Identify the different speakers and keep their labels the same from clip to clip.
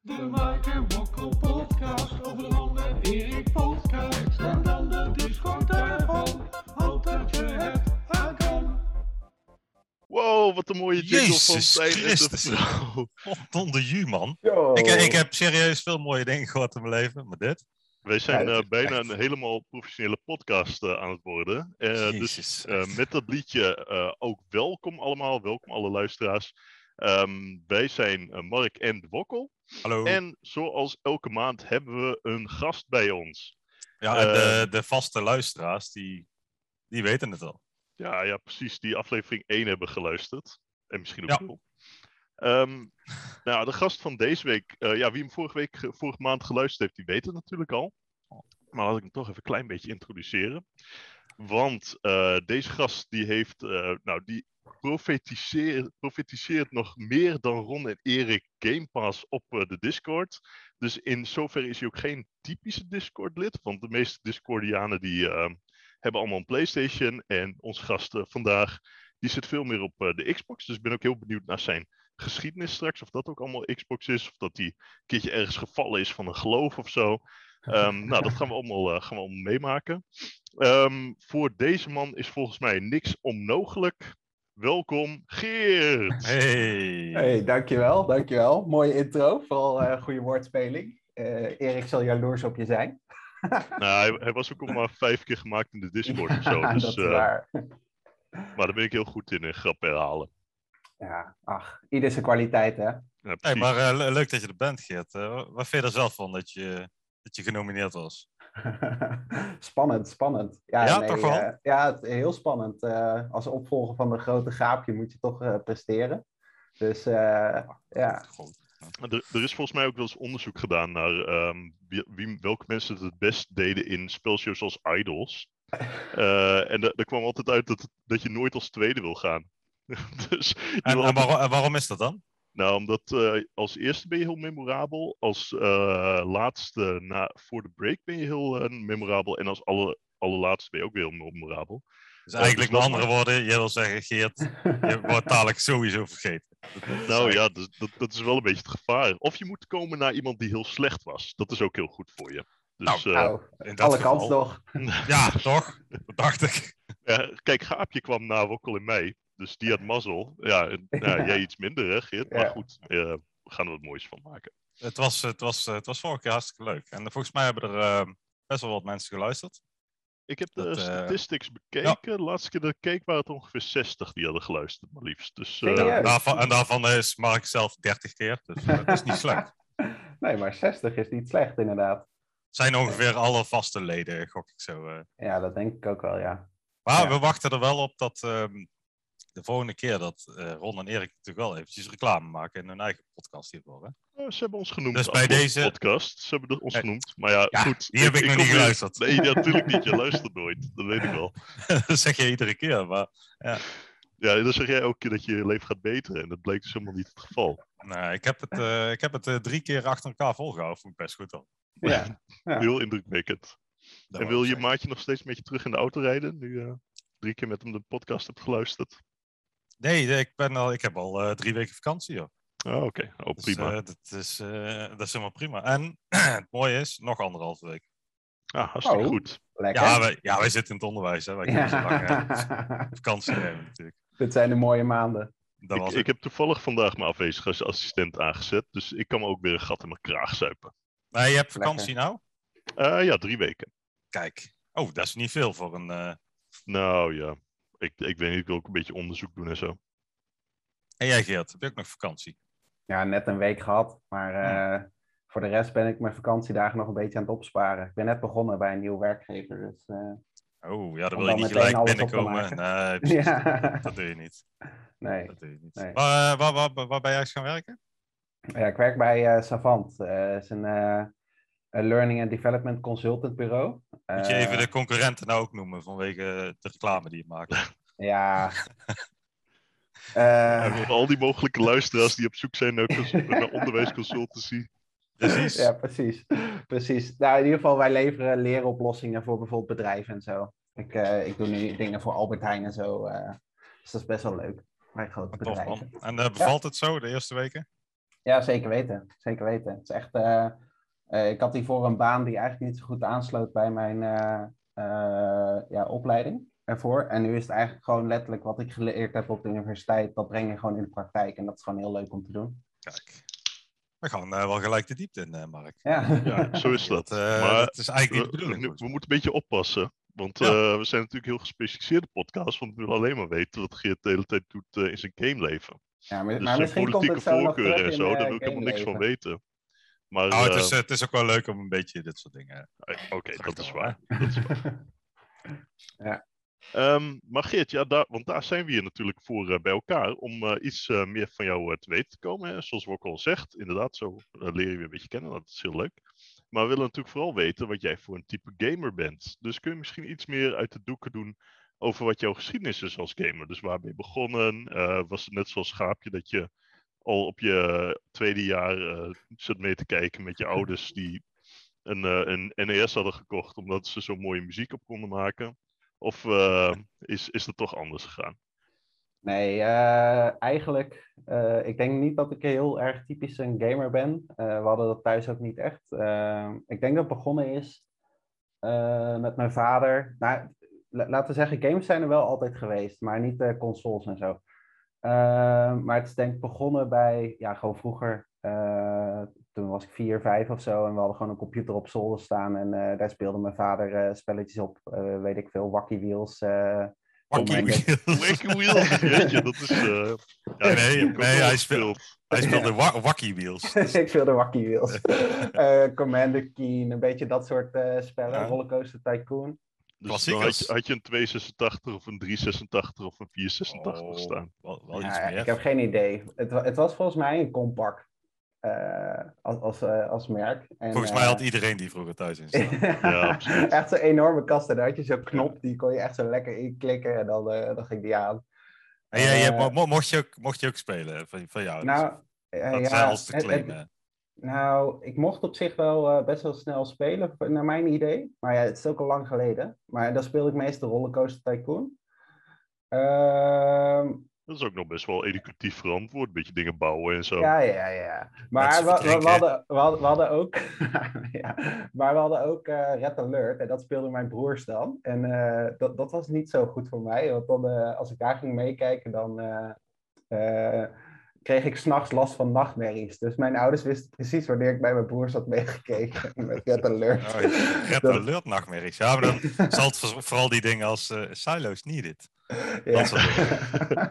Speaker 1: De Mike en Wokkel podcast over Ron en Erik podcast. En dan de Discord daarvan, hoop dat je het aan kan.
Speaker 2: Wow, wat een mooie jingle van
Speaker 3: Jezus
Speaker 2: Stijn en de
Speaker 3: Christus.
Speaker 2: vrouw.
Speaker 3: Don de Ju, man.
Speaker 4: Yo.
Speaker 3: Ik, eh, ik heb serieus veel mooie dingen gehad in mijn leven, maar dit?
Speaker 2: Wij zijn
Speaker 4: Ja,
Speaker 2: eh,
Speaker 3: dat is
Speaker 2: bijna
Speaker 3: echt-
Speaker 2: een helemaal professionele podcast eh, aan het worden. Eh, dus
Speaker 3: Jezus.
Speaker 2: eh, met dat liedje eh, ook welkom allemaal, welkom alle luisteraars. Ehm, wij zijn eh, Mark en de Wokkel.
Speaker 3: Hallo.
Speaker 2: En zoals elke maand hebben we een gast bij ons.
Speaker 3: ja, en
Speaker 2: eh,
Speaker 3: de, de vaste luisteraars, die, die weten het al.
Speaker 2: Ja, ja precies, die aflevering 1 hebben geluisterd. En misschien ook
Speaker 3: Ja.
Speaker 2: wel. Ehm, nou, de gast van deze week, eh, ja, wie hem vorige, week, ge- vorige maand geluisterd heeft, die weet het natuurlijk al. Maar laat ik hem toch even een klein beetje introduceren. Want eh, deze gast die heeft, eh, nou, die profetiseert, profetiseert nog meer dan Ron en Erik Game Pass op eh, de Discord. Dus in zoverre is hij ook geen typische Discord-lid, want de meeste Discordianen die eh, hebben allemaal een PlayStation. En onze gast eh, vandaag, die zit veel meer op eh, de Xbox. Dus ik ben ook heel benieuwd naar zijn geschiedenis straks, of dat ook allemaal Xbox is, of dat hij een keertje ergens gevallen is van een geloof of zo. Ehm, nou, dat gaan we allemaal, eh, gaan we allemaal meemaken. Ehm, voor deze man is volgens mij niks onmogelijk. Welkom, Geert!
Speaker 3: Hey.
Speaker 4: Hey, dankjewel, dankjewel. Mooie intro, vooral eh goede woordspeling. Eh, Erik zal jaloers op je zijn.
Speaker 2: Nou, hij, hij was ook al maar vijf keer gemaakt in de Discord of zo.
Speaker 4: Ja,
Speaker 2: Dus,
Speaker 4: dat is
Speaker 2: eh,
Speaker 4: waar.
Speaker 2: maar daar ben ik heel goed in, in grap herhalen.
Speaker 4: Ja, ach, ieder zijn kwaliteit, hè?
Speaker 2: Ja,
Speaker 3: Hey,
Speaker 2: precies.
Speaker 3: maar eh, le- leuk dat je er bent, Geert. Eh, wat vind je er zelf van dat je, dat je genomineerd was?
Speaker 4: spannend, spannend. Ja,
Speaker 3: Ja, toch wel?
Speaker 4: eh, ja, het- heel spannend. Eh, als opvolger van de grote gaapje moet je toch eh, presteren. Dus eh, ja,
Speaker 3: Goed.
Speaker 2: Maar Er, er is volgens mij ook wel eens onderzoek gedaan naar ehm, wie, wie- welke mensen het het best deden in spelshows als Idols. Eh, en da- daar kwam altijd uit dat, dat je nooit als tweede wil gaan. dus je
Speaker 3: En,
Speaker 2: wil
Speaker 3: en waarom, en waarom is dat dan?
Speaker 2: Nou, omdat eh, als eerste ben je heel memorabel. Als eh, laatste na, voor de break ben je heel eh, memorabel. En als alle, allerlaatste ben je ook weer heel memorabel.
Speaker 3: Dus eigenlijk
Speaker 2: dat
Speaker 3: met
Speaker 2: is
Speaker 3: andere woorden, jij wil zeggen, Geert, je wordt dadelijk sowieso vergeten.
Speaker 2: Nou ja, dus dat, dat is wel een beetje het gevaar. Of je moet komen naar iemand die heel slecht was. Dat is ook heel goed voor je. Dus, eh,
Speaker 4: nou,
Speaker 3: In dat
Speaker 4: alle kansen
Speaker 3: geval-
Speaker 4: nog.
Speaker 3: Ja, toch? Dat dacht ik.
Speaker 2: eh, kijk, Gaapje kwam na Wokkel in mei. Dus die had mazzel. Ja, en, nou,
Speaker 4: Ja.
Speaker 2: jij iets minder, hè, Geert? Maar
Speaker 4: Ja.
Speaker 2: goed, eh, we gaan er wat moois van maken.
Speaker 3: Het was, het, was, het was vorige keer hartstikke leuk. En volgens mij hebben er eh, best wel wat mensen geluisterd.
Speaker 2: Ik heb de
Speaker 3: Dat, eh,
Speaker 2: statistics bekeken. De laatste keer dat ik keek waren het ongeveer 60 die hadden geluisterd, maar liefst. Dus eh,
Speaker 4: Serieus?
Speaker 3: En daarvan, en daarvan is Mark zelf 30 keer, dus dat is niet slecht.
Speaker 4: Nee, maar 60 is niet slecht, inderdaad.
Speaker 3: Het zijn ongeveer alle vaste leden, gok ik zo. eh.
Speaker 4: Ja, dat denk ik ook wel, ja.
Speaker 3: Maar
Speaker 4: Ja.
Speaker 3: we wachten er wel op dat ehm, de volgende keer dat eh, Ron en Erik natuurlijk wel eventjes reclame maken in hun eigen podcast hiervoor. Hè?
Speaker 2: Eh, ze hebben ons genoemd.
Speaker 3: Dus
Speaker 2: aan
Speaker 3: bij
Speaker 2: de
Speaker 3: deze-
Speaker 2: Podcast. Ze hebben ons
Speaker 3: Eh,
Speaker 2: genoemd. Maar ja,
Speaker 3: ja,
Speaker 2: goed.
Speaker 3: Die heb ik, nog
Speaker 2: kom
Speaker 3: niet
Speaker 2: weer-
Speaker 3: geluisterd.
Speaker 2: Nee, ja, natuurlijk niet. Je luistert nooit. Dat weet ik wel.
Speaker 3: dat zeg je iedere keer, maar
Speaker 2: Ja, dan zeg jij elke keer dat je je leven gaat beteren. En dat bleek dus helemaal niet het geval.
Speaker 3: nou, ik heb het, eh, ik heb het eh, drie keer achter elkaar volgehouden. Vond ik best goed al.
Speaker 4: Ja, Ja.
Speaker 2: Heel indrukwekkend.
Speaker 3: Dat
Speaker 2: en
Speaker 3: wou
Speaker 2: wil
Speaker 3: ik
Speaker 2: je
Speaker 3: zeggen.
Speaker 2: maatje nog steeds met je terug in de auto rijden? Nu eh, drie keer met hem de podcast hebt geluisterd.
Speaker 3: Nee, nee, ik, ben al, ik heb al eh, drie weken vakantie, joh.
Speaker 2: Ah, oké. Oh,
Speaker 3: Dus,
Speaker 2: prima.
Speaker 3: eh, dat, is, eh, dat is helemaal prima. En het mooie is, nog anderhalve week.
Speaker 2: ah, hartstikke
Speaker 4: oh.
Speaker 2: goed.
Speaker 4: lekker.
Speaker 3: Ja, wij, ja, wij zitten in het onderwijs. Hè. Wij kunnen zo lang eh,
Speaker 4: Ja.
Speaker 3: vakantie nemen natuurlijk.
Speaker 4: Dit zijn de mooie maanden.
Speaker 3: Dat
Speaker 2: ik,
Speaker 3: was
Speaker 2: ik
Speaker 3: ik,
Speaker 2: heb toevallig vandaag mijn afwezigheidsassistent aangezet. Dus ik kan me ook weer een gat in mijn kraag zuipen.
Speaker 3: Nee, je hebt vakantie nou?
Speaker 2: Eh, ja, drie weken.
Speaker 3: Kijk. Oh, dat is niet veel voor een... eh,
Speaker 2: Nou ja. Ik, ik weet niet, ik wil ook een beetje onderzoek doen en zo.
Speaker 3: En jij Geert, heb je ook nog vakantie?
Speaker 4: Ja, net een week gehad, maar eh, voor de rest ben ik mijn vakantiedagen nog een beetje aan het opsparen. Ik ben net begonnen bij een nieuw werkgever, dus eh,
Speaker 3: Oh, ja, dan
Speaker 4: Om
Speaker 3: wil je
Speaker 4: dan
Speaker 3: niet gelijk
Speaker 4: meteen alles op te
Speaker 3: binnenkomen.
Speaker 4: maken.
Speaker 3: Nee, precies.
Speaker 4: ja,
Speaker 3: dat doe je niet.
Speaker 4: nee.
Speaker 3: Dat doe je niet.
Speaker 4: Nee.
Speaker 3: Waar, eh, waar, waar, waar, waar ben jij eens gaan werken?
Speaker 4: Ja, ik werk bij eh, Savant, Eh, het is een eh, een learning and development consultant bureau.
Speaker 3: Moet je
Speaker 4: Eh,
Speaker 3: even de concurrenten nou ook noemen vanwege de reclame die je maakt?
Speaker 4: Ja. Eh,
Speaker 2: En voor al die mogelijke luisteraars die op zoek zijn naar, cons- naar onderwijsconsultancy.
Speaker 3: Precies.
Speaker 4: Ja, precies. precies. Nou, in ieder geval, wij leveren leeroplossingen voor bijvoorbeeld bedrijven en zo. Ik, eh, ik doe nu dingen voor Albert Heijn en zo. eh, dus dat is best wel leuk. Bij grote
Speaker 3: Tof
Speaker 4: bedrijven.
Speaker 3: man. En eh, bevalt het zo de eerste weken?
Speaker 4: Ja, zeker weten. Zeker weten. Het is echt, eh, eh, ik had hiervoor een baan die eigenlijk niet zo goed aansloot bij mijn eh, eh, ja, opleiding ervoor. En nu is het eigenlijk gewoon letterlijk wat ik geleerd heb op de universiteit, dat breng je gewoon in de praktijk. En dat is gewoon heel leuk om te doen.
Speaker 3: Kijk, we gaan eh, wel gelijk de diepte in, eh, Mark.
Speaker 4: Ja,
Speaker 2: Ja, zo is dat.
Speaker 3: Dat, eh,
Speaker 2: maar
Speaker 3: dat is eigenlijk niet
Speaker 2: we,
Speaker 3: de bedoeling.
Speaker 2: we moeten een beetje oppassen. Want
Speaker 3: Ja.
Speaker 2: eh, we zijn natuurlijk heel gespecialiseerde podcast. Want we willen alleen maar weten wat Geert de hele tijd doet eh, in zijn gameleven.
Speaker 4: Ja, maar,
Speaker 2: Dus
Speaker 4: maar
Speaker 2: zijn
Speaker 4: misschien komt
Speaker 2: politieke
Speaker 4: het zo nog terug
Speaker 2: voorkeuren
Speaker 4: in
Speaker 2: en zo,
Speaker 4: eh,
Speaker 2: daar wil ik helemaal niks van
Speaker 4: gameleven.
Speaker 2: weten. Maar
Speaker 3: Nou, het
Speaker 2: eh,
Speaker 3: is, eh, het is ook wel leuk om een beetje dit soort dingen.
Speaker 2: eh, oké,
Speaker 3: Zag
Speaker 2: dat
Speaker 3: ik
Speaker 2: is
Speaker 3: al,
Speaker 2: waar. Dat is waar. Ehm, maar Geert, ja, daar, want daar zijn we hier natuurlijk voor eh, bij elkaar. Om eh, iets eh, meer van jou eh, te weten te komen. Hè. Zoals Wokkel al zegt, inderdaad, zo eh, leer je weer een beetje kennen. Dat is heel leuk. Maar we willen natuurlijk vooral weten wat jij voor een type gamer bent. Dus kun je misschien iets meer uit de doeken doen over wat jouw geschiedenis is als gamer. Dus waar ben je begonnen? Eh, was het net zoals Schaapje dat je al op je tweede jaar eh, zat mee te kijken met je ouders die een, eh, een NES hadden gekocht omdat ze zo mooie muziek op konden maken? Of eh, is, is dat toch anders gegaan?
Speaker 4: Nee, eh, eigenlijk, eh, ik denk niet dat ik heel erg typisch een gamer ben. Eh, we hadden dat thuis ook niet echt. Eh, ik denk dat het begonnen is eh, met mijn vader. Nou, la- laten we zeggen, games zijn er wel altijd geweest, maar niet eh, consoles en zo. Eh, maar het is denk ik begonnen bij, ja, gewoon vroeger. eh, toen was ik vier, vijf of zo en we hadden gewoon een computer op zolder staan en eh, daar speelde mijn vader eh, spelletjes op, eh, weet ik veel, Wacky Wheels. eh, Oh my
Speaker 2: Wacky Wheels, jeetje, dat is... eh, ja, die
Speaker 3: Nee,
Speaker 2: heb ik
Speaker 3: nee,
Speaker 2: ook
Speaker 3: nee,
Speaker 2: wel
Speaker 3: hij
Speaker 2: gespeeld.
Speaker 3: Hij speelde wa- Wacky Wheels.
Speaker 4: ik wilde Wacky Wheels. Eh, Commander Keen, een beetje dat soort eh, spellen.
Speaker 3: Ja. Oh,
Speaker 4: Rollercoaster Tycoon.
Speaker 2: Dus dan had
Speaker 3: Klassiekers.
Speaker 2: je, had je een 286 of een 386 of een 486 staan.
Speaker 3: Oh, Wel, wel iets
Speaker 4: Nou Ja,
Speaker 3: meer.
Speaker 4: ik heb geen idee. Het, wa- het was volgens mij een compact eh, als, als, eh, als merk. En, eh,
Speaker 3: Volgens mij had iedereen die vroeger thuis in staan.
Speaker 2: Ja, absoluut.
Speaker 4: echt zo'n enorme kast. En daar had je zo'n knop, die kon je echt zo lekker inklikken. En dan, eh, dan ging die aan.
Speaker 3: En jij, jij-
Speaker 4: Eh,
Speaker 3: mo- mo- mocht, je ook, mocht je ook spelen van, van jou?
Speaker 4: nou, eh,
Speaker 3: dat
Speaker 4: ja,
Speaker 3: zijn als te
Speaker 4: het- het-
Speaker 3: claimen.
Speaker 4: Nou, ik mocht op zich wel eh, best wel snel spelen, v- naar mijn idee. Maar ja, het is ook al lang geleden. Maar dan speelde ik meestal Rollercoaster Tycoon. Ehm,
Speaker 2: Dat is ook nog best wel educatief verantwoord. Een beetje dingen bouwen en zo.
Speaker 4: ja, ja, ja. Maar
Speaker 3: Mensen
Speaker 4: we, we, we
Speaker 3: verdrinken.
Speaker 4: hadden, we, hadden, we hadden ook, ja, maar we hadden ook eh, Red Alert en dat speelden mijn broers dan. En eh, dat, dat was niet zo goed voor mij, want dan, eh, als ik daar ging meekijken, dan eh, eh, kreeg ik s'nachts last van nachtmerries. Dus mijn ouders wisten precies wanneer ik bij mijn broers had meegekeken met Red Alert.
Speaker 3: Oh, Red
Speaker 4: Dat-
Speaker 3: Alert nachtmerries. Ja, maar dan zal het voor- vooral die dingen als eh, Silo's Needed.
Speaker 4: Ja.
Speaker 3: Dat soort dingen.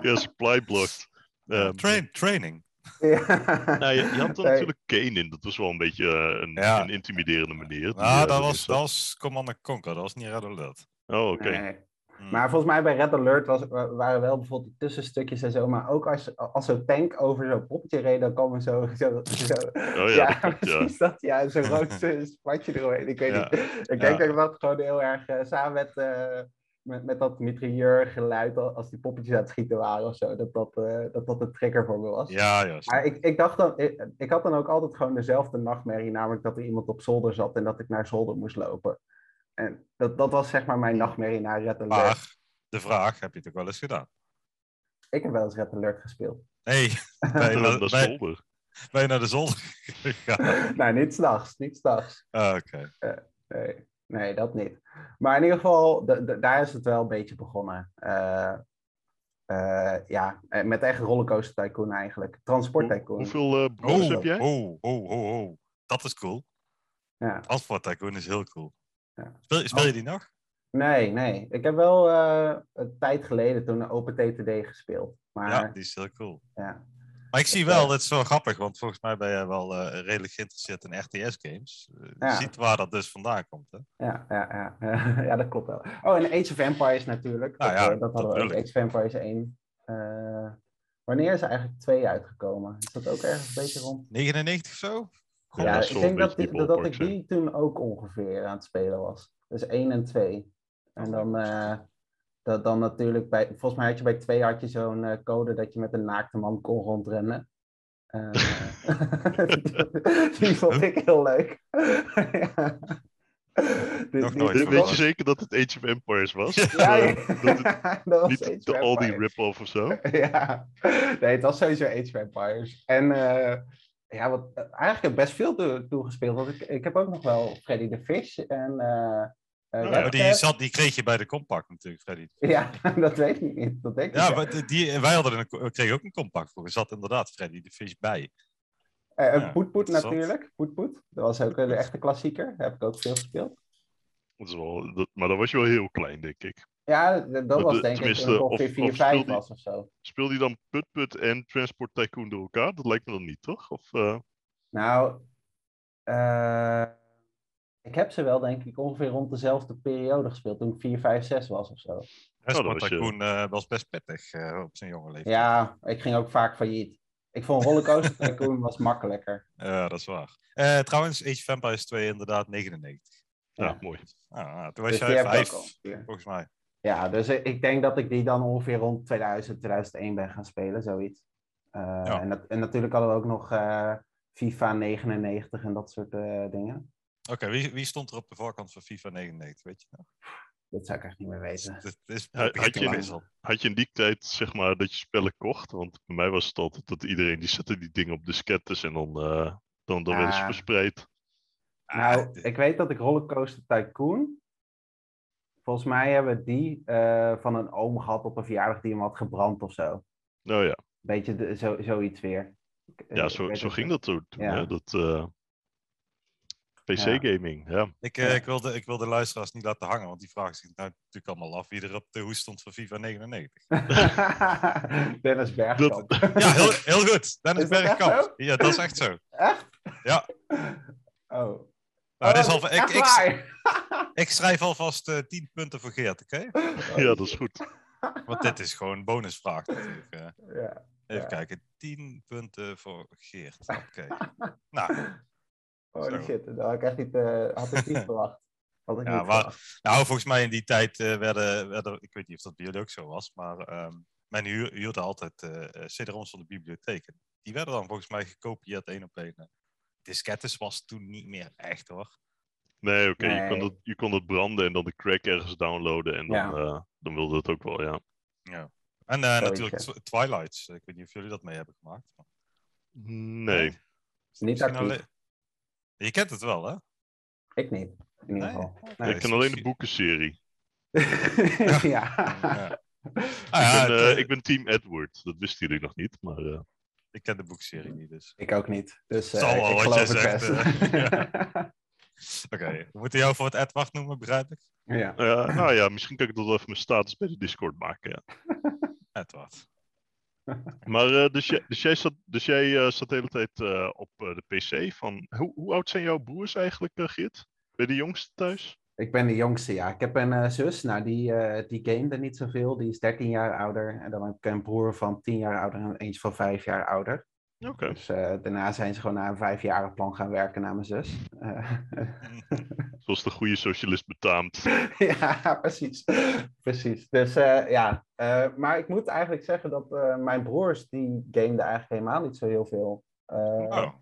Speaker 2: ja supply blocked. Ehm,
Speaker 3: Train, training.
Speaker 4: Ja.
Speaker 2: nou, je, je had er
Speaker 4: Nee.
Speaker 2: natuurlijk Kane in. Dat was wel een beetje eh, een,
Speaker 3: Ja.
Speaker 2: een intimiderende manier. Die,
Speaker 3: Nou,
Speaker 2: eh,
Speaker 3: dat
Speaker 2: erin
Speaker 3: was,
Speaker 2: zat.
Speaker 3: dat was Commander Conquer, dat was niet Red Alert.
Speaker 2: Oh, oké.
Speaker 4: Nee.
Speaker 3: Hmm.
Speaker 4: Maar volgens mij bij Red Alert was, wa- waren wel bijvoorbeeld die tussenstukjes en zo. Maar ook als, als zo'n tank over zo'n poppetje reed, dan kwam er zo... zo, zo
Speaker 2: Oh ja, dat klopt, ja.
Speaker 4: precies dat. Ja, zo'n rood eh, spatje eromheen. Ik weet
Speaker 3: Ja,
Speaker 4: niet. Ik
Speaker 3: ja.
Speaker 4: denk dat ik dat gewoon heel erg... eh, samen met, eh, met, met dat mitrailleurgeluid, al- als die poppetjes aan het schieten waren of zo, dat dat, eh, dat, dat de trigger voor me was.
Speaker 3: Ja, ja.
Speaker 4: Maar ik, ik dacht dan, ik, ik had dan ook altijd gewoon dezelfde nachtmerrie, namelijk dat er iemand op zolder zat en dat ik naar zolder moest lopen. En dat, dat was zeg maar mijn nachtmerrie na Red Alert.
Speaker 3: Maar de vraag, heb je het ook wel eens gedaan?
Speaker 4: Ik heb wel eens Red Alert gespeeld.
Speaker 3: Nee, bij,
Speaker 2: Dat-
Speaker 3: bij,
Speaker 2: dat is
Speaker 3: bij,
Speaker 2: zolder.
Speaker 3: bij naar de zolder gegaan.
Speaker 4: nou, niet s'nachts, niet s'nachts.
Speaker 3: Ah, Oké.
Speaker 4: Nee, nee, dat niet. Maar in ieder geval, d- d- daar is het wel een beetje begonnen. Eh, eh, ja, eh, met echt rollercoaster tycoon eigenlijk. Transport
Speaker 2: Hoe-
Speaker 4: tycoon.
Speaker 2: hoeveel eh, broers
Speaker 3: Oh,
Speaker 2: heb jij?
Speaker 3: oh, oh, oh, oh. Dat is cool.
Speaker 4: Ja.
Speaker 3: Transport Tycoon is heel cool.
Speaker 4: Ja.
Speaker 3: Speel, speel je die nog?
Speaker 4: Nee, nee. Ik heb wel eh, een tijd geleden toen Open TTD gespeeld. Maar
Speaker 3: Ja, die is heel cool.
Speaker 4: ja.
Speaker 3: Maar ik zie
Speaker 4: Ik,
Speaker 3: wel,
Speaker 4: eh,
Speaker 3: dat is wel grappig, want volgens mij ben jij wel eh, redelijk geïnteresseerd in RTS-games. Je
Speaker 4: Ja.
Speaker 3: Eh, ziet waar dat dus vandaan komt. Hè?
Speaker 4: Ja, ja, ja. ja, dat klopt wel. Oh, en Age of Empires natuurlijk.
Speaker 3: Nou
Speaker 4: dat,
Speaker 3: ja,
Speaker 4: eh, dat hadden we ook. Age
Speaker 3: natuurlijk.
Speaker 4: of Empires 1. Eh, wanneer is er eigenlijk 2 uitgekomen? Is dat ook ergens een beetje rond?
Speaker 3: 99 of zo?
Speaker 2: Ja,
Speaker 4: ja,
Speaker 2: dat zal
Speaker 4: ik denk
Speaker 2: een
Speaker 4: dat,
Speaker 2: beetje
Speaker 4: die-
Speaker 2: die
Speaker 4: dat, dat
Speaker 2: ballpark
Speaker 4: ik die toen ook ongeveer aan het spelen was. Dus 1 en 2. En dan, eh, dat, dan natuurlijk bij... Volgens mij had je bij 2 had je zo'n eh, code dat je met een naakte man kon rondrennen. Eh, die vond ik heel leuk. ja. Dit-
Speaker 3: Nog
Speaker 4: dit-
Speaker 3: nooit.
Speaker 2: Weet-
Speaker 3: Dit-
Speaker 2: Weet je zeker dat het Age of Empires was?
Speaker 4: Ja,
Speaker 2: Eh, dat het
Speaker 4: ja. dat was Age
Speaker 2: niet
Speaker 4: of
Speaker 2: de Aldi
Speaker 4: Empires.
Speaker 2: rip-off of zo?
Speaker 4: Ja, nee, het was sowieso Age of Empires. En eh, ja, wat, eigenlijk heb ik best veel toe- toegespeeld. Want ik, ik heb ook nog wel Freddy the Fish en... eh, eh, Red
Speaker 3: Maar Oh, die,
Speaker 4: Dead.
Speaker 3: zat, die kreeg je bij de compact natuurlijk, Freddy.
Speaker 4: Ja, dat weet ik niet. Dat denk ik.
Speaker 3: Ja,
Speaker 4: niet.
Speaker 3: maar die- die, wij hadden een, we kregen ook een compact voor. Er zat inderdaad Freddy de Fish bij.
Speaker 4: Eh,
Speaker 3: ja,
Speaker 4: en Poetpoet
Speaker 3: interessant.
Speaker 4: natuurlijk. Poetpoet. Dat was ook een echte klassieker. Daar heb ik ook veel gespeeld.
Speaker 2: Dat is wel, dat- maar dat was je wel heel klein, denk ik.
Speaker 4: Ja, d- dat
Speaker 2: Maar
Speaker 4: was
Speaker 2: de-
Speaker 4: denk ik
Speaker 2: tenminste,
Speaker 4: toen ik
Speaker 2: of-
Speaker 4: ongeveer
Speaker 2: of
Speaker 4: 4,
Speaker 2: speelde
Speaker 4: 5
Speaker 2: die-
Speaker 4: was of zo.
Speaker 2: Speel die dan Put Put en Transport Tycoon door elkaar? Dat lijkt me dan niet, toch? Of, eh,
Speaker 4: Nou, eh, ik heb ze wel denk ik ongeveer rond dezelfde periode gespeeld. Toen ik 4, 5, 6 was of zo.
Speaker 3: Transport
Speaker 2: was je-
Speaker 3: Tycoon eh, was best pittig eh, op zijn jonge leeftijd.
Speaker 4: Ja, ik ging ook vaak failliet. Ik vond Rollercoaster Tycoon was makkelijker.
Speaker 3: Eh, dat is waar. Eh, trouwens, Age of Empires 2 inderdaad 99.
Speaker 2: ja,
Speaker 4: Ja.
Speaker 2: mooi.
Speaker 3: Ah, nou, toen was
Speaker 4: Dus die
Speaker 3: jij
Speaker 4: heb ik ook
Speaker 3: 5,
Speaker 4: al een keer.
Speaker 3: volgens mij.
Speaker 4: Ja, dus ik ik denk dat ik die dan ongeveer rond 2000, 2001 ben gaan spelen, zoiets. Eh,
Speaker 3: Ja.
Speaker 4: en, dat- en natuurlijk hadden we ook nog eh, FIFA 99 en dat soort eh, dingen.
Speaker 3: Oké, wie, wie stond er op de voorkant van FIFA 99, weet je nog?
Speaker 4: Dat zou ik echt niet meer weten.
Speaker 3: Dat is
Speaker 2: Ja,
Speaker 3: dat begint
Speaker 2: had
Speaker 3: te
Speaker 2: je-
Speaker 3: wisselen.
Speaker 2: Had je in die tijd, zeg maar, dat je spellen kocht? Want bij mij was het altijd dat iedereen die zette die dingen op diskettes en dan, eh, dan, dan werden ze
Speaker 4: Ah.
Speaker 2: verspreid.
Speaker 4: Nou,
Speaker 3: Ah,
Speaker 4: ik weet dat ik Rollercoaster Tycoon. Volgens mij hebben we die eh, van een oom gehad op een verjaardag die hem had gebrand of zo.
Speaker 2: Nou ja,
Speaker 4: Beetje de- zo, zoiets weer. Ik- eh,
Speaker 2: ja
Speaker 4: ik
Speaker 2: zo,
Speaker 4: weet
Speaker 2: zo
Speaker 4: het
Speaker 2: ging
Speaker 4: niet.
Speaker 2: dat toen. toen,
Speaker 4: Ja.
Speaker 2: hè, Dat eh, PC-gaming, ja.
Speaker 3: Ik, eh,
Speaker 4: Ja.
Speaker 3: ik, wil de, ik wil de luisteraars niet laten hangen, want die vragen zich nou natuurlijk allemaal af wie er op de hoes stond van FIFA 99.
Speaker 4: Dennis Bergkamp.
Speaker 3: Ja, heel, heel goed. Dennis
Speaker 4: Is dat echt
Speaker 3: Bergkamp.
Speaker 4: zo?
Speaker 3: Ja, dat is echt zo.
Speaker 4: Echt?
Speaker 3: Ja.
Speaker 4: Oh.
Speaker 3: Nou, dit is
Speaker 4: Oh,
Speaker 3: al, ik,
Speaker 4: echt
Speaker 3: ik,
Speaker 4: waar?
Speaker 3: ik schrijf alvast eh 10 punten voor Geert, oké?
Speaker 2: Ja, dat is goed.
Speaker 3: Want dit is gewoon een bonusvraag natuurlijk. eh.
Speaker 4: Ja.
Speaker 3: Even
Speaker 4: Ja.
Speaker 3: kijken. 10 punten voor Geert. Oké. nou,
Speaker 4: Holy
Speaker 3: Zo.
Speaker 4: Oh, shit, dat had ik echt niet, eh, had ik niet verwacht. Had ik
Speaker 3: Ja,
Speaker 4: niet
Speaker 3: waar-
Speaker 4: verwacht.
Speaker 3: nou, volgens mij in die tijd eh, werden, werden, ik weet niet of dat bij jullie ook zo was, maar ehm, men huur, huurde altijd eh eh, CD-ROMs van de bibliotheek. En Die werden dan volgens mij gekopieerd één op één. Diskettes was toen niet meer echt hoor.
Speaker 2: Nee, oké, je, kon
Speaker 4: Nee.
Speaker 2: dat- je kon dat branden en dan de crack ergens downloaden en dan,
Speaker 4: Ja.
Speaker 2: eh, dan wilde het ook wel, ja.
Speaker 3: En eh,
Speaker 4: Zoiets,
Speaker 3: natuurlijk
Speaker 4: ja.
Speaker 3: Tw- Twilights. eh, Ik weet niet of jullie dat mee hebben gemaakt. maar-
Speaker 2: Nee,
Speaker 4: Niet
Speaker 3: Misschien
Speaker 4: actief.
Speaker 3: alleen- Je kent het wel, hè?
Speaker 4: Ik niet, in ieder
Speaker 3: Nee.
Speaker 4: geval.
Speaker 3: Nee,
Speaker 2: ik
Speaker 3: is
Speaker 2: ken alleen de
Speaker 3: misschien-
Speaker 2: boekenserie.
Speaker 4: ja.
Speaker 3: Ja.
Speaker 2: ik,
Speaker 3: Ah,
Speaker 2: ben,
Speaker 3: ja,
Speaker 2: eh,
Speaker 3: het-
Speaker 2: ik ben Team Edward, dat wisten jullie nog niet, maar eh,
Speaker 3: ik ken de boekserie niet, dus.
Speaker 4: Ik ook niet. Dus eh,
Speaker 3: Zal wel
Speaker 4: ik
Speaker 3: wat
Speaker 4: geloof
Speaker 3: jij
Speaker 4: het
Speaker 3: zegt, eh.
Speaker 4: best.
Speaker 3: Oké, we moeten jou voor het Edward noemen, begrijp ik?
Speaker 4: ja.
Speaker 2: eh, nou ja, misschien kan ik dat wel even mijn status bij de Discord maken. Ja.
Speaker 3: Edward.
Speaker 2: Maar eh, dus jij, dus jij, zat, dus jij eh, zat de hele tijd eh, op eh, de PC. Van, hoe, hoe oud zijn jouw broers eigenlijk, eh, Geert? Bij de jongste thuis?
Speaker 4: Ik ben de jongste, ja. Ik heb een eh, zus, nou die, eh die gamede niet zoveel. Die is 13 jaar ouder. En dan heb ik een broer van 10 jaar ouder en eentje van 5 jaar ouder.
Speaker 2: Oké.
Speaker 4: Dus eh, daarna zijn ze gewoon naar een vijfjarig plan gaan werken naar mijn zus. Eh,
Speaker 2: Zoals de goede socialist betaamt.
Speaker 4: ja, precies. precies. Dus eh, ja, eh, maar ik moet eigenlijk zeggen dat eh, mijn broers, die gameden eigenlijk helemaal niet zo heel veel. Eh,
Speaker 3: Oh,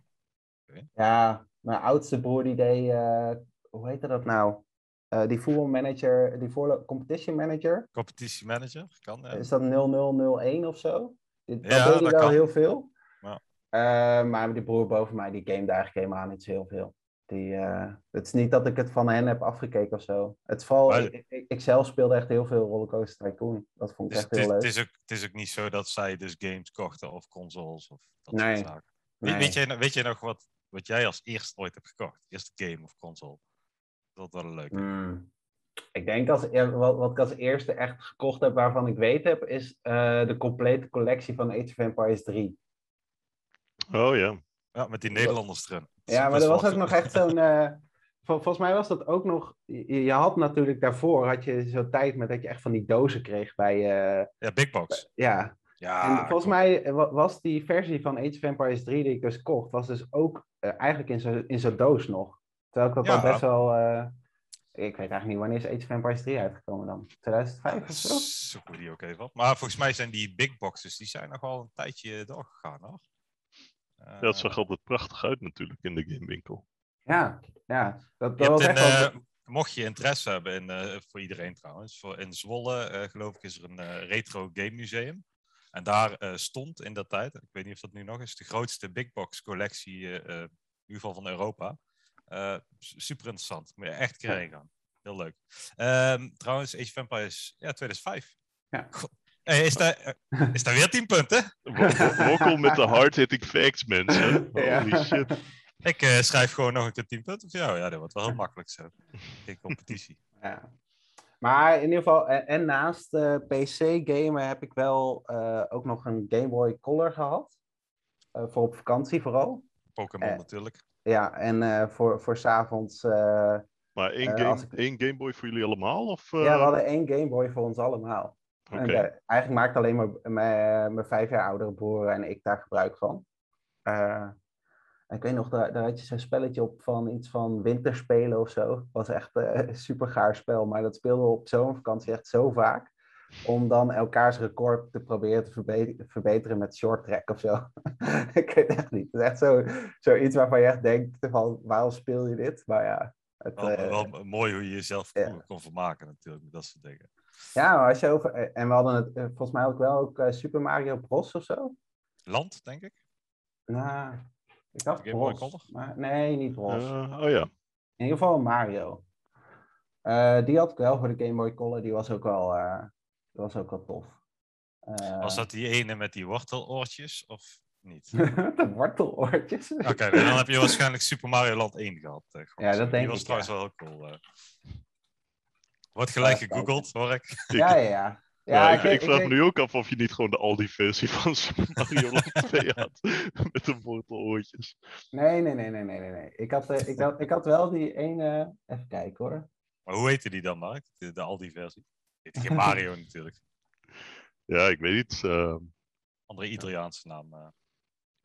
Speaker 4: Ja, mijn oudste broer die deed, eh, hoe heette dat nou? Eh, die voetbalmanager, die voorlo- competition manager,
Speaker 3: competitie manager, kan. eh. ja.
Speaker 4: is dat 0001 of zo? Dit- Dat
Speaker 3: Ja,
Speaker 4: deed hij
Speaker 3: dat
Speaker 4: wel
Speaker 3: kan.
Speaker 4: heel veel.
Speaker 3: Ja.
Speaker 4: Eh, maar die broer boven mij, die gamede eigenlijk helemaal niet zo heel veel. Die, eh, het is niet dat ik het van hen heb afgekeken of zo. Het is vooral,
Speaker 3: Maar-
Speaker 4: ik, ik, ik zelf speelde echt heel veel Rollercoaster Tycoon. Dat vond ik
Speaker 3: Dus
Speaker 4: echt
Speaker 3: het, is,
Speaker 4: heel leuk.
Speaker 3: het is ook, het is ook niet zo dat zij dus games kochten of consoles of dat
Speaker 4: Nee,
Speaker 3: soort zaken. Weet-
Speaker 4: Nee.
Speaker 3: Weet, jij, nou, weet jij nog wat, wat jij als eerst ooit hebt gekocht? Eerste game of console? Dat was wel leuk.
Speaker 4: Hmm. Ik denk als, ja, wat, wat ik als eerste echt gekocht heb waarvan ik weet heb, is eh, de complete collectie van Age of Empires 3.
Speaker 2: Oh ja.
Speaker 3: Ja, met die Nederlanders erin. Dat is
Speaker 4: Ja, maar
Speaker 3: best
Speaker 4: er was
Speaker 3: wel-
Speaker 4: ook nog echt zo'n. eh, vol- volgens mij was dat ook nog. Je, je had natuurlijk daarvoor had je zo'n tijd met dat je echt van die dozen kreeg bij. eh,
Speaker 3: Ja, Big Box.
Speaker 4: ja.
Speaker 3: Ja,
Speaker 4: En volgens mij eh, wa- was die versie van Age of Empires 3 die ik dus kocht, was dus ook eh, eigenlijk in zo'n in zo'n doos nog. Terwijl ik dat al
Speaker 3: Ja.
Speaker 4: best wel. eh, ik weet eigenlijk niet wanneer is Age of Empires 3 uitgekomen dan? 2005 of zo?
Speaker 3: Zoeken we die ook even op. Maar volgens mij zijn die big boxes, die zijn nog wel een tijdje doorgegaan, hoor. Eh,
Speaker 2: ja, dat zag altijd prachtig uit natuurlijk in de gamewinkel.
Speaker 4: Ja, ja. Dat,
Speaker 3: Je
Speaker 4: dat was
Speaker 3: hebt een
Speaker 4: echt wel-
Speaker 3: eh, Mocht je interesse hebben, in, eh, voor iedereen trouwens, voor, in Zwolle eh, geloof ik is er een eh, retro game museum. En daar eh, stond in dat tijd, ik weet niet of dat nu nog is, de grootste big box collectie, eh, eh, in ieder geval van Europa. Eh, s- super interessant, moet je echt een keer
Speaker 4: Ja.
Speaker 3: heen gaan. Heel leuk. Ehm, trouwens, Age of Empires, ja, 2005.
Speaker 4: Ja.
Speaker 3: God. Hey, is, daar, eh, is daar weer 10 punten?
Speaker 2: Wokkel met de hard-hitting facts, mensen.
Speaker 4: Ja.
Speaker 2: eh, Holy shit.
Speaker 3: Ik eh, schrijf gewoon nog een keer 10 punten voor jou. Ja, dat wordt wel heel makkelijk zo. Geen competitie.
Speaker 4: Ja. Maar in ieder geval, en, en naast eh, PC-gamen heb ik wel eh, ook nog een Game Boy Color gehad. Eh, voor op vakantie vooral.
Speaker 3: Pokémon
Speaker 4: Eh.
Speaker 3: natuurlijk.
Speaker 4: Ja, en eh, voor, voor s'avonds. eh
Speaker 2: Maar één,
Speaker 4: Eh,
Speaker 2: game,
Speaker 4: als ik-
Speaker 2: één Game Boy voor jullie allemaal? Of, eh,
Speaker 4: Ja, we hadden één Game Boy voor ons allemaal.
Speaker 2: oké.
Speaker 4: En daar- eigenlijk maakt alleen maar eh, mijn, mijn vijf jaar oudere broer en ik daar gebruik van. Eh, en ik weet nog, daar, daar had je zo'n spelletje op van iets van winterspelen of zo. Was echt eh, een super gaar spel, maar dat speelden we op zo'n vakantie echt zo vaak. Om dan elkaars record te proberen te verbe- verbeteren met short track of zo. ik weet echt niet. Het is echt zo- zoiets waarvan je echt denkt van waarom speel je dit? Maar ja, het,
Speaker 3: Wel,
Speaker 4: eh,
Speaker 3: wel mooi hoe je jezelf
Speaker 4: ja.
Speaker 3: vroeger kon vermaken natuurlijk met dat soort dingen.
Speaker 4: Ja, maar als je over. eh, En we hadden het eh, volgens mij ook wel ook eh, Super Mario Bros of zo.
Speaker 3: Land, denk ik.
Speaker 4: Nou, ik dacht
Speaker 3: Game Boy
Speaker 4: Bros.
Speaker 3: Color?
Speaker 4: Maar, nee, niet Bros.
Speaker 2: Eh, oh ja.
Speaker 4: In ieder geval Mario. Eh, die had ik wel voor de Game Boy Color. Die was ook wel, eh, die was ook wel tof. Eh,
Speaker 3: Was dat die ene met die worteloortjes of niet?
Speaker 4: de worteloortjes.
Speaker 3: Oké, nou, dan heb je waarschijnlijk Super Mario Land 1 gehad. eh, gok.
Speaker 4: Ja, dat
Speaker 3: Die
Speaker 4: denk
Speaker 3: was
Speaker 4: ik,
Speaker 3: trouwens wel heel cool. eh. Wordt gelijk
Speaker 4: Ja,
Speaker 3: gegoogeld, hoor ik.
Speaker 2: Ik-
Speaker 4: Ja, ja, ja.
Speaker 2: Ja, ik,
Speaker 4: weet-
Speaker 2: ik vraag me
Speaker 4: weet-
Speaker 2: nu ook af of je niet gewoon de Aldi-versie van Super Mario Land 2 had. Met de worteloortjes.
Speaker 4: Nee, nee, nee, nee, nee, nee. nee. Ik, had, eh, ik, had, ik had wel die ene. Even kijken hoor.
Speaker 3: Maar hoe heette die dan, Mark? De, de Aldi-versie? Dit geen Mario natuurlijk.
Speaker 2: Ja, ik weet niet. eh,
Speaker 3: Andere Italiaanse naam. eh.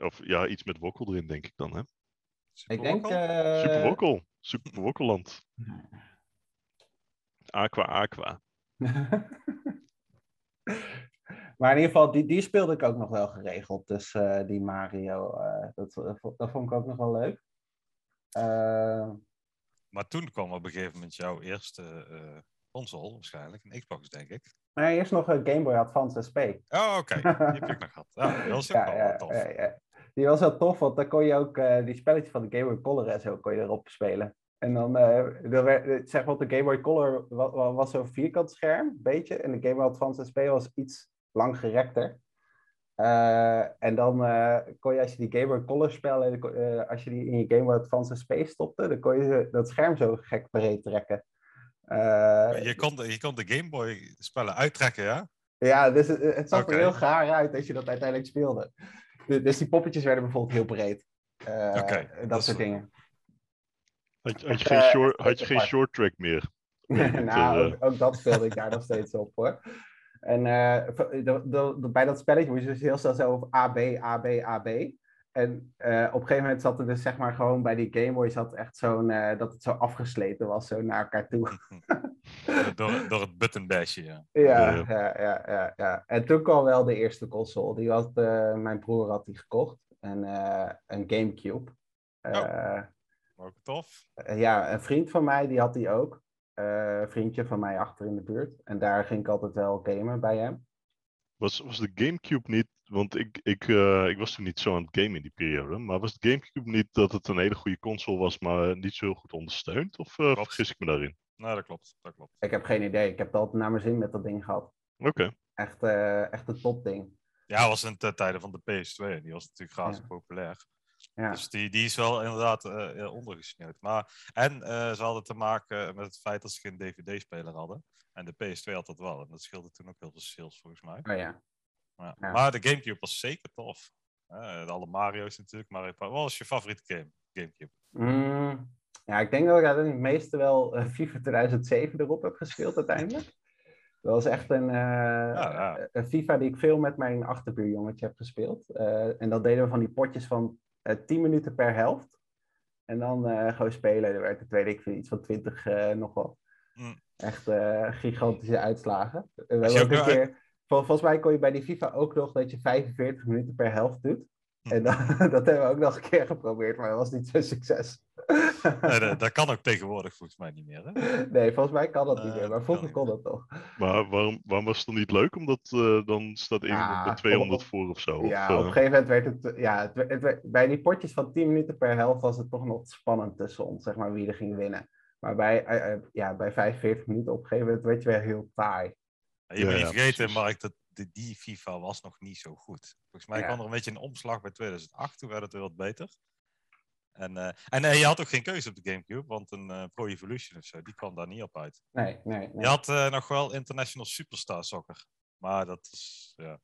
Speaker 2: of ja, iets met wokkel erin, denk ik dan, hè?
Speaker 4: Eh. Ik denk.
Speaker 3: Superwokkel?
Speaker 4: eh,
Speaker 2: Super wokkel. Super wokkeland. Aqua Aqua.
Speaker 4: maar in ieder geval, die, die speelde ik ook nog wel geregeld. Dus eh, die Mario, eh, dat, dat vond ik ook nog wel leuk. Eh,
Speaker 3: Maar toen kwam op een gegeven moment jouw eerste eh, console, waarschijnlijk, een Xbox, denk ik.
Speaker 4: nee, eerst nog een Game Boy Advance SP.
Speaker 3: Oh, oké. Die heb ik nog gehad. Ah, Ja, dat was ook wel
Speaker 4: ja,
Speaker 3: tof.
Speaker 4: ja, ja. Die was wel tof, want dan kon je ook eh, die spelletje van de Game Boy Color en zo kon je erop spelen. En dan, eh, dan werd, zeg maar, de Game Boy Color was, was zo'n vierkant scherm, een beetje. En de Game Boy Advance SP was iets langgerekter. Eh, en dan eh, kon je, als je die Game Boy Color spellen, dan kon- eh, als je die in je Game Boy Advance SP stopte, dan kon je ze- dat scherm zo gek breed trekken. Eh,
Speaker 3: Je kon, de- je kon de Game Boy spellen uittrekken, ja?
Speaker 4: ja, dus het, het zag
Speaker 3: Oké.
Speaker 4: er heel gaar uit als je dat uiteindelijk speelde. Du- Dus die poppetjes werden bijvoorbeeld heel breed. Eh,
Speaker 3: Oké,
Speaker 4: dat,
Speaker 3: dat is
Speaker 4: soort
Speaker 3: wel-
Speaker 4: dingen.
Speaker 2: Had, je- had je
Speaker 4: Eh,
Speaker 2: geen short, had je
Speaker 4: apart.
Speaker 2: geen short track meer?
Speaker 4: nou,
Speaker 2: eh,
Speaker 4: ook, ook dat speelde ik daar nog steeds op hoor. En eh, v- de- de- de- bij dat spelletje moest je dus heel snel zo op AB, AB, AB. En eh, op een gegeven moment zat er dus zeg maar gewoon bij die Game Boy zat echt zo'n, eh, dat het zo afgesleten was, zo naar elkaar toe.
Speaker 3: Eh, door, door het buttonbasje, ja.
Speaker 4: Ja,
Speaker 2: Ja.
Speaker 4: ja, ja, ja, ja. En toen kwam wel de eerste console. Die had, eh, mijn broer had die gekocht. En, eh, een Gamecube. Eh,
Speaker 3: Ook tof.
Speaker 4: ja, een vriend van mij die had die ook. Eh, een vriendje van mij achter in de buurt. En daar ging ik altijd wel gamen bij hem.
Speaker 2: Was, was de Gamecube niet, want ik, ik, eh, ik was toen niet zo aan het gamen in die periode, maar was de Gamecube niet dat het een hele goede console was, maar eh, niet zo heel goed ondersteund? Of eh,
Speaker 3: Klopt.
Speaker 2: vergis ik me daarin?
Speaker 3: Nou, dat klopt. Dat klopt.
Speaker 4: Ik heb geen idee. Ik heb het altijd naar mijn zin met dat ding gehad.
Speaker 2: Oké.
Speaker 4: Echt, eh, echt een topding.
Speaker 3: Ja, was in de tijden van de PS2. Die was natuurlijk razend populair.
Speaker 4: Ja.
Speaker 3: Dus die, die is wel inderdaad eh, eh, ondergesneeuwd. Maar, en eh, ze hadden te maken met het feit dat ze geen DVD-speler hadden. En de PS2 had dat wel. En dat scheelde toen ook heel veel sales, volgens mij.
Speaker 4: Oh ja.
Speaker 3: Ja.
Speaker 4: Ja.
Speaker 3: Maar de Gamecube was zeker tof. Eh, alle Mario's natuurlijk. Mario Party. Wat was je favoriete game? Gamecube.
Speaker 4: Mm, ja, ik denk dat ik uiteindelijk het meeste wel eh, FIFA 2007 erop heb gespeeld uiteindelijk. Dat was echt een, eh,
Speaker 3: ja.
Speaker 4: een- een FIFA die ik veel met mijn achterbuurjongetje heb gespeeld. Eh, en dat deden we van die potjes van eh 10 minuten per helft. En dan eh, gewoon spelen. Er werd de tweede, ik vind iets van 20 eh, nog wat.
Speaker 3: Mm.
Speaker 4: Echt eh, gigantische uitslagen. Eh, We hebben
Speaker 3: je
Speaker 4: ook
Speaker 3: ook
Speaker 4: een
Speaker 3: wel-
Speaker 4: keer, vol- volgens mij kon je bij die FIFA ook nog dat je
Speaker 3: Mm.
Speaker 4: 45 minuten per helft doet. En dan- dat hebben we ook nog een keer geprobeerd, maar dat was niet zo'n succes.
Speaker 3: Nee, dat, dat kan ook tegenwoordig volgens mij niet meer. Hè?
Speaker 4: Nee, volgens mij kan dat niet
Speaker 3: Eh,
Speaker 4: meer,
Speaker 3: dat
Speaker 4: maar
Speaker 3: kan
Speaker 4: vroeger
Speaker 3: niet
Speaker 4: kon
Speaker 3: meer.
Speaker 4: dat toch.
Speaker 2: Maar waarom, waarom was het dan niet leuk? Omdat eh, dan staat één
Speaker 4: Ah,
Speaker 2: op de
Speaker 4: kom
Speaker 2: 200
Speaker 4: op.
Speaker 2: voor of zo. of,
Speaker 4: Ja,
Speaker 2: eh,
Speaker 4: op een gegeven moment werd het, eh, ja, het, werd- het werd- bij die potjes van 10 minuten per helft was het toch nog spannend tussen ons, zeg maar, wie er ging winnen. Maar bij, eh, eh, ja, bij 45 minuten op een gegeven moment werd je weer heel taai.
Speaker 3: Je moet
Speaker 2: Ja,
Speaker 3: niet
Speaker 2: ja,
Speaker 3: vergeten,
Speaker 2: precies.
Speaker 3: Mark, dat de, die FIFA was nog niet zo goed. Volgens mij
Speaker 4: Ja.
Speaker 3: kwam er een beetje een omslag bij 2008, toen werd het weer wat beter. En, eh, en eh, je had ook geen keuze op de Gamecube, want een eh, Pro Evolution of zo, die kwam daar niet op uit.
Speaker 4: Nee, nee, nee.
Speaker 3: Je had eh, nog wel International Superstar Soccer, maar dat is ja,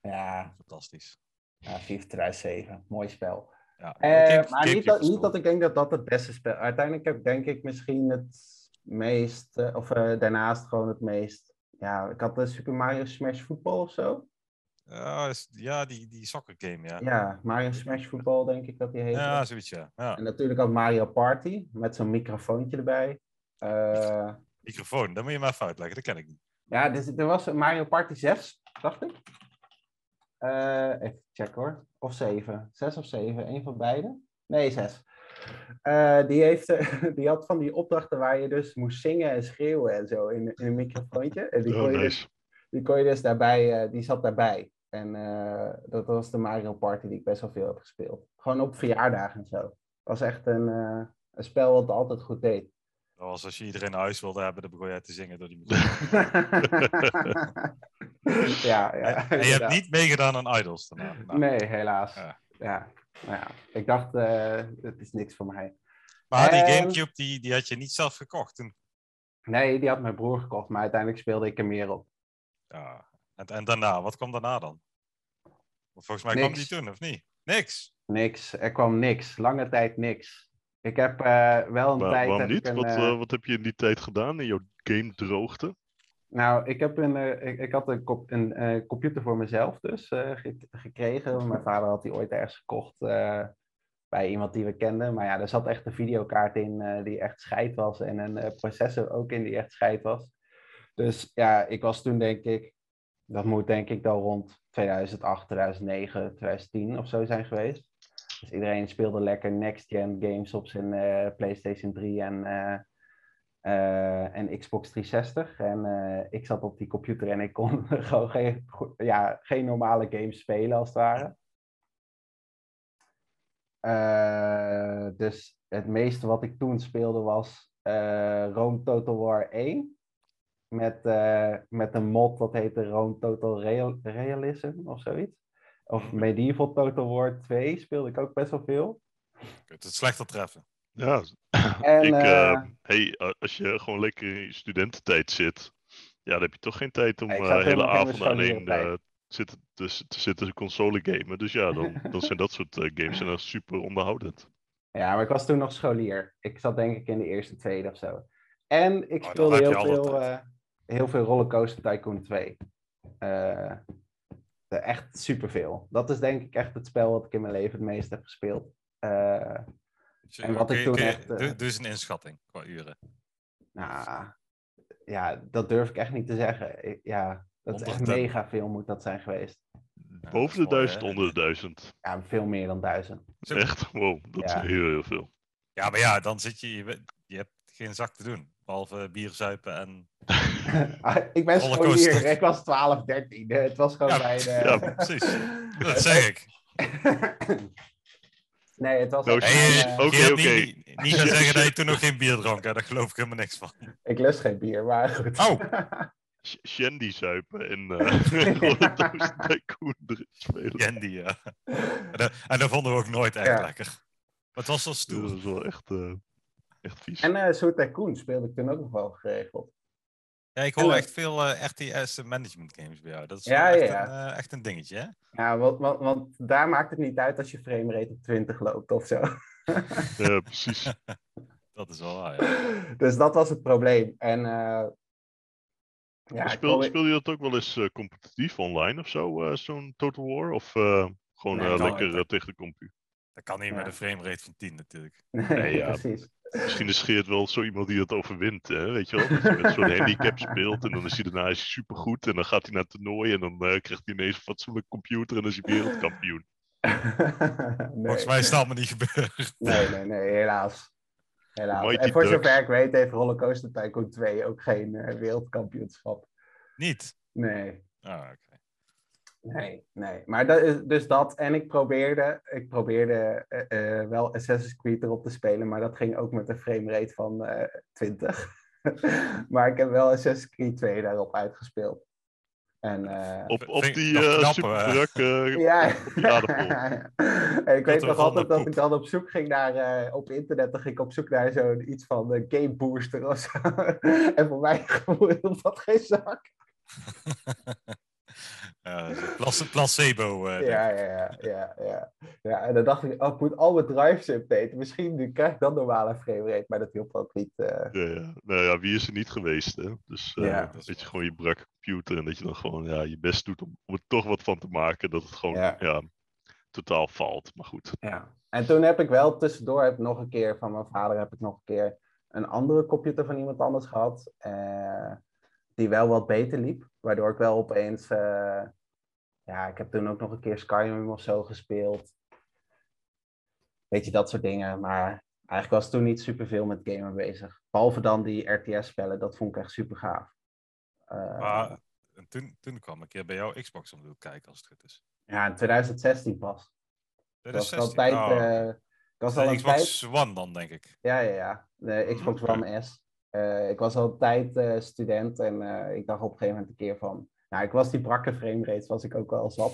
Speaker 4: Ja,
Speaker 3: fantastisch.
Speaker 4: ja, FIFA 2007, mooi spel.
Speaker 3: Ja,
Speaker 4: Eh,
Speaker 3: Gamecube-
Speaker 4: maar niet
Speaker 3: Gamecube
Speaker 4: dat,
Speaker 3: was
Speaker 4: niet
Speaker 3: cool.
Speaker 4: dat ik denk dat dat het beste spel Uiteindelijk heb denk ik misschien het meest, eh, of eh, daarnaast gewoon het meest. Ja, ik had de Super Mario Smash Voetbal of zo.
Speaker 3: Ja, is- ja, die, die soccer game, ja. Ja,
Speaker 4: Ja, Mario Smash Voetbal denk ik dat die heette.
Speaker 3: zoiets, ja. ja.
Speaker 4: En natuurlijk ook Mario Party met zo'n microfoontje erbij. Eh,
Speaker 3: Microfoon, dat moet je maar even uitleggen, dat ken ik niet.
Speaker 4: ja, dus, er was een Mario Party 6, dacht ik. Eh, even checken hoor. Of 7. 6 of 7, een van beide. Nee, 6. die, heeft, eh, die had van die opdrachten waar je dus moest zingen en schreeuwen en zo in, in een microfoontje. En die
Speaker 2: oh,
Speaker 4: kon je dus
Speaker 2: nice.
Speaker 4: die kon je dus daarbij, eh, die zat daarbij. En eh, dat was de Mario Party die ik best wel veel heb gespeeld. Gewoon op verjaardagen en zo. Was echt een, eh, een spel wat altijd goed deed.
Speaker 3: Dat was als je iedereen naar huis wilde hebben, dan begon jij te zingen door die microfoon.
Speaker 4: ja,
Speaker 3: en
Speaker 4: ja.
Speaker 3: je hebt
Speaker 4: inderdaad.
Speaker 3: niet meegedaan aan Idols daarna. Nou,
Speaker 4: Nee, helaas.
Speaker 3: Ja.
Speaker 4: Ja. Nou ja, ik dacht, eh het is niks voor mij.
Speaker 3: Maar die
Speaker 4: Ehm,
Speaker 3: Gamecube, die, die had je niet zelf gekocht toen.
Speaker 4: Nee, die had mijn broer gekocht, maar uiteindelijk speelde ik er meer op.
Speaker 3: Ja. En, en daarna, wat kwam daarna dan? Want volgens mij kwam die
Speaker 4: Niks.
Speaker 3: toen, of niet? Niks.
Speaker 4: Niks, er kwam niks. Lange tijd niks. Ik heb eh, wel een
Speaker 2: Waar-
Speaker 4: tijd...
Speaker 2: waarom
Speaker 4: heb
Speaker 2: niet?
Speaker 4: ik een,
Speaker 2: wat,
Speaker 4: eh,
Speaker 2: eh, wat heb je in die tijd gedaan in jouw game droogte?
Speaker 4: Nou, ik, heb een, eh, ik, ik had een, kop- een eh, computer voor mezelf dus eh, ge- gekregen. Mijn vader had die ooit ergens gekocht eh, bij iemand die we kenden. Maar ja, er zat echt een videokaart in eh, die echt scheid was. En een eh, processor ook in die echt scheid was. Dus ja, ik was toen denk ik, dat moet denk ik dan rond 2008, 2009, 2010 of zo zijn geweest. Dus iedereen speelde lekker next-gen games op zijn eh, PlayStation 3 en... eh, eh, en Xbox 360. En eh, ik zat op die computer en ik kon gewoon geen, go- ja, geen normale games spelen, als het ware. Eh, dus het meeste wat ik toen speelde was eh Rome Total War 1. Met, eh, met een mod dat heette Rome Total Real- Realism of zoiets. Of Medieval Total War 2 speelde ik ook best wel veel.
Speaker 3: Kut, het slechter treffen.
Speaker 2: Ja,
Speaker 4: En,
Speaker 2: ik,
Speaker 4: eh,
Speaker 2: eh, hey, eh, als je gewoon lekker in je studententijd zit, ja, dan heb je toch geen tijd om
Speaker 4: Nee, ik
Speaker 2: eh,
Speaker 4: zat helemaal
Speaker 2: hele
Speaker 4: geen
Speaker 2: avonden alleen
Speaker 4: bescherming op
Speaker 2: eh, zitten, te, te zitten console gamen. Dus ja, dan, dan zijn dat soort eh, games zijn dan super onderhoudend.
Speaker 4: Ja, maar ik was toen nog scholier. Ik zat denk ik in de eerste, tweede of zo. En
Speaker 3: Oh,
Speaker 4: ik
Speaker 3: dan
Speaker 4: speelde
Speaker 3: heb je
Speaker 4: heel,
Speaker 3: al dat
Speaker 4: veel,
Speaker 3: tijd.
Speaker 4: eh, heel veel Rollercoaster Tycoon 2. Eh, eh, echt superveel. Dat is denk ik echt het spel wat ik in mijn leven het meest heb gespeeld. Eh,
Speaker 3: Dus,
Speaker 4: En wat
Speaker 3: eh, kun je-
Speaker 4: ik toen
Speaker 3: kun je-
Speaker 4: echt, eh,
Speaker 3: doe- doe eens een inschatting qua uren.
Speaker 4: nou, ja, dat durf ik echt niet te zeggen. Ik- Ja, dat is echt
Speaker 3: Honderden.
Speaker 4: mega veel moet dat zijn geweest.
Speaker 3: dat is
Speaker 2: Boven
Speaker 3: mooi,
Speaker 2: de duizend,
Speaker 3: hè?
Speaker 2: onder de duizend.
Speaker 4: Ja, veel meer dan duizend.
Speaker 3: Zo.
Speaker 2: Echt, wow, dat
Speaker 4: Ja.
Speaker 2: is heel, heel veel.
Speaker 3: Ja, maar ja, dan zit je, je, weet- je hebt geen zak te doen. Behalve eh, bier zuipen en...
Speaker 4: Ah, ik ben
Speaker 3: Rollercoaster.
Speaker 4: scholier. Ik was 12, 13. Eh, Het was gewoon eh,
Speaker 3: Ja,
Speaker 4: bij de...
Speaker 2: ja,
Speaker 3: precies. Dat zeg ik.
Speaker 4: nee, het was...
Speaker 2: Nou,
Speaker 4: echt
Speaker 2: zie je-
Speaker 4: een, eh,
Speaker 2: Oké,
Speaker 3: Geert,
Speaker 2: oké.
Speaker 3: Niet, niet- niet gaan zeggen dat je toen nog geen bier dronk, hè? daar geloof ik helemaal niks van.
Speaker 4: Ik lust geen bier, maar goed.
Speaker 3: Oh,
Speaker 2: Sh- Shandy zuipen en eh Roller Coaster Tycoon erin spelen.
Speaker 3: Candy, ja. En dat, en dat vonden we ook nooit echt
Speaker 4: Ja.
Speaker 3: lekker. Maar het was wel stoer.
Speaker 2: Dat is wel echt, eh, echt vies.
Speaker 4: En eh Soet Tycoon speelde ik toen ook nog wel geregeld.
Speaker 3: Ja, ik
Speaker 4: En
Speaker 3: hoor
Speaker 4: dan-
Speaker 3: echt veel eh, RTS management games bij jou. Dat is wel
Speaker 4: Ja, ja,
Speaker 3: echt,
Speaker 4: ja.
Speaker 3: Een, eh, echt een dingetje, hè?
Speaker 4: Ja, want, want, want daar maakt het niet uit als je framerate op 20 loopt of zo.
Speaker 2: Ja, precies.
Speaker 3: Dat is wel waar, ja.
Speaker 4: Dus dat was het probleem. En eh ja,
Speaker 2: Maar
Speaker 4: ik
Speaker 2: speel,
Speaker 4: probeer-
Speaker 2: speel je dat ook wel eens eh, competitief online of zo, eh, zo'n Total War? Of eh, gewoon
Speaker 4: Nee,
Speaker 2: eh,
Speaker 3: kan
Speaker 2: lekker
Speaker 3: ook.
Speaker 2: eh, tegen de compu?
Speaker 3: Dat kan niet
Speaker 4: Ja.
Speaker 3: met een framerate van 10 natuurlijk.
Speaker 2: Nee, ja.
Speaker 4: precies.
Speaker 2: Misschien is Geert wel zo iemand die dat overwint, hè? weet je wel? Dat je met zo'n handicap speelt en dan is hij daarna is hij supergoed en dan gaat hij naar het toernooi en dan eh, krijgt hij ineens een fatsoenlijke computer en dan is hij wereldkampioen.
Speaker 4: nee,
Speaker 3: Volgens mij is dat allemaal niet gebeurd.
Speaker 4: nee, nee, nee, helaas.
Speaker 2: Hoe
Speaker 4: Helaas.
Speaker 2: heet
Speaker 4: En
Speaker 2: die
Speaker 4: voor
Speaker 2: duck?
Speaker 4: zover ik weet heeft Rollercoaster Tycoon 2 ook geen eh, wereldkampioenschap.
Speaker 3: Niet?
Speaker 4: Nee,
Speaker 3: Ah, oké.
Speaker 4: nee, nee. Maar dat is dus dat. En ik probeerde, ik probeerde eh, eh, wel Assassin's Creed erop te spelen, maar dat ging ook met een framerate van eh 20. maar ik heb wel Assassin's Creed 2 daarop uitgespeeld. En, eh,
Speaker 2: Op,
Speaker 3: Vind-
Speaker 2: op
Speaker 3: vind ik
Speaker 2: die
Speaker 3: nog
Speaker 2: eh
Speaker 3: knap,
Speaker 2: superdruk. eh,
Speaker 4: Ja.
Speaker 2: die aardappel.
Speaker 4: en ik weet
Speaker 3: er
Speaker 4: nog
Speaker 3: van
Speaker 4: altijd
Speaker 3: de
Speaker 4: dat
Speaker 3: poep.
Speaker 4: ik dan op zoek ging naar, eh, op internet, dan ging ik op zoek naar zo'n iets van eh, Game Booster of zo. en voor mij gevoelde dat geen zak.
Speaker 3: Ja, Eh, dat is een place- placebo. eh, denk
Speaker 4: Ja,
Speaker 3: ik.
Speaker 4: ja, ja, ja, ja. Ja, en dan dacht ik, oh, ik moet al mijn drives updaten. Misschien nu krijg ik dan normale frame rate, maar dat hielp ook niet. eh.
Speaker 2: Ja, ja. nou ja, wie is er niet geweest, hè? Dus eh,
Speaker 4: Ja.
Speaker 2: dat je gewoon je brakke computer en dat je dan gewoon ja, je best doet om, om er toch wat van te maken. Dat het gewoon
Speaker 4: Ja.
Speaker 2: ja. totaal valt. Maar goed.
Speaker 4: En toen heb ik wel tussendoor heb ik nog een keer van mijn vader heb ik nog een keer een andere computer van iemand anders gehad. eh, die wel wat beter liep. Waardoor ik wel opeens. eh, ja, ik heb toen ook nog een keer Skyrim of zo gespeeld. Weet je, dat soort dingen. Maar eigenlijk was ik toen niet superveel met gamen bezig. Behalve dan die RTS-spellen, dat vond ik echt super gaaf. Eh,
Speaker 3: Maar en toen, toen kwam ik een keer bij jouw Xbox om te kijken, als het goed is.
Speaker 4: ja, in 2016 pas.
Speaker 3: Dat
Speaker 4: Dat
Speaker 3: is
Speaker 4: was al
Speaker 3: 16.
Speaker 4: een tijd.
Speaker 3: Oh,
Speaker 4: eh, ik was al
Speaker 3: de
Speaker 4: een
Speaker 3: Xbox
Speaker 4: tijd.
Speaker 3: One dan, denk ik.
Speaker 4: Ja, ja, ja. De Xbox
Speaker 2: oké.
Speaker 4: One S. Eh, ik was al een tijd eh, student en eh, ik dacht op een gegeven moment een keer van... Nou, ik was die brakke frame rates, was ik ook wel zat.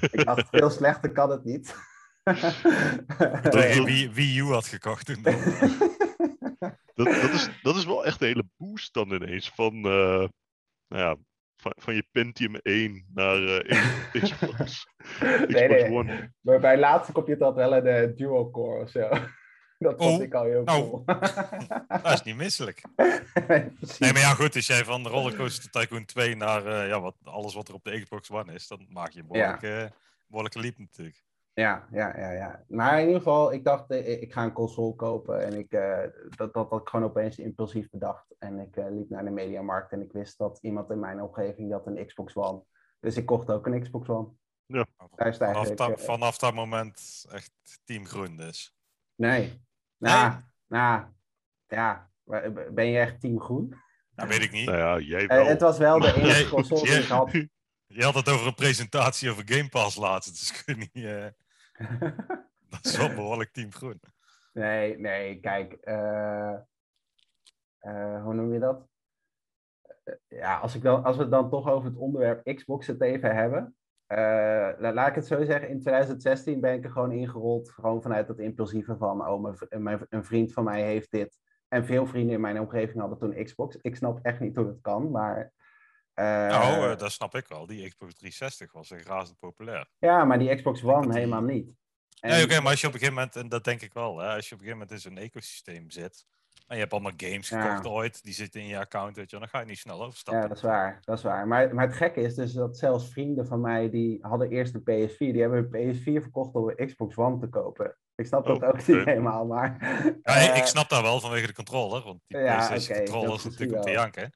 Speaker 4: Ik dacht, veel slechter kan het niet.
Speaker 3: Toen
Speaker 2: dat-
Speaker 3: je Wii, Wii U had gekocht toen. dan.
Speaker 2: Dat, dat, is, dat is wel echt een hele boost dan ineens van, eh, nou ja, van, van je Pentium 1 naar eh, Xbox, Xbox
Speaker 4: nee, nee.
Speaker 2: One.
Speaker 4: maar bij laatste computer had wel een eh, dual-core of zo. Dat vond
Speaker 3: Oh,
Speaker 4: ik al heel
Speaker 3: nou.
Speaker 4: cool.
Speaker 3: dat is niet misselijk.
Speaker 4: Nee, precies.
Speaker 3: Nee, maar ja, goed. Als jij van Rollercoaster Tycoon 2 naar eh, ja, wat, alles wat er op de Xbox One is, dan maak je een behoorlijke, eh, behoorlijke leap natuurlijk.
Speaker 4: Ja, ja, ja, ja. Maar in ieder geval, ik dacht, eh, ik, ik ga een console kopen. En ik, eh, dat, dat had ik gewoon opeens impulsief bedacht. En ik eh, liep naar de mediamarkt en ik wist dat iemand in mijn omgeving die had een Xbox One. Dus ik kocht ook een Xbox One. Daar is het
Speaker 3: Vanaf,
Speaker 4: eigenlijk...
Speaker 3: da-
Speaker 4: eh,
Speaker 3: vanaf dat moment echt team groen dus.
Speaker 4: Nee. Nou, nou, ja. Maar, eh, Ben je echt team groen?
Speaker 3: Dat weet ik niet.
Speaker 2: Nou ja, jij
Speaker 4: Eh,
Speaker 2: wel.
Speaker 4: het was wel de
Speaker 2: Maar-
Speaker 4: enige
Speaker 3: Jij-
Speaker 4: console die
Speaker 3: jij-
Speaker 4: ik had.
Speaker 3: Je had het over een presentatie over Game Pass laatst. Dus ik weet niet... eh, dat is wel behoorlijk team groen.
Speaker 4: Nee, nee, kijk. eh, eh, hoe noem je dat? Eh, Ja, als, ik dan, als we het dan toch over het onderwerp Xbox het even hebben. eh, la- laat ik het zo zeggen, in 2016 ben ik er gewoon ingerold. Gewoon vanuit dat impulsieve van, oh, mijn, v- mijn, een vriend van mij heeft dit. En veel vrienden in mijn omgeving hadden toen Xbox. Ik snap echt niet hoe dat kan, maar... eh,
Speaker 3: Nou, eh, dat snap ik wel. Die Xbox 360 was echt razend populair.
Speaker 4: ja, maar die Xbox One
Speaker 3: dat die-
Speaker 4: helemaal niet.
Speaker 3: Nee,
Speaker 4: En-
Speaker 3: oké, maar als je op een gegeven moment, en dat denk ik wel, hè, als je op een gegeven moment in zo'n ecosysteem zit, en je hebt allemaal games
Speaker 4: Ja.
Speaker 3: gekocht ooit, die zitten in je account, weet je, wel, dan ga je niet snel overstappen.
Speaker 4: Ja, dat is waar. Dat is waar. Maar, maar het gekke is dus dat zelfs vrienden van mij die hadden eerst een PS4, die hebben een PS4 verkocht om een Xbox One te kopen. Ik snap dat
Speaker 2: Oh,
Speaker 4: ook niet
Speaker 2: oké.
Speaker 4: helemaal, maar.
Speaker 3: Ja, ik-
Speaker 4: eh,
Speaker 3: ik snap dat wel vanwege de controller, want die
Speaker 4: Ja,
Speaker 3: PlayStation
Speaker 4: oké,
Speaker 3: controller
Speaker 4: dat
Speaker 3: is
Speaker 4: is
Speaker 3: natuurlijk om te
Speaker 4: wel.
Speaker 3: janken.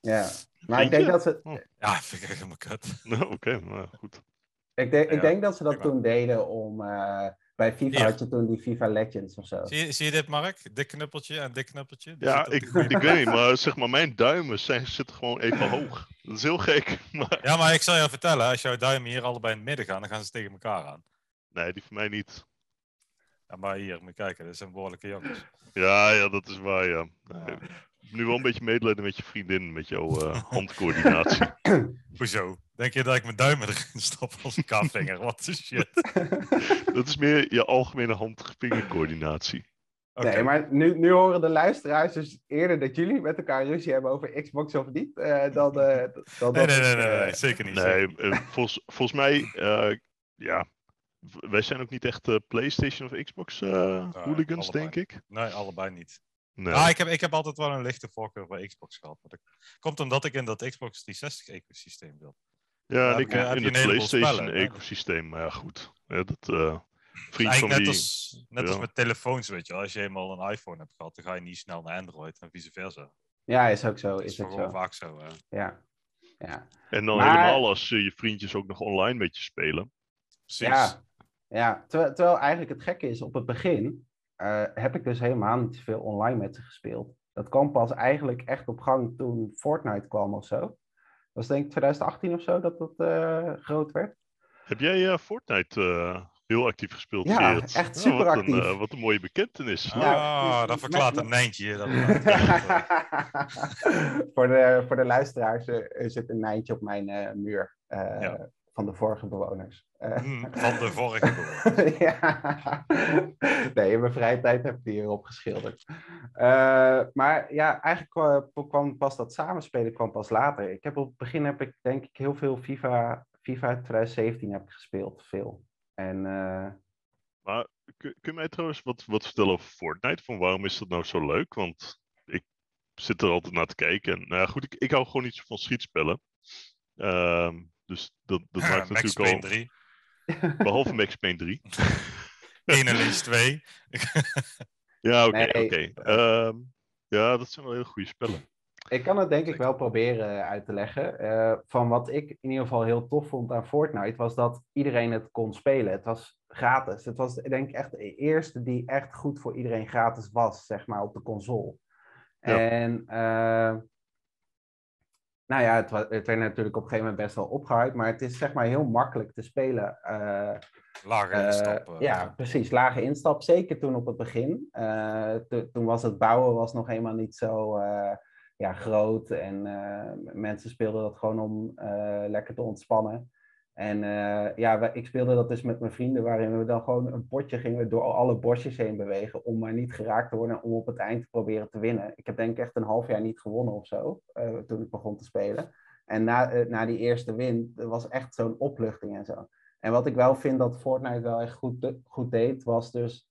Speaker 4: ja. Maar ik
Speaker 2: Vind
Speaker 4: denk
Speaker 2: je?
Speaker 4: dat ze,
Speaker 3: Ja, vind ik echt helemaal kut.
Speaker 2: Nou, Oké, nou goed.
Speaker 4: ik denk,
Speaker 3: Ja,
Speaker 4: ik denk dat, ze dat
Speaker 3: prima.
Speaker 4: toen deden om. eh, bij FIFA
Speaker 3: Ja.
Speaker 4: had je toen die FIFA Legends of zo.
Speaker 3: Zie je, zie je dit, Mark? Dik knuppeltje en dik knuppeltje. Die
Speaker 2: Ja,
Speaker 3: zitten op
Speaker 2: ik,
Speaker 3: de goede
Speaker 2: ik weet niet, maar zeg maar, mijn duimen zijn, zitten gewoon even hoog. Dat is heel gek, maar
Speaker 3: Ja, maar ik zal je vertellen, als jouw duimen hier allebei in het midden gaan, dan gaan ze tegen elkaar aan.
Speaker 2: nee, die van mij niet.
Speaker 3: Ja, maar hier, moet je kijken, dat zijn behoorlijke jongens.
Speaker 2: Ja, ja, dat is waar, ja. Nee, Nu wel een beetje medelijden met je vriendin, met jouw eh, handcoördinatie.
Speaker 3: Hoezo? Denk je dat ik mijn duimen erin stop als een kaapvinger? Wat de shit.
Speaker 2: dat is meer je algemene hand-vingercoördinatie.
Speaker 3: Oké.
Speaker 4: Nee, maar nu, nu horen de luisteraars dus eerder dat jullie met elkaar ruzie hebben over Xbox of niet. eh, dan, eh, dan
Speaker 3: Nee,
Speaker 4: dat
Speaker 3: nee,
Speaker 4: ik,
Speaker 3: nee, nee,
Speaker 4: eh,
Speaker 3: nee, zeker niet. zeker
Speaker 2: Nee, eh, volgens, volgens mij, eh, ja. v- Wij zijn ook niet echt eh, PlayStation of Xbox eh, hooligans,
Speaker 3: allebei.
Speaker 2: denk ik.
Speaker 3: Nee, allebei niet.
Speaker 2: Nee.
Speaker 3: Ah, ik, heb, ik heb altijd wel een lichte voorkeur voor Xbox gehad. Maar dat komt omdat ik in dat Xbox 360-ecosysteem wil.
Speaker 2: ja, en
Speaker 3: heb
Speaker 2: ik
Speaker 3: je- heb
Speaker 2: in
Speaker 3: je
Speaker 2: het
Speaker 3: een heleboel spellen, hè?
Speaker 2: PlayStation-ecosysteem, maar ja, goed. Ja, dat, eh vriend van
Speaker 3: Eigenlijk net,
Speaker 2: die...
Speaker 3: als, net als
Speaker 2: ja.
Speaker 3: met telefoons, weet je wel. Als je eenmaal een iPhone hebt gehad, dan ga je niet snel naar Android en vice versa.
Speaker 4: Ja, is ook zo.
Speaker 3: dat is
Speaker 4: Is ook
Speaker 3: gewoon
Speaker 4: zo.
Speaker 3: vaak zo. hè.
Speaker 4: Ja. ja.
Speaker 2: En dan
Speaker 4: Maar-
Speaker 2: helemaal als eh, je vriendjes ook nog online met je spelen.
Speaker 3: Precies.
Speaker 4: Ja, ja. Terwijl, terwijl eigenlijk het gekke is, op het begin eh, heb ik dus helemaal niet zoveel online met ze gespeeld. Dat kwam pas eigenlijk echt op gang toen Fortnite kwam of zo. Dat was denk ik 2018 of zo dat dat eh, groot werd.
Speaker 2: Heb jij eh, Fortnite eh, heel actief gespeeld,
Speaker 4: Ja,
Speaker 2: Gerard?
Speaker 4: echt
Speaker 2: Nou, wat een,
Speaker 4: superactief.
Speaker 2: eh, wat een mooie bekentenis.
Speaker 3: Ah,
Speaker 4: Ja,
Speaker 3: dat
Speaker 4: met-
Speaker 3: verklaart
Speaker 4: Nou, dus
Speaker 3: een
Speaker 4: met-
Speaker 3: nijntje. Dat verklaart-
Speaker 4: voor, de, voor de luisteraars eh, er zit een nijntje op mijn eh, muur eh,
Speaker 3: Ja.
Speaker 4: van de vorige bewoners. Eh,
Speaker 3: Hm, van de vorige keer.
Speaker 4: ja. Nee, in mijn vrije tijd heb ik die hierop geschilderd. Eh, maar ja, eigenlijk kwam, kwam pas dat samenspelen kwam pas later. Ik heb op het begin heb ik denk ik heel veel FIFA, FIFA 2017 heb ik gespeeld, veel. En eh,
Speaker 2: Kun, kun je mij trouwens wat, wat vertellen over Fortnite? Van waarom is dat nou zo leuk? Want ik zit er altijd naar te kijken. En, nou ja, goed, ik, ik hou gewoon niet zo van schietspellen. Ehm, dus dat, dat maakt
Speaker 3: Eh, Max
Speaker 2: natuurlijk
Speaker 3: Payne
Speaker 2: al...
Speaker 3: 3.
Speaker 2: Behalve Max Payne 3.
Speaker 3: 1 en lease 2.
Speaker 2: Ja, oké,
Speaker 4: Nee.
Speaker 2: oké. Ehm, ja, dat zijn wel hele goede spellen.
Speaker 4: Ik kan het denk ik wel proberen uit te leggen. Eh, van wat ik in ieder geval heel tof vond aan Fortnite, was dat iedereen het kon spelen. Het was gratis. Het was denk ik echt de eerste die echt goed voor iedereen gratis was, zeg maar, op de console.
Speaker 2: Ja.
Speaker 4: En eh, nou ja, het, wa- het werd natuurlijk op een gegeven moment best wel opgehuid, maar het is zeg maar heel makkelijk te spelen eh,
Speaker 3: Lager
Speaker 4: eh,
Speaker 3: instappen.
Speaker 4: ja, precies. Lage instap, zeker toen op het begin. Eh, to- toen was het bouwen was nog helemaal niet zo eh, ja, groot. En eh, mensen speelden dat gewoon om eh, lekker te ontspannen. En eh, ja, wij- ik speelde dat dus met mijn vrienden, waarin we dan gewoon een potje gingen door alle bosjes heen bewegen. Om maar niet geraakt te worden, en om op het eind te proberen te winnen. Ik heb denk ik echt een half jaar niet gewonnen of zo, eh, toen ik begon te spelen. En na, eh, na die eerste win, er was echt zo'n opluchting en zo. En wat ik wel vind dat Fortnite wel echt goed, de- goed deed, was dus.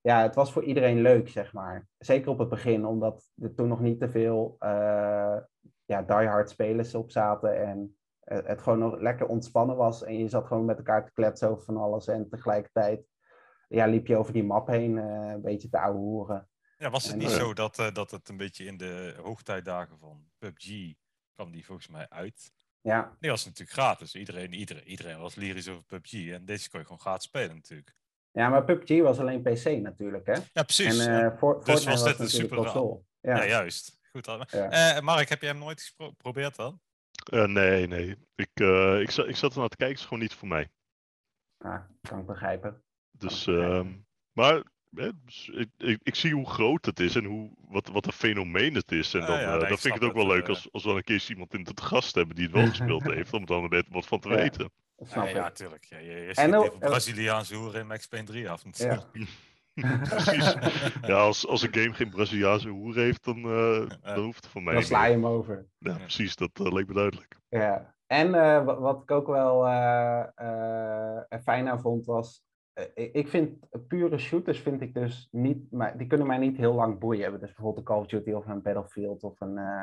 Speaker 4: Ja, het was voor iedereen leuk, zeg maar. Zeker op het begin, omdat er toen nog niet te veel eh, ja, diehard spelers op zaten. En eh, het gewoon nog lekker ontspannen was. En je zat gewoon met elkaar te kletsen over van alles. En tegelijkertijd ja, liep je over die map heen, eh, een beetje te ouwehoeren.
Speaker 3: Ja, was het
Speaker 4: En
Speaker 3: niet
Speaker 2: dat-
Speaker 3: zo dat, eh, dat het een beetje in de hoogtijdagen van PUBG kwam die volgens mij uit?
Speaker 4: Ja,
Speaker 3: Die was natuurlijk gratis. Iedereen, iedereen, iedereen was lyrisch over PUBG. En deze kon je gewoon gratis spelen natuurlijk.
Speaker 4: ja maar PUBG was alleen PC natuurlijk, hè?
Speaker 3: Ja, precies.
Speaker 4: en
Speaker 3: ja.
Speaker 4: eh, For- Fortnite
Speaker 3: was
Speaker 4: was,
Speaker 3: dit een
Speaker 4: natuurlijk
Speaker 3: super-
Speaker 4: console.
Speaker 3: ja.
Speaker 4: Ja, ja,
Speaker 3: juist. Goed. dan.
Speaker 4: Ja.
Speaker 3: Eh, Mark, heb jij hem nooit gespro- geprobeerd dan?
Speaker 2: Eh, nee, nee. Ik, eh, ik, za- ik zat er naar te kijken, het is gewoon niet voor mij.
Speaker 4: Ah, kan ik begrijpen.
Speaker 2: Dus,
Speaker 4: Oké.
Speaker 2: ehm, maar hè, dus ik, ik, ik zie hoe groot het is en hoe, wat, wat een fenomeen het is. En
Speaker 3: Ah,
Speaker 2: dan,
Speaker 3: ja,
Speaker 2: eh,
Speaker 3: nee,
Speaker 2: dan
Speaker 3: ik
Speaker 2: vind ik het
Speaker 3: snap
Speaker 2: ook wel
Speaker 3: het,
Speaker 2: leuk
Speaker 3: eh.
Speaker 2: als, als we dan een keer eens iemand in het gast hebben die het wel gespeeld heeft, om dan er net wat van te
Speaker 4: Ja.
Speaker 2: weten.
Speaker 4: Dat snap
Speaker 3: Eh, ja,
Speaker 4: ik.
Speaker 3: tuurlijk. Ja, je je schiet
Speaker 4: ook- eh,
Speaker 3: even
Speaker 4: en-
Speaker 3: Braziliaanse hoeren in Max Payne 3 af natuurlijk.
Speaker 2: Precies. Ja, als, als een game geen Braziliaanse hoer heeft, dan, eh, dan hoeft het voor mij
Speaker 4: Dan
Speaker 2: niet
Speaker 4: sla je
Speaker 2: meer.
Speaker 4: hem over.
Speaker 2: Ja, precies, dat eh, leek me duidelijk.
Speaker 4: Ja. En eh, wa- wat ik ook wel eh, eh, er fijn aan vond was, eh, ik- ik vind pure shooters vind ik dus niet, maar die kunnen mij niet heel lang boeien. Dus bijvoorbeeld een Call of Duty of een Battlefield of een, eh,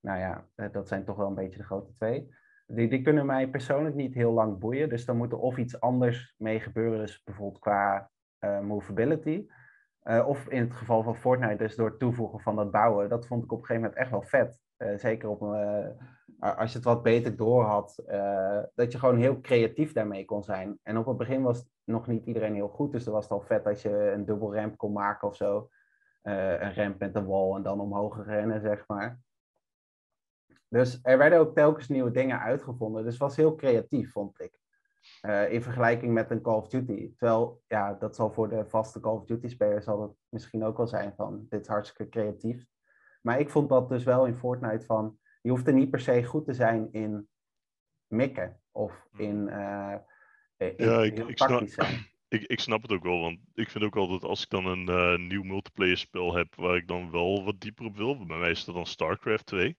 Speaker 4: nou ja, eh, dat zijn toch wel een beetje de grote twee. Die, die kunnen mij persoonlijk niet heel lang boeien. Dus dan moet er of iets anders mee gebeuren, dus bijvoorbeeld qua eh, movability. Eh, of in het geval van Fortnite, dus door het toevoegen van dat bouwen. Dat vond ik op een gegeven moment echt wel vet. Eh, zeker op, eh, a- als je het wat beter door had, eh, dat je gewoon heel creatief daarmee kon zijn. En op het begin was nog niet iedereen heel goed, dus dan was het al vet als je een dubbel ramp kon maken of zo. Eh, een ramp met een wal en dan omhoog rennen, zeg maar. Dus er werden ook telkens nieuwe dingen uitgevonden. Dus het was heel creatief, vond ik. Eh, in vergelijking met een Call of Duty. Terwijl, ja, dat zal voor de vaste Call of Duty-speler zal het misschien ook wel zijn van, dit is hartstikke creatief. Maar ik vond dat dus wel in Fortnite van, je hoeft er niet per se goed te zijn in mikken of in, eh in
Speaker 2: Hmm. Ja, ik-
Speaker 4: heel
Speaker 2: ik snap-
Speaker 4: tactisch zijn.
Speaker 2: Ik, ik snap het ook wel, want ik vind ook altijd als ik dan een eh, nieuw multiplayer spel heb waar ik dan wel wat dieper op wil, bij mij is dat dan StarCraft 2.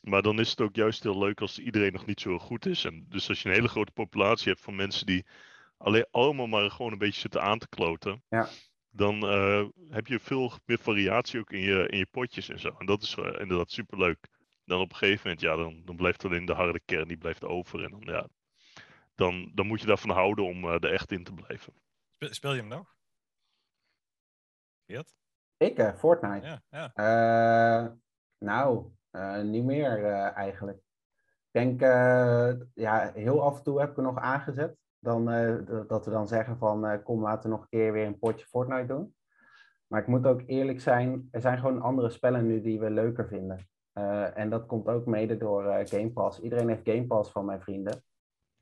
Speaker 2: Maar dan is het ook juist heel leuk als iedereen nog niet zo heel goed is. En dus als je een hele grote populatie hebt van mensen die alleen allemaal maar gewoon een beetje zitten aan te kloten,
Speaker 4: Ja.
Speaker 2: dan eh, heb je veel meer variatie ook in je, in je potjes en zo. En dat is eh, inderdaad superleuk. Dan op een gegeven moment, ja, dan, dan blijft alleen de harde kern die blijft over. En dan, ja, dan, dan moet je daarvan houden om eh, er echt in te blijven.
Speaker 3: Spe- Speel je hem nog? Geert?
Speaker 4: Ik, eh, Fortnite.
Speaker 3: Ja, ja.
Speaker 4: Eh, nou, eh, niet meer eh, eigenlijk. Ik denk, eh, ja, heel af en toe heb ik er nog aangezet. Dan, eh, d- dat we dan zeggen van, eh, kom, laten we nog een keer weer een potje Fortnite doen. Maar ik moet ook eerlijk zijn, er zijn gewoon andere spellen nu die we leuker vinden. Eh, en dat komt ook mede door eh, Game Pass. Iedereen heeft Game Pass van mijn vrienden.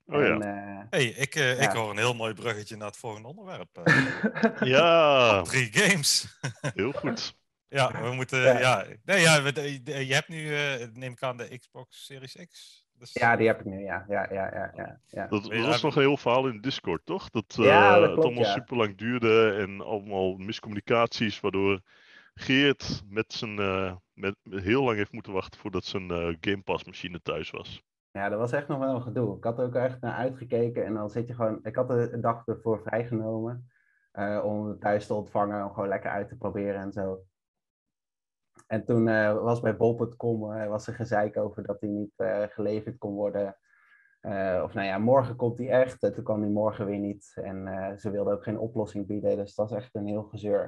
Speaker 2: Oh ja.
Speaker 4: En, eh,
Speaker 3: hey, ik, eh, ik
Speaker 4: Ja.
Speaker 3: hoor een heel mooi bruggetje naar het volgende onderwerp. eh.
Speaker 4: Oh.
Speaker 2: Ja,
Speaker 3: Drie games.
Speaker 2: heel goed.
Speaker 3: ja, we moeten. Ja.
Speaker 4: Ja.
Speaker 3: Nee, ja we- de- de- je hebt nu, eh, neem ik aan, de Xbox Series X. Dus,
Speaker 4: ja, die heb ik nu, ja. Ja, ja, ja, ja, ja.
Speaker 2: Dat,
Speaker 3: Ja,
Speaker 2: dat was
Speaker 3: we-
Speaker 2: nog een heel verhaal in Discord, toch? Dat, eh
Speaker 4: Ja, dat
Speaker 2: het
Speaker 4: klopt,
Speaker 2: allemaal
Speaker 4: ja.
Speaker 2: super lang duurde en allemaal miscommunicaties, waardoor Geert met zijn, eh, met, met- heel lang heeft moeten wachten voordat zijn eh Game Pass machine thuis was.
Speaker 4: ja, dat was echt nog wel een gedoe. Ik had er ook echt naar uitgekeken en dan zit je gewoon... Ik had de dag ervoor vrijgenomen eh, om het thuis te ontvangen, om gewoon lekker uit te proberen en zo. En toen eh, was bij bol.com eh, was er gezeik over dat hij niet eh, geleverd kon worden. Eh, of nou ja, morgen komt hij echt. En toen kwam hij morgen weer niet. En eh, ze wilden ook geen oplossing bieden. Dus dat was echt een heel gezeur. Eh,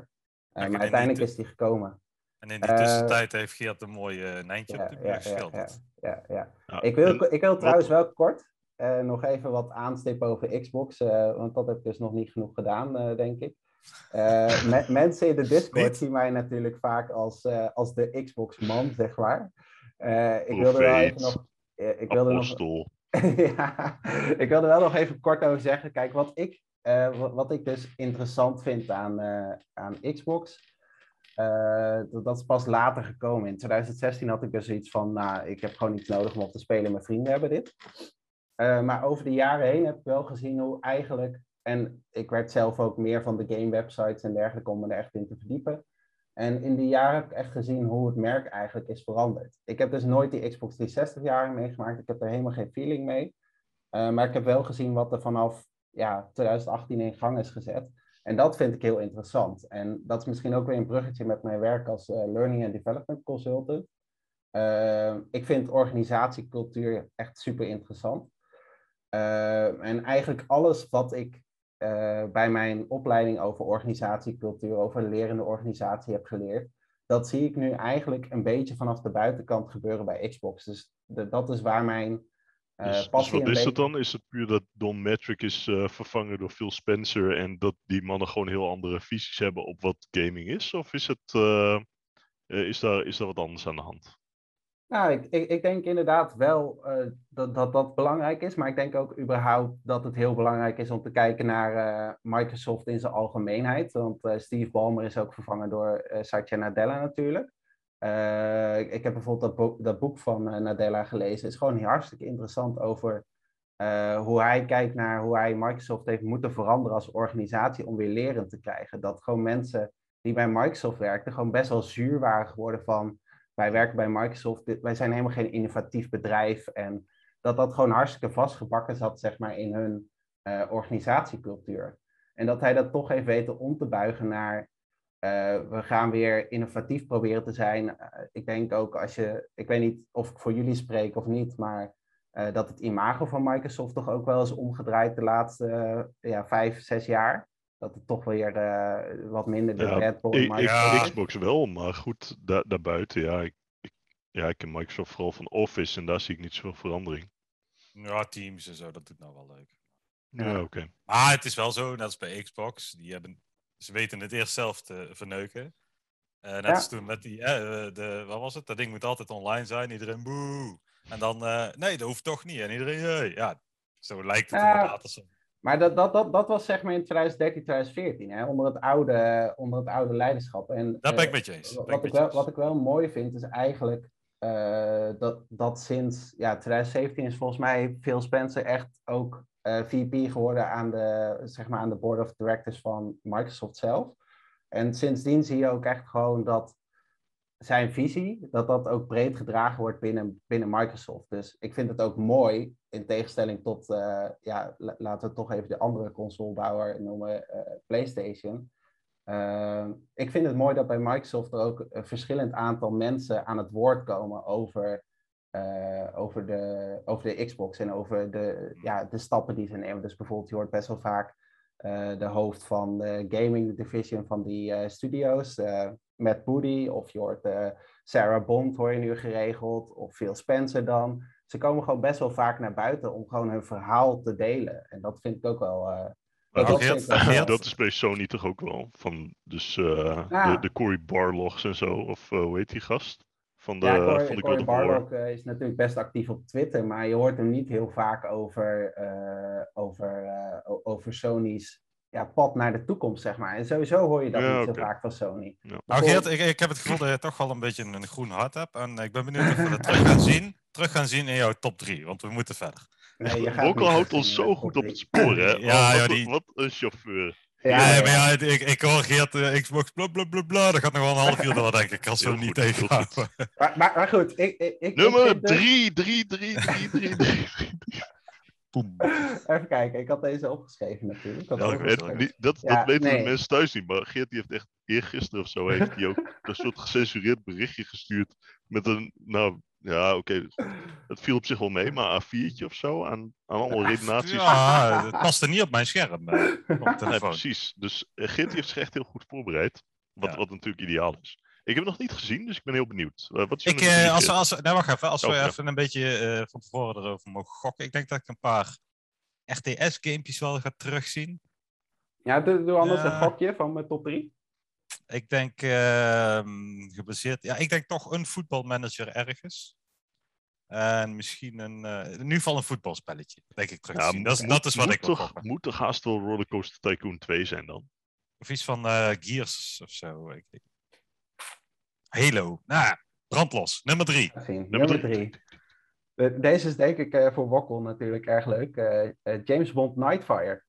Speaker 3: kijk,
Speaker 4: maar
Speaker 3: en
Speaker 4: uiteindelijk
Speaker 3: niet-
Speaker 4: is hij gekomen.
Speaker 3: En in die
Speaker 4: Eh,
Speaker 3: tussentijd heeft Geert een mooi eh, nijntje op de
Speaker 4: ja,
Speaker 3: buik geschilderd.
Speaker 4: ja, ja, ja.
Speaker 2: Ja,
Speaker 4: Ik
Speaker 2: Nou, en-
Speaker 4: wil, ik wil trouwens wel kort eh, nog even wat aanstippen over Xbox, eh, want dat heb ik dus nog niet genoeg gedaan, eh, denk ik. Eh, me- mensen in de Discord
Speaker 3: Niet?
Speaker 4: zien mij natuurlijk vaak als, eh, als de Xbox-man, zeg maar. Eh, ik wilde wel
Speaker 2: Profeet.
Speaker 4: even nog... eh, ik wilde nog
Speaker 2: Apostel.
Speaker 4: ja, ik wilde wel nog even kort over zeggen. Kijk, wat ik, eh, wa- wat ik dus interessant vind aan, eh, aan Xbox, eh, dat, dat is pas later gekomen. In 2016 had ik dus iets van, nou, ik heb gewoon iets nodig om op te spelen. Mijn vrienden hebben dit. Eh, maar over de jaren heen heb ik wel gezien hoe eigenlijk, en ik werd zelf ook meer van de game websites en dergelijke om me er echt in te verdiepen. En in die jaren heb ik echt gezien hoe het merk eigenlijk is veranderd. Ik heb dus nooit die Xbox 360 jaren meegemaakt. Ik heb er helemaal geen feeling mee. Eh, maar ik heb wel gezien wat er vanaf ja, 2018 in gang is gezet. En dat vind ik heel interessant. En dat is misschien ook weer een bruggetje met mijn werk als eh, Learning and Development Consultant. Eh, ik vind organisatiecultuur echt super interessant. Eh, en eigenlijk alles wat ik eh, bij mijn opleiding over organisatiecultuur, over een lerende organisatie heb geleerd, dat zie ik nu eigenlijk een beetje vanaf de buitenkant gebeuren bij Xbox. Dus de- dat is waar mijn eh
Speaker 2: Dus, dus
Speaker 4: passie
Speaker 2: wat
Speaker 4: een
Speaker 2: is
Speaker 4: beetje...
Speaker 2: dat dan? Is het puur dat Don Matrick is eh, vervangen door Phil Spencer en dat die mannen gewoon heel andere visies hebben op wat gaming is? Of is, het, eh, eh, is, daar, is daar wat anders aan de hand?
Speaker 4: Nou, ik, ik, ik denk inderdaad wel eh, dat, dat dat belangrijk is. Maar ik denk ook überhaupt dat het heel belangrijk is om te kijken naar eh, Microsoft in zijn algemeenheid. Want eh, Steve Ballmer is ook vervangen door eh, Satya Nadella natuurlijk. Eh, ik, ik heb bijvoorbeeld dat, boek- dat boek van eh, Nadella gelezen. Het is gewoon hartstikke interessant over eh, hoe hij kijkt naar hoe hij Microsoft heeft moeten veranderen als organisatie om weer leren te krijgen. Dat gewoon mensen die bij Microsoft werkten gewoon best wel zuur waren geworden van wij werken bij Microsoft, dit- wij zijn helemaal geen innovatief bedrijf. En dat dat gewoon hartstikke vastgebakken zat, zeg maar, in hun eh, organisatiecultuur. En dat hij dat toch heeft weten om te buigen naar, eh, we gaan weer innovatief proberen te zijn. Eh, ik denk ook als je, ik weet niet of ik voor jullie spreek of niet, maar eh, dat het imago van Microsoft toch ook wel is omgedraaid de laatste eh, ja, vijf, zes jaar. Dat het toch weer eh, wat minder de
Speaker 2: Ja,
Speaker 4: Red Bull
Speaker 2: Ik, ik-
Speaker 4: Microsoft is.
Speaker 2: Xbox wel, maar goed, da- daarbuiten, ja. Ik, ik- ja, ik ken Microsoft vooral van Office en daar zie ik niet zoveel verandering.
Speaker 3: Ja, Teams en zo, dat doet nou wel leuk.
Speaker 2: Ja,
Speaker 4: Ja.
Speaker 2: oké.
Speaker 3: Maar het is wel zo, net als bij Xbox, die hebben, ze weten het eerst zelf te verneuken. Eh net
Speaker 4: Ja.
Speaker 3: als toen met die, eh, eh, de, wat was het? Dat ding moet altijd online zijn, iedereen boe. En dan, eh, nee, dat hoeft toch niet. En iedereen, hey. ja, zo lijkt het
Speaker 4: Ja.
Speaker 3: inderdaad. Als,
Speaker 4: Maar dat, dat, dat, dat was zeg maar in 2013, 2014, hè, onder, het oude, onder het oude leiderschap. En,
Speaker 3: daar ben ik
Speaker 4: eh,
Speaker 3: met je eens. Ben
Speaker 4: wat,
Speaker 3: met
Speaker 4: ik
Speaker 3: je
Speaker 4: wel,
Speaker 3: eens.
Speaker 4: wat ik wel mooi vind, is eigenlijk eh, dat, dat sinds ja, 2017 is volgens mij Phil Spencer echt ook eh VP geworden aan de, zeg maar aan de board of directors van Microsoft zelf. En sindsdien zie je ook echt gewoon dat zijn visie, dat dat ook breed gedragen wordt binnen, binnen Microsoft. Dus ik vind het ook mooi, in tegenstelling tot, eh, ja, la- laten we toch even de andere consolebouwer noemen, eh, PlayStation. Eh, ik vind het mooi dat bij Microsoft er ook een verschillend aantal mensen aan het woord komen over, eh, over, de, over de Xbox en over de, ja, de stappen die ze nemen. Dus bijvoorbeeld, je hoort best wel vaak eh, de hoofd van de gaming division van die eh, studio's, eh Matt Booty, of je hoort eh, Sarah Bond, hoor je nu geregeld, of Phil Spencer dan. Ze komen gewoon best wel vaak naar buiten om gewoon hun verhaal te delen. En dat vind ik ook wel eh,
Speaker 3: Maar
Speaker 4: dat
Speaker 3: ook Geert,
Speaker 4: zeker.
Speaker 3: Geert,
Speaker 2: Dat is bij Sony toch ook wel. Van dus eh, de,
Speaker 4: Ah.
Speaker 2: de Cory Barlogs en zo. Of eh, hoe heet die gast? Van de,
Speaker 4: ja, Cor-
Speaker 2: van de God
Speaker 4: Cory
Speaker 2: of War.
Speaker 4: Barlog eh, is natuurlijk best actief op Twitter, maar je hoort hem niet heel vaak over, eh, over, eh, o- over Sony's ja, pad naar de toekomst, zeg maar. En sowieso hoor je dat
Speaker 2: Ja,
Speaker 4: niet
Speaker 2: oké.
Speaker 4: zo vaak van Sony.
Speaker 2: Ja.
Speaker 3: nou,
Speaker 4: Bijvoorbeeld-
Speaker 3: Geert ik, ik heb het gevoel dat je toch wel een beetje een groen hart hebt. En ik ben benieuwd of we dat terug gaan zien, terug gaan zien in jouw top 3. Want we moeten verder.
Speaker 4: Nee, je gaat
Speaker 2: Brokkel
Speaker 4: niet eh,
Speaker 2: houdt
Speaker 4: terug
Speaker 2: ons
Speaker 4: in de
Speaker 2: zo goed op
Speaker 4: top
Speaker 2: het spoor, hè?
Speaker 3: Ja,
Speaker 2: Oh,
Speaker 3: ja,
Speaker 2: wat,
Speaker 3: die-
Speaker 2: wat een chauffeur.
Speaker 4: drie.
Speaker 3: nee,
Speaker 4: ja,
Speaker 3: maar ja, ik, ik hoor Geert, eh, Xbox bla bla bla bla. Dat gaat nog wel een half uur door, denk ik. Als we
Speaker 2: Heel
Speaker 3: hem niet
Speaker 2: goed, heel goed.
Speaker 3: tegenhouden.
Speaker 4: Maar, maar, maar goed, ik, ik, ik, ik
Speaker 2: Nummer
Speaker 4: vind dus-
Speaker 2: 3, 3, 3, 3, 3, 3.
Speaker 3: Boem.
Speaker 4: Even kijken, ik had deze opgeschreven natuurlijk. Ik had
Speaker 3: Welke
Speaker 4: het
Speaker 3: werd
Speaker 4: opgeschreven.
Speaker 2: En die- dat,
Speaker 4: Ja,
Speaker 2: dat weten
Speaker 4: nee.
Speaker 2: de mensen thuis niet, maar Geert die heeft echt eergisteren of zo heeft hij ook een soort gecensureerd berichtje gestuurd met een, nou ja, oké, het viel op zich wel mee, maar A4'tje of zo aan, aan allemaal redenaties.
Speaker 3: Ja, het paste niet op mijn scherm. eh, op mijn
Speaker 2: Nee,
Speaker 3: telefoon.
Speaker 2: precies. Dus eh, Geert die heeft zich echt heel goed voorbereid, wat,
Speaker 3: Ja.
Speaker 2: wat natuurlijk ideaal is. Ik heb het nog niet gezien, dus ik ben heel benieuwd. Eh, wat is je
Speaker 3: Ik,
Speaker 2: nummer
Speaker 3: eh,
Speaker 2: drie,
Speaker 3: als, we-
Speaker 2: Geert?
Speaker 3: als, we- nee, wacht even. Als
Speaker 2: Oh,
Speaker 3: we
Speaker 2: ja.
Speaker 3: even een beetje eh, van tevoren erover mogen gokken. Ik denk dat ik een paar RTS-gamepjes wel ga terugzien.
Speaker 4: Ja, doe, doe anders
Speaker 3: Ja.
Speaker 4: een gokje van mijn top 3.
Speaker 3: Ik denk ehm, gebaseerd... Ja, ik denk toch een voetbalmanager ergens. En misschien een... eh, in ieder geval een voetbalspelletje, denk ik terug te
Speaker 2: Ja,
Speaker 3: zien. Dat is, dat is wat
Speaker 2: moet
Speaker 3: ik wil
Speaker 2: toch,
Speaker 3: gokken.
Speaker 2: moet toch haast wel Rollercoaster Tycoon 2 zijn dan?
Speaker 3: Of iets van eh, Gears of zo. Ik, ik- Halo. Nou, ja, brandlos. Nummer drie.
Speaker 4: Nummer 3. Deze is denk ik eh, voor Wokkel natuurlijk erg leuk. Eh, eh, James Bond Nightfire.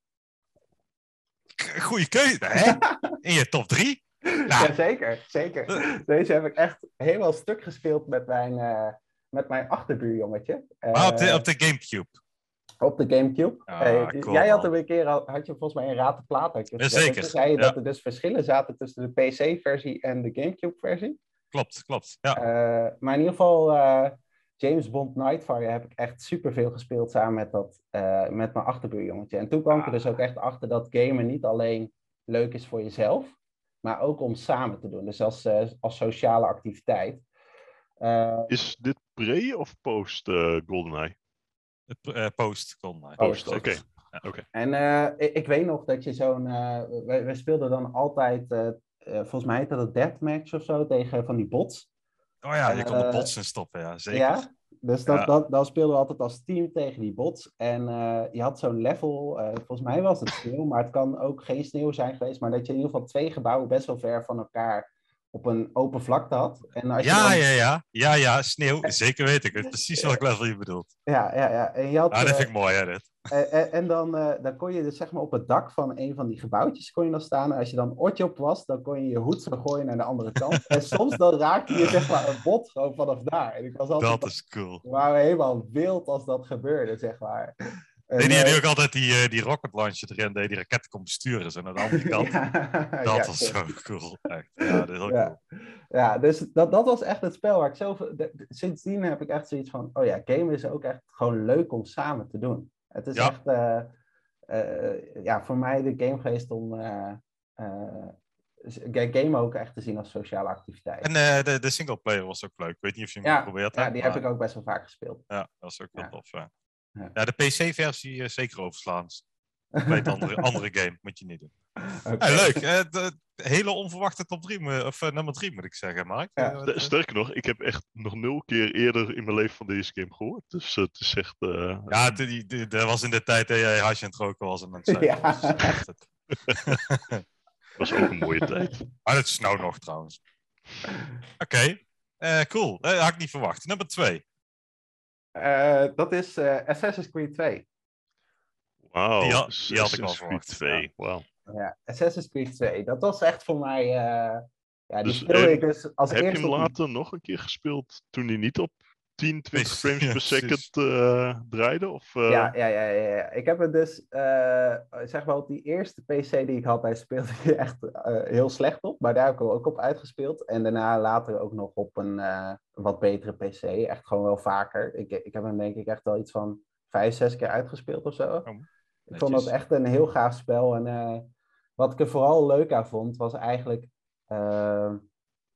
Speaker 3: K- Goeie keuze, hè? In je top drie? Nou.
Speaker 4: Jazeker, zeker. Deze heb ik echt helemaal stuk gespeeld met mijn, eh, met mijn achterbuurjongetje. Eh,
Speaker 3: Maar Ah, op de, op de Gamecube.
Speaker 4: op de Gamecube.
Speaker 3: Ah,
Speaker 4: Eh,
Speaker 3: cool,
Speaker 4: jij had
Speaker 3: man.
Speaker 4: hem een keer, al- had je volgens mij een raad de plaat uit. gezet.
Speaker 3: Jazeker,
Speaker 4: En Toen zei je
Speaker 3: ja.
Speaker 4: dat er dus verschillen zaten tussen de PC-versie en de Gamecube-versie.
Speaker 3: Klopt, klopt. Ja.
Speaker 4: Eh, maar in ieder geval, eh, James Bond Nightfire heb ik echt superveel gespeeld samen met, dat, eh, met mijn achterbuurjongetje. En toen kwam ik er dus ook echt achter dat gamen niet alleen leuk is voor jezelf, maar ook om samen te doen. Dus als, eh, als sociale activiteit. Eh,
Speaker 2: Is dit pre of post eh, GoldenEye?
Speaker 3: Het p- eh, post kon. eh,
Speaker 4: Post,
Speaker 3: zeker.
Speaker 2: oké.
Speaker 4: en eh, ik, ik weet nog dat je zo'n. eh we, we speelden dan altijd, eh, eh, volgens mij heette dat deathmatch of zo, tegen van die bots.
Speaker 3: Oh ja, je kon de
Speaker 4: Eh,
Speaker 3: bots in stoppen, ja, zeker.
Speaker 4: Ja, dus dat,
Speaker 3: Ja.
Speaker 4: dat, dat speelden we altijd als team tegen die bots. En eh, je had zo'n level, eh, volgens mij was het sneeuw, maar het kan ook geen sneeuw zijn geweest. Maar dat je in ieder geval twee gebouwen best wel ver van elkaar op een open vlakte had. En als
Speaker 3: Ja,
Speaker 4: je dan-
Speaker 3: ja, ja, ja, ja, sneeuw, zeker weet ik. Ik weet precies welk level je bedoelt.
Speaker 4: ja, ja, ja. En, je had,
Speaker 3: Ah, dat
Speaker 4: eh,
Speaker 3: vind ik mooi, hè, dit.
Speaker 4: eh, eh, en dan, eh, dan kon je dus zeg maar op het dak van een van die gebouwtjes kon je dan staan. En als je dan otje op was, dan kon je je hoed zo gooien naar de andere kant. en soms dan raakte je zeg maar een bot gewoon vanaf daar. En ik was altijd...
Speaker 3: Dat is cool.
Speaker 4: We waren helemaal wild als dat gebeurde, zeg maar. En,
Speaker 3: Nee, die
Speaker 4: eh,
Speaker 3: die ook altijd die, eh, die rocket launcher erin deed, die raketten kon besturen. En aan de andere kant,
Speaker 4: ja,
Speaker 3: dat
Speaker 4: ja,
Speaker 3: was
Speaker 4: klopt.
Speaker 3: zo cool. Echt. Ja, dat is heel
Speaker 4: Ja.
Speaker 3: cool.
Speaker 4: Ja, dus dat, dat was echt het spel waar ik zelf... de- de- sindsdien heb ik echt zoiets van... Oh ja, gamen is ook echt gewoon leuk om samen te doen. Het is
Speaker 3: Ja.
Speaker 4: echt... eh, eh, ja, voor mij de game geweest om... eh eh, game ook echt te zien als sociale activiteit.
Speaker 3: En eh, de, de singleplayer was ook leuk. Ik weet niet of je hem
Speaker 4: Ja,
Speaker 3: geprobeerd
Speaker 4: ja,
Speaker 3: hebt.
Speaker 4: die heb
Speaker 3: maar-
Speaker 4: ik ook best wel vaak gespeeld.
Speaker 3: Ja, dat was ook wel
Speaker 4: Ja.
Speaker 3: tof, ja.
Speaker 4: Ja.
Speaker 3: Ja, de PC-versie zeker overslaan. Bij het andere, andere game, moet je niet doen.
Speaker 4: Oké.
Speaker 3: Ja, leuk. Eh, de hele onverwachte top 3, of eh, nummer 3 moet ik zeggen, Mark.
Speaker 4: Ja.
Speaker 3: Eh, wat,
Speaker 2: Ster-
Speaker 3: eh,
Speaker 2: Sterker nog, ik heb echt nog nul keer eerder in mijn leven van deze game gehoord. Dus eh, het is echt. eh,
Speaker 3: Ja, de- die- die- dat was in de tijd dat jij hasje aan het roken was en aan het zuipen
Speaker 4: Ja.
Speaker 3: was. Dat is echt het.
Speaker 2: was ook een mooie tijd.
Speaker 3: Maar dat is nou nog trouwens. Oké, Eh, cool. Eh, had ik niet verwacht. Nummer twee.
Speaker 4: Eh, dat is eh, Assassin's Creed 2.
Speaker 2: Wauw.
Speaker 3: Die had-
Speaker 2: Assassin's
Speaker 3: die had ik al
Speaker 2: Creed
Speaker 3: verwacht,
Speaker 2: 2. Wauw.
Speaker 4: Ja, Assassin's Creed 2. Dat was echt voor mij. eh, ja, die
Speaker 2: Dus,
Speaker 4: speelde
Speaker 2: eh,
Speaker 4: ik dus als
Speaker 2: Heb je
Speaker 4: eerste.
Speaker 2: hem
Speaker 4: op-
Speaker 2: later nog een keer gespeeld toen hij niet op 10, 20
Speaker 3: Precies,
Speaker 2: frames per
Speaker 3: ja, precies.
Speaker 2: second eh, draaide? Of, eh,
Speaker 4: Ja, ja, ja, ja, ja. Ik heb het dus, eh, zeg maar, op die eerste PC die ik had, daar speelde ik echt eh, heel slecht op. Maar daar heb ik hem ook op uitgespeeld. En daarna later ook nog op een eh, wat betere PC. Echt gewoon wel vaker. Ik, ik heb hem denk ik echt wel iets van vijf, zes keer uitgespeeld of zo. Ik vond dat
Speaker 3: Netjes.
Speaker 4: echt een heel gaaf spel. En eh, wat ik er vooral leuk aan vond, was eigenlijk eh,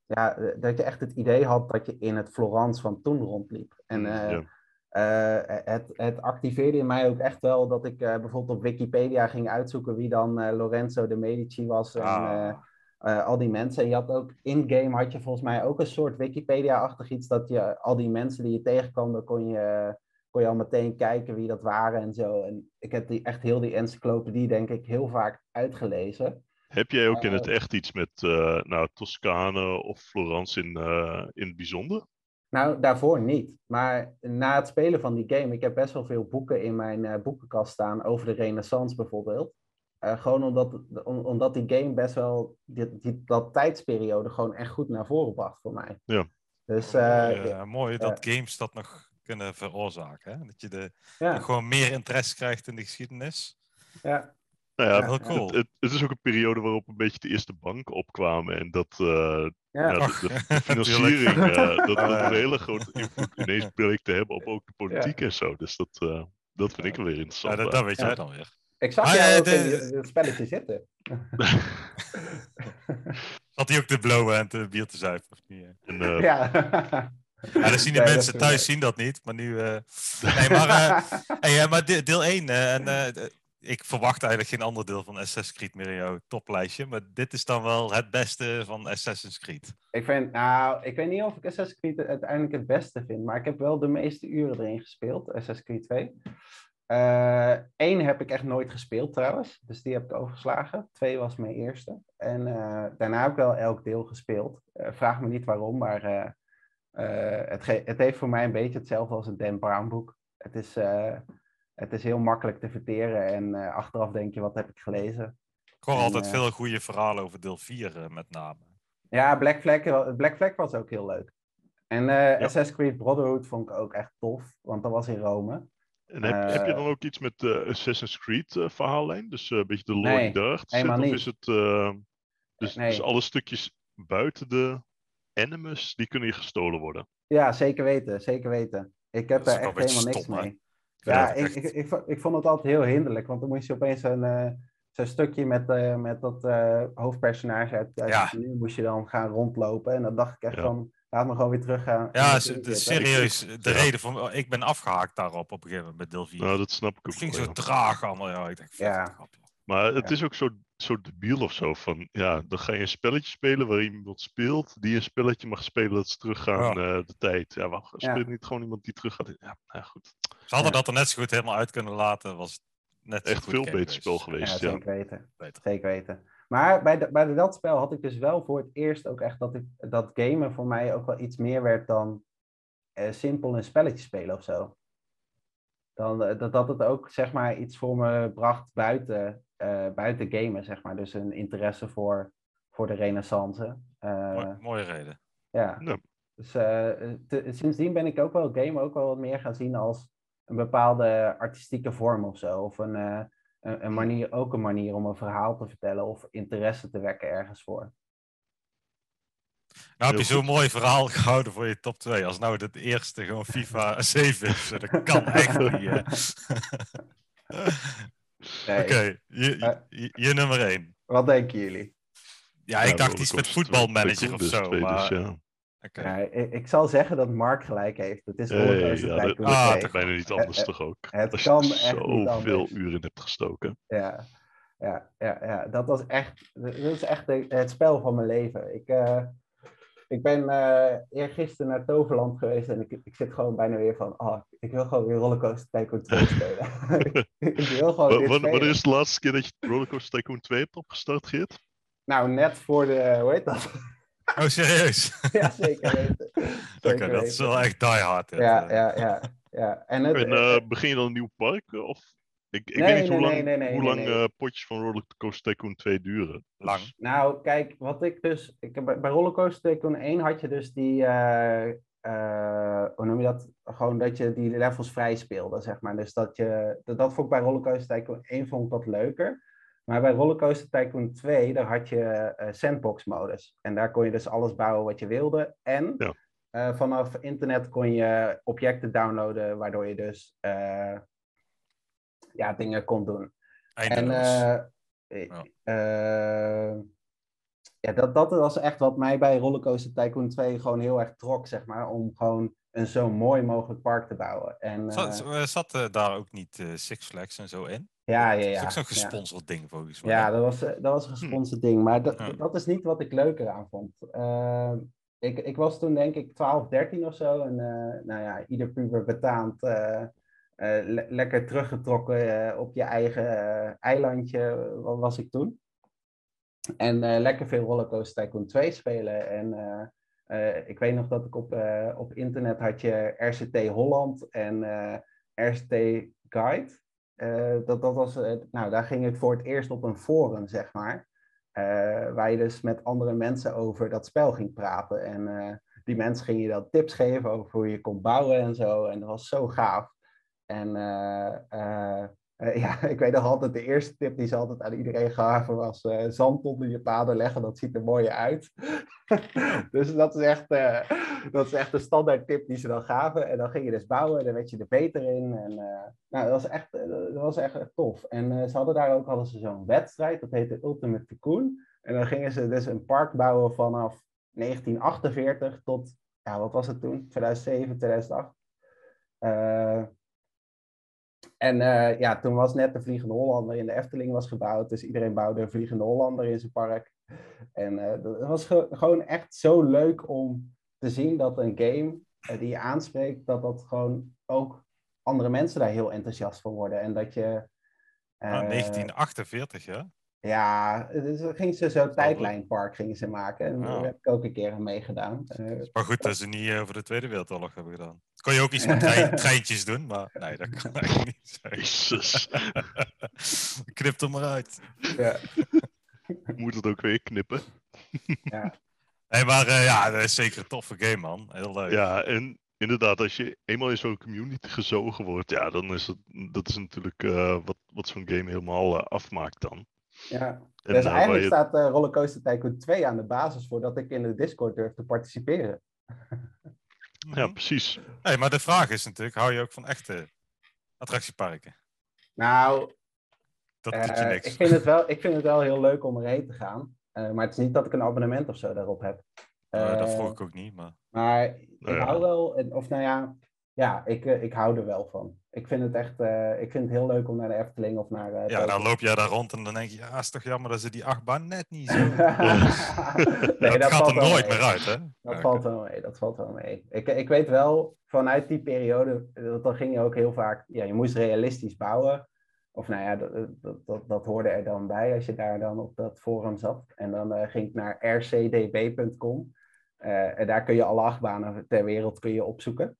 Speaker 4: ja, dat je echt het idee had dat je in het Florence van toen rondliep. En eh,
Speaker 2: Mm, ja.
Speaker 4: eh, het, het activeerde in mij ook echt wel dat ik eh, bijvoorbeeld op Wikipedia ging uitzoeken wie dan eh, Lorenzo de Medici was en
Speaker 3: Ah.
Speaker 4: eh, eh, al die mensen. En je had ook in-game had je volgens mij ook een soort Wikipedia-achtig iets dat je al die mensen die je tegenkwam, daar kon je, kon je al meteen kijken wie dat waren en zo. En ik heb die, echt heel die encyclopedie denk ik heel vaak uitgelezen.
Speaker 2: Heb jij ook in het
Speaker 4: Eh,
Speaker 2: echt iets met eh, nou, Toscane of Florence in, eh, in het bijzonder?
Speaker 4: Nou, daarvoor niet. Maar na het spelen van die game, ik heb best wel veel boeken in mijn eh, boekenkast staan over de Renaissance bijvoorbeeld. Eh, gewoon omdat, om- omdat die game best wel die, die- dat tijdsperiode gewoon echt goed naar voren bracht voor mij.
Speaker 2: Ja.
Speaker 4: Dus
Speaker 3: Eh,
Speaker 4: eh,
Speaker 3: mooi dat games dat nog kunnen veroorzaken. Hè? Dat je de,
Speaker 4: ja,
Speaker 3: gewoon meer interesse krijgt in de geschiedenis.
Speaker 4: ja,
Speaker 2: Nou ja,
Speaker 3: Ja, heel cool.
Speaker 2: het, het, het is ook een periode waarop een beetje de eerste banken opkwamen. En dat eh,
Speaker 4: ja.
Speaker 2: ja,
Speaker 3: Ach,
Speaker 2: de, de
Speaker 3: natuurlijk.
Speaker 2: financiering, eh, dat, dat
Speaker 3: Ja.
Speaker 2: een hele grote invloed ineens bleek te hebben op ook de politiek en zo. Dus dat, eh, dat vind ik wel weer
Speaker 3: Ja,
Speaker 2: interessant.
Speaker 3: dat, dat weet
Speaker 4: Ja.
Speaker 3: jij dan weer.
Speaker 4: Ik zag
Speaker 3: Ah,
Speaker 4: jou
Speaker 3: ja,
Speaker 4: ook in
Speaker 3: de-
Speaker 4: die- dat spelletje zitten.
Speaker 3: Zat hij ook te blowen en te bier te zuipen? Of niet? hè?
Speaker 2: En, eh,
Speaker 3: Ja,
Speaker 4: ja.
Speaker 3: dan zien de
Speaker 4: Nee, dat
Speaker 3: mensen
Speaker 4: is-
Speaker 3: thuis zien dat niet, maar nu... eh, Nee, maar, eh, hey, ja, maar de- deel 1, en, eh, ik verwacht eigenlijk geen ander deel van Assassin's Creed meer in jouw toplijstje, maar dit is dan wel het beste van Assassin's Creed.
Speaker 4: Ik vind, nou, ik weet niet of ik Assassin's Creed uiteindelijk het beste vind, maar ik heb wel de meeste uren erin gespeeld, Assassin's Creed 2. Eén heb ik echt nooit gespeeld trouwens, dus die heb ik overgeslagen. Twee was mijn eerste. En eh, daarna heb ik wel elk deel gespeeld. Eh, vraag me niet waarom, maar eh, eh, het, ge- het heeft voor mij een beetje hetzelfde als een Dan Brown boek. Het is, eh, het is heel makkelijk te verteren en eh, achteraf denk je, wat heb ik gelezen?
Speaker 3: Ik hoor
Speaker 4: En,
Speaker 3: altijd
Speaker 4: eh,
Speaker 3: veel goede verhalen over deel 4 eh, met name.
Speaker 4: Ja, Black Flag, wa- Black Flag was ook heel leuk. En eh
Speaker 2: Ja.
Speaker 4: Assassin's Creed Brotherhood vond ik ook echt tof, want dat was in Rome.
Speaker 2: en heb, heb je
Speaker 4: eh,
Speaker 2: dan ook iets met de Assassin's Creed eh, verhaallijn? Dus eh, een beetje de lore
Speaker 4: Nee,
Speaker 2: die daarachter zit?
Speaker 4: helemaal
Speaker 2: Of
Speaker 4: niet.
Speaker 2: is het... eh, dus, dus
Speaker 4: Nee.
Speaker 2: alle stukjes buiten de animus, die kunnen hier gestolen worden?
Speaker 4: Ja, zeker weten, zeker weten. Ik heb
Speaker 3: Dat is
Speaker 4: daar
Speaker 3: ook
Speaker 4: echt
Speaker 3: wel een beetje
Speaker 4: helemaal niks
Speaker 3: stom, hè? vind
Speaker 4: mee. Ja,
Speaker 3: dat
Speaker 4: ik,
Speaker 3: echt-
Speaker 4: ik, ik, vo- ik vond het altijd heel hinderlijk, want dan moest je opeens een, eh, zo'n stukje met, eh, met dat eh, hoofdpersonage uit, uit
Speaker 3: Ja.
Speaker 4: het nieuw moest je dan gaan rondlopen. En dan dacht ik echt
Speaker 2: Ja.
Speaker 4: van, laat me gewoon weer teruggaan. in
Speaker 3: Ja,
Speaker 4: het
Speaker 3: s-
Speaker 4: ding
Speaker 3: de-
Speaker 4: zitten.
Speaker 3: serieus, de
Speaker 2: Ja.
Speaker 3: reden van... oh, Ik ben afgehaakt daarop op een gegeven moment met deel 4.
Speaker 2: Nou, dat snap ik ook
Speaker 3: het ging
Speaker 2: wel,
Speaker 3: zo
Speaker 2: ja.
Speaker 3: traag allemaal, ja. Ik dacht,
Speaker 4: Ja.
Speaker 3: ja.
Speaker 2: Maar het
Speaker 4: Ja.
Speaker 2: is ook zo, zo debiel of zo. Van ja, dan ga je een spelletje spelen waar iemand speelt. die een spelletje mag spelen dat ze teruggaan eh de tijd. Ja, waarom
Speaker 4: Ja.
Speaker 2: speelt niet gewoon iemand die teruggaat? in- Ja, nou ja, goed.
Speaker 3: Ze hadden
Speaker 4: Ja.
Speaker 3: dat er net zo goed helemaal uit kunnen laten, was het net zo
Speaker 2: Echt
Speaker 3: goed
Speaker 2: veel
Speaker 3: game
Speaker 2: beter spel
Speaker 4: dus. Ja,
Speaker 2: geweest. Ja,
Speaker 4: zeker weten.
Speaker 3: Beter.
Speaker 4: Zeker weten. Maar bij, de, bij de- dat spel had ik dus wel voor het eerst ook echt dat, ik, dat gamen voor mij ook wel iets meer werd dan eh, simpel een spelletje spelen of zo. Dan, eh, dat, dat het ook zeg maar iets voor me bracht buiten, eh, buiten gamen, zeg maar. Dus een interesse voor, voor de renaissance. Eh,
Speaker 3: Mooi- mooie reden.
Speaker 4: ja.
Speaker 2: Ja.
Speaker 4: Dus eh, te- sindsdien ben ik ook wel game ook wel wat meer gaan zien als een bepaalde artistieke vorm of zo. Of een, eh, een, een manier, ook een manier om een verhaal te vertellen of interesse te wekken ergens voor.
Speaker 3: Nou heb
Speaker 2: Heel
Speaker 3: je zo'n mooi verhaal gehouden voor je top 2. Als nou het eerste gewoon FIFA 7 is, dat kan echt niet. hè.
Speaker 4: Nee,
Speaker 3: Oké, je, je- je, je nummer 1.
Speaker 4: Wat denken jullie?
Speaker 2: Ja,
Speaker 3: Ja, ik dacht
Speaker 2: Rollercoaster
Speaker 3: iets met
Speaker 2: Tycoon-
Speaker 3: voetbalmanager
Speaker 2: Tycoon
Speaker 3: of
Speaker 2: dus
Speaker 3: zo.
Speaker 2: twee dus,
Speaker 3: Maar,
Speaker 2: ja.
Speaker 3: oké.
Speaker 4: Ja, ik, ik zal zeggen dat Mark gelijk heeft. Het is
Speaker 2: Hey,
Speaker 4: Rollercoaster
Speaker 2: ja, dat-
Speaker 4: Tycoon
Speaker 3: ah,
Speaker 4: 2.
Speaker 3: toch.
Speaker 2: Bijna niet
Speaker 4: Eh,
Speaker 2: anders
Speaker 4: eh,
Speaker 2: toch ook.
Speaker 4: het
Speaker 2: Als je
Speaker 4: kan
Speaker 2: er
Speaker 4: echt niet
Speaker 2: zoveel
Speaker 4: anders.
Speaker 2: uren in hebt gestoken.
Speaker 4: Ja, ja, ja, ja. Dat was echt, dat is echt de- het spel van mijn leven. Ik, eh, ik ben eh eergisteren naar Toverland geweest en ik, ik zit gewoon bijna weer van, oh, ik wil gewoon weer Rollercoaster Tycoon 2 spelen. ik wil gewoon
Speaker 2: Wa- wa-
Speaker 4: weer
Speaker 2: Wanneer
Speaker 4: spelen.
Speaker 2: is de laatste keer dat je Rollercoaster Tycoon 2 hebt opgestart, Geert?
Speaker 4: Nou, net voor de, hoe heet dat?
Speaker 3: Oh, serieus?
Speaker 4: ja, zeker weten.
Speaker 3: Oké,
Speaker 4: Zeker
Speaker 3: dat is
Speaker 4: weten.
Speaker 3: wel echt die hard. dit,
Speaker 4: Ja,
Speaker 3: eh.
Speaker 4: ja, ja. ja. En het,
Speaker 2: En eh, begin je dan een nieuw park? eh, Of... Ik, ik
Speaker 4: Nee,
Speaker 2: weet niet
Speaker 4: nee,
Speaker 2: hoe lang,
Speaker 4: nee, nee, nee,
Speaker 2: hoe
Speaker 4: nee,
Speaker 2: lang
Speaker 4: nee.
Speaker 2: eh, potjes van Rollercoaster Tycoon 2 duren.
Speaker 3: Lang.
Speaker 4: Nou, kijk, wat ik dus. Ik, heb bij bij Rollercoaster Tycoon 1 had je dus die. eh, eh, hoe noem je dat? Gewoon dat je die levels vrij speelde, zeg maar. Dus dat je. Dat, dat vond ik bij Rollercoaster Tycoon 1 vond ik wat leuker. Maar bij Rollercoaster Tycoon 2, daar had je eh, sandbox-modus. En daar kon je dus alles bouwen wat je wilde. En
Speaker 2: Ja.
Speaker 4: eh, vanaf internet kon je objecten downloaden, waardoor je dus. eh, ja, dingen kon doen. En
Speaker 3: Eindeloos.
Speaker 4: eh, eh,
Speaker 3: Ja.
Speaker 4: eh, ja, dat, dat was echt wat mij bij Rollercoaster Tycoon 2 gewoon heel erg trok, zeg maar. Om gewoon een zo mooi mogelijk park te bouwen. En,
Speaker 3: Zat,
Speaker 4: eh,
Speaker 3: eh, zat eh, daar ook niet eh, Six Flags en zo in?
Speaker 4: ja, ja,
Speaker 3: Dat
Speaker 4: ja.
Speaker 3: is ook zo'n
Speaker 4: ja.
Speaker 3: gesponsord ding volgens mij.
Speaker 4: Ja, dat was, eh, dat was een gesponsord ding. Maar dat,
Speaker 3: Ja.
Speaker 4: dat is niet wat ik leuker aan vond. Ehm, ik, ik was toen denk ik 12, 13 of zo. En eh, nou ja, ieder puber betaamt. eh, eh, le- lekker teruggetrokken eh, op je eigen eh, eilandje eh, wa- was ik toen. En eh, lekker veel Rollercoaster Tycoon 2 spelen. En eh, eh, ik weet nog dat ik op, eh, op internet had je RCT Holland en eh, RCT Guide. Eh, dat, dat was, eh, nou, daar ging ik voor het eerst op een forum, zeg maar. eh, waar je dus met andere mensen over dat spel ging praten. En eh, die mensen gingen je dan tips geven over hoe je kon bouwen en zo. En dat was zo gaaf. En eh, eh, eh, ja, ik weet nog altijd, de eerste tip die ze altijd aan iedereen gaven was... eh, zand onder je paden leggen, dat ziet er mooier uit. dus dat is, echt, eh, dat is echt de standaard tip die ze dan gaven. En dan ging je dus bouwen, dan werd je er beter in. En, eh, nou, dat was echt, eh, dat was echt eh, tof. En eh, ze hadden daar ook hadden ze zo'n wedstrijd, dat heette Ultimate Tycoon. En dan gingen ze dus een park bouwen vanaf 1948 tot, ja, wat was het toen? 2007, 2008. Eh, en eh, ja, toen was net de Vliegende Hollander in de Efteling was gebouwd. Dus iedereen bouwde een Vliegende Hollander in zijn park. En eh, dat was ge- gewoon echt zo leuk om te zien dat een game eh, die je aanspreekt, dat dat gewoon ook andere mensen daar heel enthousiast van worden. En dat je. eh,
Speaker 3: Ah, 1948, ja.
Speaker 4: Ja, dus dan gingen ze zo'n tijdlijnpark gingen ze maken. En
Speaker 3: Ja.
Speaker 4: daar heb ik ook een keer aan meegedaan. Eh,
Speaker 3: Maar goed, dat ze niet eh, over de Tweede Wereldoorlog hebben gedaan. Kon je ook iets met trein- treintjes doen, maar nee, dat kan eigenlijk niet zijn.
Speaker 2: Jezus,
Speaker 3: Knip er maar uit.
Speaker 4: ja.
Speaker 2: ik moet het ook weer knippen.
Speaker 3: Nee, maar eh, ja, dat is zeker een toffe game, man. Heel leuk.
Speaker 2: Ja, en inderdaad, als je eenmaal in zo'n community gezogen wordt, ja, dan is het, dat is natuurlijk eh, wat, wat zo'n game helemaal eh, afmaakt dan.
Speaker 4: ja.
Speaker 2: En
Speaker 4: dus
Speaker 2: eh, waar
Speaker 4: eigenlijk
Speaker 2: je-
Speaker 4: staat eh, Rollercoaster Tycoon 2 aan de basis voordat ik in de Discord durf te participeren.
Speaker 3: Mhm.
Speaker 2: Ja, precies.
Speaker 3: Hey, maar de vraag is natuurlijk, hou je ook van echte attractieparken?
Speaker 4: Nou,
Speaker 3: Dat
Speaker 4: eh,
Speaker 3: doet je
Speaker 4: ik,
Speaker 3: niks.
Speaker 4: vind het wel, ik vind het wel heel leuk om erheen te gaan. Eh, maar het is niet dat ik een abonnement of zo daarop heb.
Speaker 3: Eh, dat
Speaker 4: Eh,
Speaker 3: vroeg ik ook niet, maar...
Speaker 4: Maar
Speaker 2: Nou
Speaker 4: ik
Speaker 2: ja.
Speaker 4: hou wel, en- of nou ja, ja, ik, eh, ik hou er wel van. Ik vind het echt, eh, ik vind het heel leuk om naar de Efteling of naar. eh,
Speaker 3: Ja, nou,
Speaker 4: Tokio
Speaker 3: dan loop jij daar rond en dan denk je, ja, is toch jammer dat ze die achtbaan net niet zo...
Speaker 4: nee,
Speaker 3: dat, gaat er
Speaker 4: wel
Speaker 3: nooit
Speaker 4: mee.
Speaker 3: meer uit, hè?
Speaker 4: Dat
Speaker 3: Ja,
Speaker 4: valt wel mee, dat valt wel mee. Ik, ik weet wel, vanuit die periode, eh, want dan ging je ook heel vaak, ja, je moest realistisch bouwen. Of nou ja, dat, dat, dat, dat hoorde er dan bij als je daar dan op dat forum zat. En dan eh, ging ik naar rcdb.com. Eh, en daar kun je alle achtbanen ter wereld kun je opzoeken.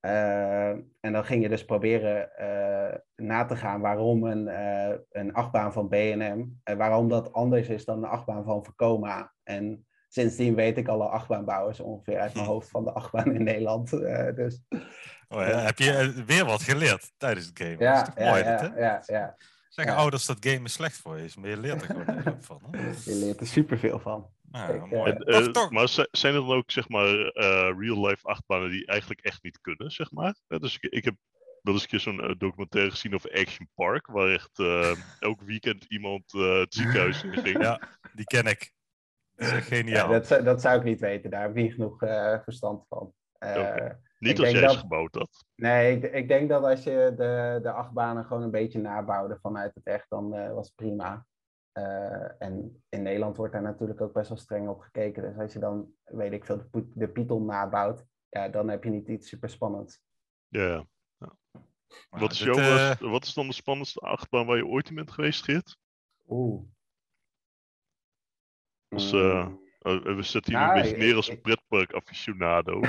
Speaker 4: Eh, en dan ging je dus proberen eh, na te gaan waarom een, eh, een achtbaan van BM, en waarom dat anders is dan een achtbaan van Vekoma. En sindsdien weet ik alle achtbaanbouwers ongeveer uit mijn hoofd van de achtbaan in Nederland. Eh, dus
Speaker 3: Oh, ja, Heb je eh, weer wat geleerd tijdens het game? dat is
Speaker 4: ja,
Speaker 3: toch
Speaker 4: ja,
Speaker 3: mooi,
Speaker 4: ja,
Speaker 3: dit, hè?
Speaker 4: ja, ja,
Speaker 3: Zeggen
Speaker 4: Ja.
Speaker 3: ouders dat gamen slecht voor je is, maar je leert er gewoon heel veel van. Hè?
Speaker 4: je leert er superveel van.
Speaker 3: Nou,
Speaker 4: Ik,
Speaker 3: mooi.
Speaker 4: eh,
Speaker 2: En,
Speaker 3: Toch,
Speaker 2: eh,
Speaker 3: toch.
Speaker 2: Maar zi- zijn er dan ook zeg maar eh, real-life achtbanen die eigenlijk echt niet kunnen, zeg maar? Ja, dus ik, ik heb wel eens een keer zo'n eh, documentaire gezien over Action Park, waar echt eh, elk weekend iemand eh, het ziekenhuis in ging.
Speaker 3: Ja. Die ken ik. Dat is echt
Speaker 4: Ja,
Speaker 3: geniaal.
Speaker 4: dat, zou- dat zou ik niet weten, daar heb ik niet genoeg eh, verstand van. Eh,
Speaker 2: Oké.
Speaker 4: Ik
Speaker 2: Niet als
Speaker 4: denk
Speaker 2: jij
Speaker 4: dat-
Speaker 2: ze gebouwd had.
Speaker 4: Nee, ik, ik denk dat als je de, de achtbanen gewoon een beetje nabouwde vanuit het echt, dan eh, was het prima. Eh, en in Nederland wordt daar natuurlijk ook best wel streng op gekeken. Dus als je dan, weet ik veel, de, Pyth- de Python nabouwt, ja, dan heb je niet iets super spannends.
Speaker 2: Ja. ja.
Speaker 3: Maar
Speaker 2: wat, is
Speaker 3: dit,
Speaker 2: jouw, eh,
Speaker 3: eh,
Speaker 2: wat is dan de spannendste achtbaan waar je ooit in bent geweest, Geert?
Speaker 4: Oeh.
Speaker 2: Dus, eh, Eh, we zetten hier
Speaker 4: Nou,
Speaker 2: een beetje
Speaker 4: ik-
Speaker 2: neer als een
Speaker 4: ik-
Speaker 2: pretpark aficionado.
Speaker 4: Mm.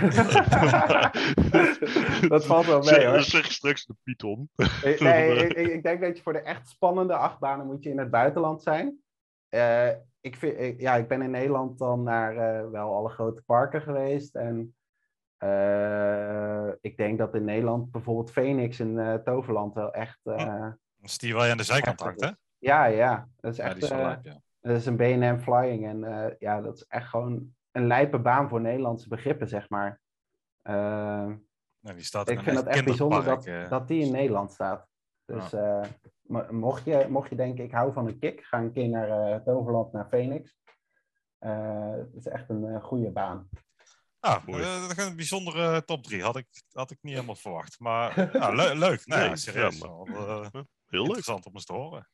Speaker 4: Dat valt wel mee,
Speaker 2: Zeg-
Speaker 4: hoor.
Speaker 2: Zeg ik straks de Python.
Speaker 4: Ik- Nee, ik, ik- ik denk dat je voor de echt spannende achtbanen moet je in het buitenland zijn. Eh, ik, vind, ik- ja, ik ben in Nederland dan naar eh, wel alle grote parken geweest. En eh, ik denk dat in Nederland bijvoorbeeld Phoenix in eh, Toverland wel echt... eh,
Speaker 3: dat is die waar je aan de zijkant
Speaker 4: Echt,
Speaker 3: hangt, hè?
Speaker 4: dat ja, ja, dat is
Speaker 3: Ja, die
Speaker 4: echt
Speaker 3: is wel
Speaker 4: eh,
Speaker 3: lijp, ja.
Speaker 4: dat is een BNM Flying. En eh, ja, dat is echt gewoon een lijpe baan voor Nederlandse begrippen, zeg maar. Eh,
Speaker 3: Nou, die staat in
Speaker 4: ik
Speaker 3: een
Speaker 4: vind dat echt bijzonder dat,
Speaker 3: kinderpark, eh.
Speaker 4: dat die in Nederland staat. Dus eh, mo- mocht, je, mocht je denken, ik hou van een kick, ga een keer naar eh, Toverland, naar Phoenix. Eh, Het is echt een eh, goede baan.
Speaker 3: Ja,
Speaker 2: Mooi.
Speaker 3: eh, dat is een bijzondere top 3. Had ik, had ik niet helemaal verwacht. Maar eh, ja, le- leuk. Nee,
Speaker 2: Nee,
Speaker 3: serieus.
Speaker 2: ja,
Speaker 3: wel,
Speaker 2: maar-
Speaker 3: eh,
Speaker 2: Heel leuk.
Speaker 3: interessant om eens te horen.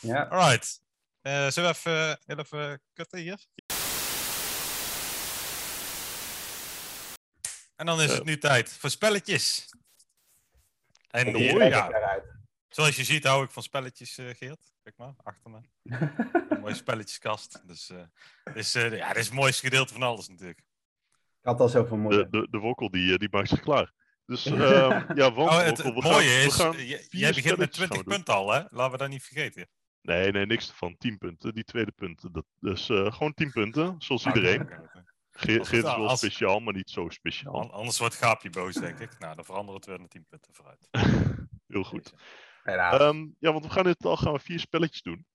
Speaker 4: Ja.
Speaker 3: Alright. Eh zullen we even, heel even kutten hier? En dan is
Speaker 2: Eh.
Speaker 3: het nu tijd voor spelletjes. En
Speaker 2: Mooi.
Speaker 3: hier,
Speaker 4: Kijk
Speaker 3: ja,
Speaker 4: daaruit.
Speaker 3: Zoals je ziet hou ik van spelletjes, eh, Geert. Kijk maar, achter me. Een mooie spelletjeskast. Dus, eh dus eh, ja, dit is het mooiste gedeelte van alles natuurlijk.
Speaker 4: Ik had al zoveel
Speaker 2: De,
Speaker 4: moeite.
Speaker 2: de, de wokkel die, eh, die maakt zich klaar. Dus ehm, ja, want
Speaker 3: Oh, het,
Speaker 2: wokkel, we
Speaker 3: het mooie
Speaker 2: gaan, we
Speaker 3: is,
Speaker 2: gaan-
Speaker 3: eh, j-
Speaker 2: vier
Speaker 3: jij begint met
Speaker 2: spelletjes gaan
Speaker 3: 20
Speaker 2: we doen.
Speaker 3: punten al, hè? Laten we dat niet vergeten.
Speaker 2: Nee, nee, niks ervan. 10 punten. Die tweede punten. Dat, dus eh, gewoon 10 punten, zoals iedereen.
Speaker 3: Ah, oké, oké.
Speaker 2: Ge-
Speaker 3: Als-
Speaker 2: Geert is wel
Speaker 3: als-
Speaker 2: speciaal, maar niet zo speciaal.
Speaker 3: An- Anders wordt Gaapje boos, denk ik. Nou, dan veranderen we het weer naar 10 punten vooruit.
Speaker 2: Heel goed.
Speaker 3: Deze.
Speaker 4: Helaas.
Speaker 2: Ehm, ja, want we gaan in totaal gaan we vier spelletjes doen.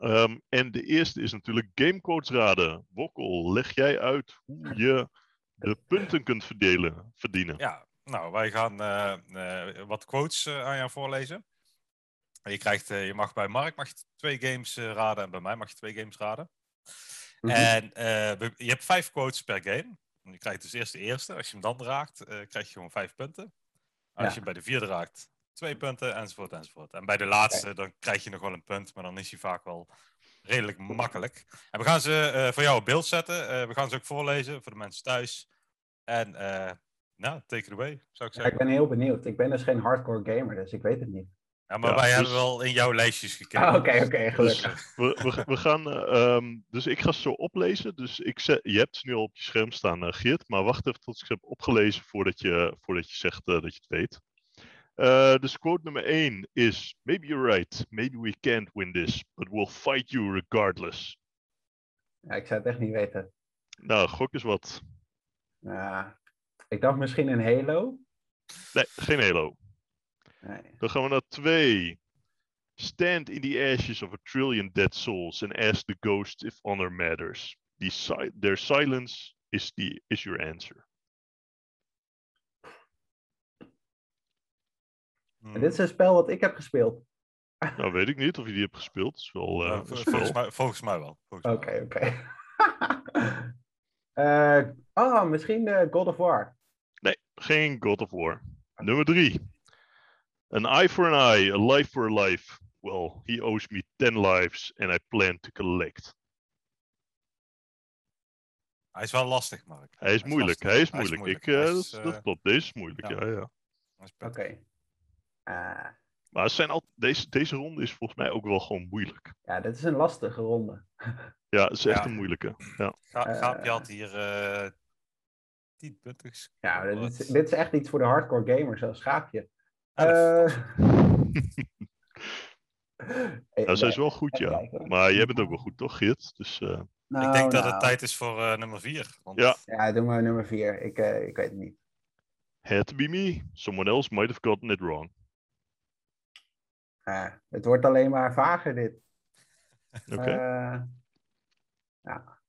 Speaker 2: Ehm, en de eerste is natuurlijk gamecodes raden. Wokkel, leg jij uit hoe je de punten kunt verdelen, verdienen.
Speaker 3: Ja, nou, wij gaan eh, eh, wat quotes eh, aan jou voorlezen. En Je, krijgt, eh, je mag bij Mark mag je twee games eh, raden en bij mij mag je twee games raden.
Speaker 4: Mhm.
Speaker 3: En eh, we- je hebt vijf quotes per game. En Je krijgt dus eerst de eerste. Als je hem dan raakt, eh, krijg je gewoon vijf punten. Als
Speaker 4: Ja.
Speaker 3: je hem bij de vierde raakt, twee punten, enzovoort, enzovoort. En bij de laatste, dan krijg je nog wel een punt, maar dan is hij vaak wel redelijk makkelijk. En we gaan ze eh, voor jou op beeld zetten. Eh, we gaan ze ook voorlezen voor de mensen thuis. En eh, nou, take it away, zou ik
Speaker 4: Ja, ik
Speaker 3: zeggen.
Speaker 4: ben heel benieuwd. Ik ben dus geen hardcore gamer, dus ik weet het niet.
Speaker 3: Ja, maar
Speaker 2: Ja,
Speaker 3: wij
Speaker 2: dus-
Speaker 3: hebben wel in jouw lijstjes gekeken.
Speaker 4: Ah, oké, oké,
Speaker 2: Dus
Speaker 4: gelukkig.
Speaker 2: we, we, we gaan, eh, ehm, dus ik ga ze zo oplezen. Dus ik zet, je hebt ze nu al op je scherm staan, eh, Geert. Maar wacht even tot ik ze heb opgelezen voordat je, voordat je zegt eh, dat je het weet. Eh, dus quote nummer 1 is: Maybe you're right. Maybe we can't win this, but we'll fight you regardless.
Speaker 4: Ja, ik zou het echt niet weten.
Speaker 2: Nou, gok is wat.
Speaker 4: Ja. ik dacht misschien een Halo.
Speaker 2: Nee, geen Halo.
Speaker 4: Nee.
Speaker 2: Dan gaan we naar 2. Stand in the ashes of a trillion dead souls and ask the ghosts if honor matters. The si- their silence is, the, is your answer.
Speaker 3: Hmm. Mm.
Speaker 2: Hmm.
Speaker 4: En dit is een spel wat ik heb gespeeld.
Speaker 2: Nou, weet ik niet of je die hebt gespeeld. Het is wel eh,
Speaker 3: Nou,
Speaker 2: een
Speaker 3: vol-
Speaker 2: spel.
Speaker 3: volgens, mij, volgens mij wel. Volgens
Speaker 4: Oké,
Speaker 3: mij wel.
Speaker 4: oké. Eh, oh, misschien eh, God of War.
Speaker 2: Geen God of War. Nummer 3. An eye for an eye, a life for a life. Well, he owes me 10 lives and I plan to collect.
Speaker 3: Hij is wel lastig, Mark.
Speaker 2: Hij is moeilijk,
Speaker 3: lastig.
Speaker 2: hij is moeilijk. Ik, eh,
Speaker 3: Hij
Speaker 2: dat,
Speaker 3: is,
Speaker 2: is- dat
Speaker 3: eh,
Speaker 2: klopt, deze is moeilijk.
Speaker 3: ja.
Speaker 2: Ja, ja.
Speaker 3: hij is
Speaker 4: Oké.
Speaker 3: pittig.
Speaker 4: Ah,
Speaker 2: Maar het zijn al, deze, deze ronde is volgens mij ook wel gewoon moeilijk.
Speaker 4: ja, dit is een lastige ronde.
Speaker 2: Ja, het is echt
Speaker 3: Ja.
Speaker 2: een moeilijke. Ja.
Speaker 3: Ga-
Speaker 4: Eh.
Speaker 3: Gaapje had hier eh 10 punten gescoord.
Speaker 4: Ja, dit, is- dit is echt iets voor de hardcore gamers, zoals schaapje.
Speaker 3: Ah, Elf.
Speaker 4: Eh,
Speaker 2: Nou, zij is wel goed,
Speaker 4: even
Speaker 2: ja.
Speaker 4: kijken.
Speaker 2: Maar jij bent ook wel goed, toch, Git? Dus eh,
Speaker 4: Nou,
Speaker 3: ik denk dat
Speaker 4: nou.
Speaker 3: het tijd is voor eh, nummer 4. Want
Speaker 2: Ja.
Speaker 4: Ja, doe maar nummer vier. Ik, eh, ik weet het niet.
Speaker 2: had to be me. Someone else might have gotten it wrong.
Speaker 4: Ah, het wordt alleen maar vager, dit.
Speaker 2: Oké.
Speaker 4: Eh, ja.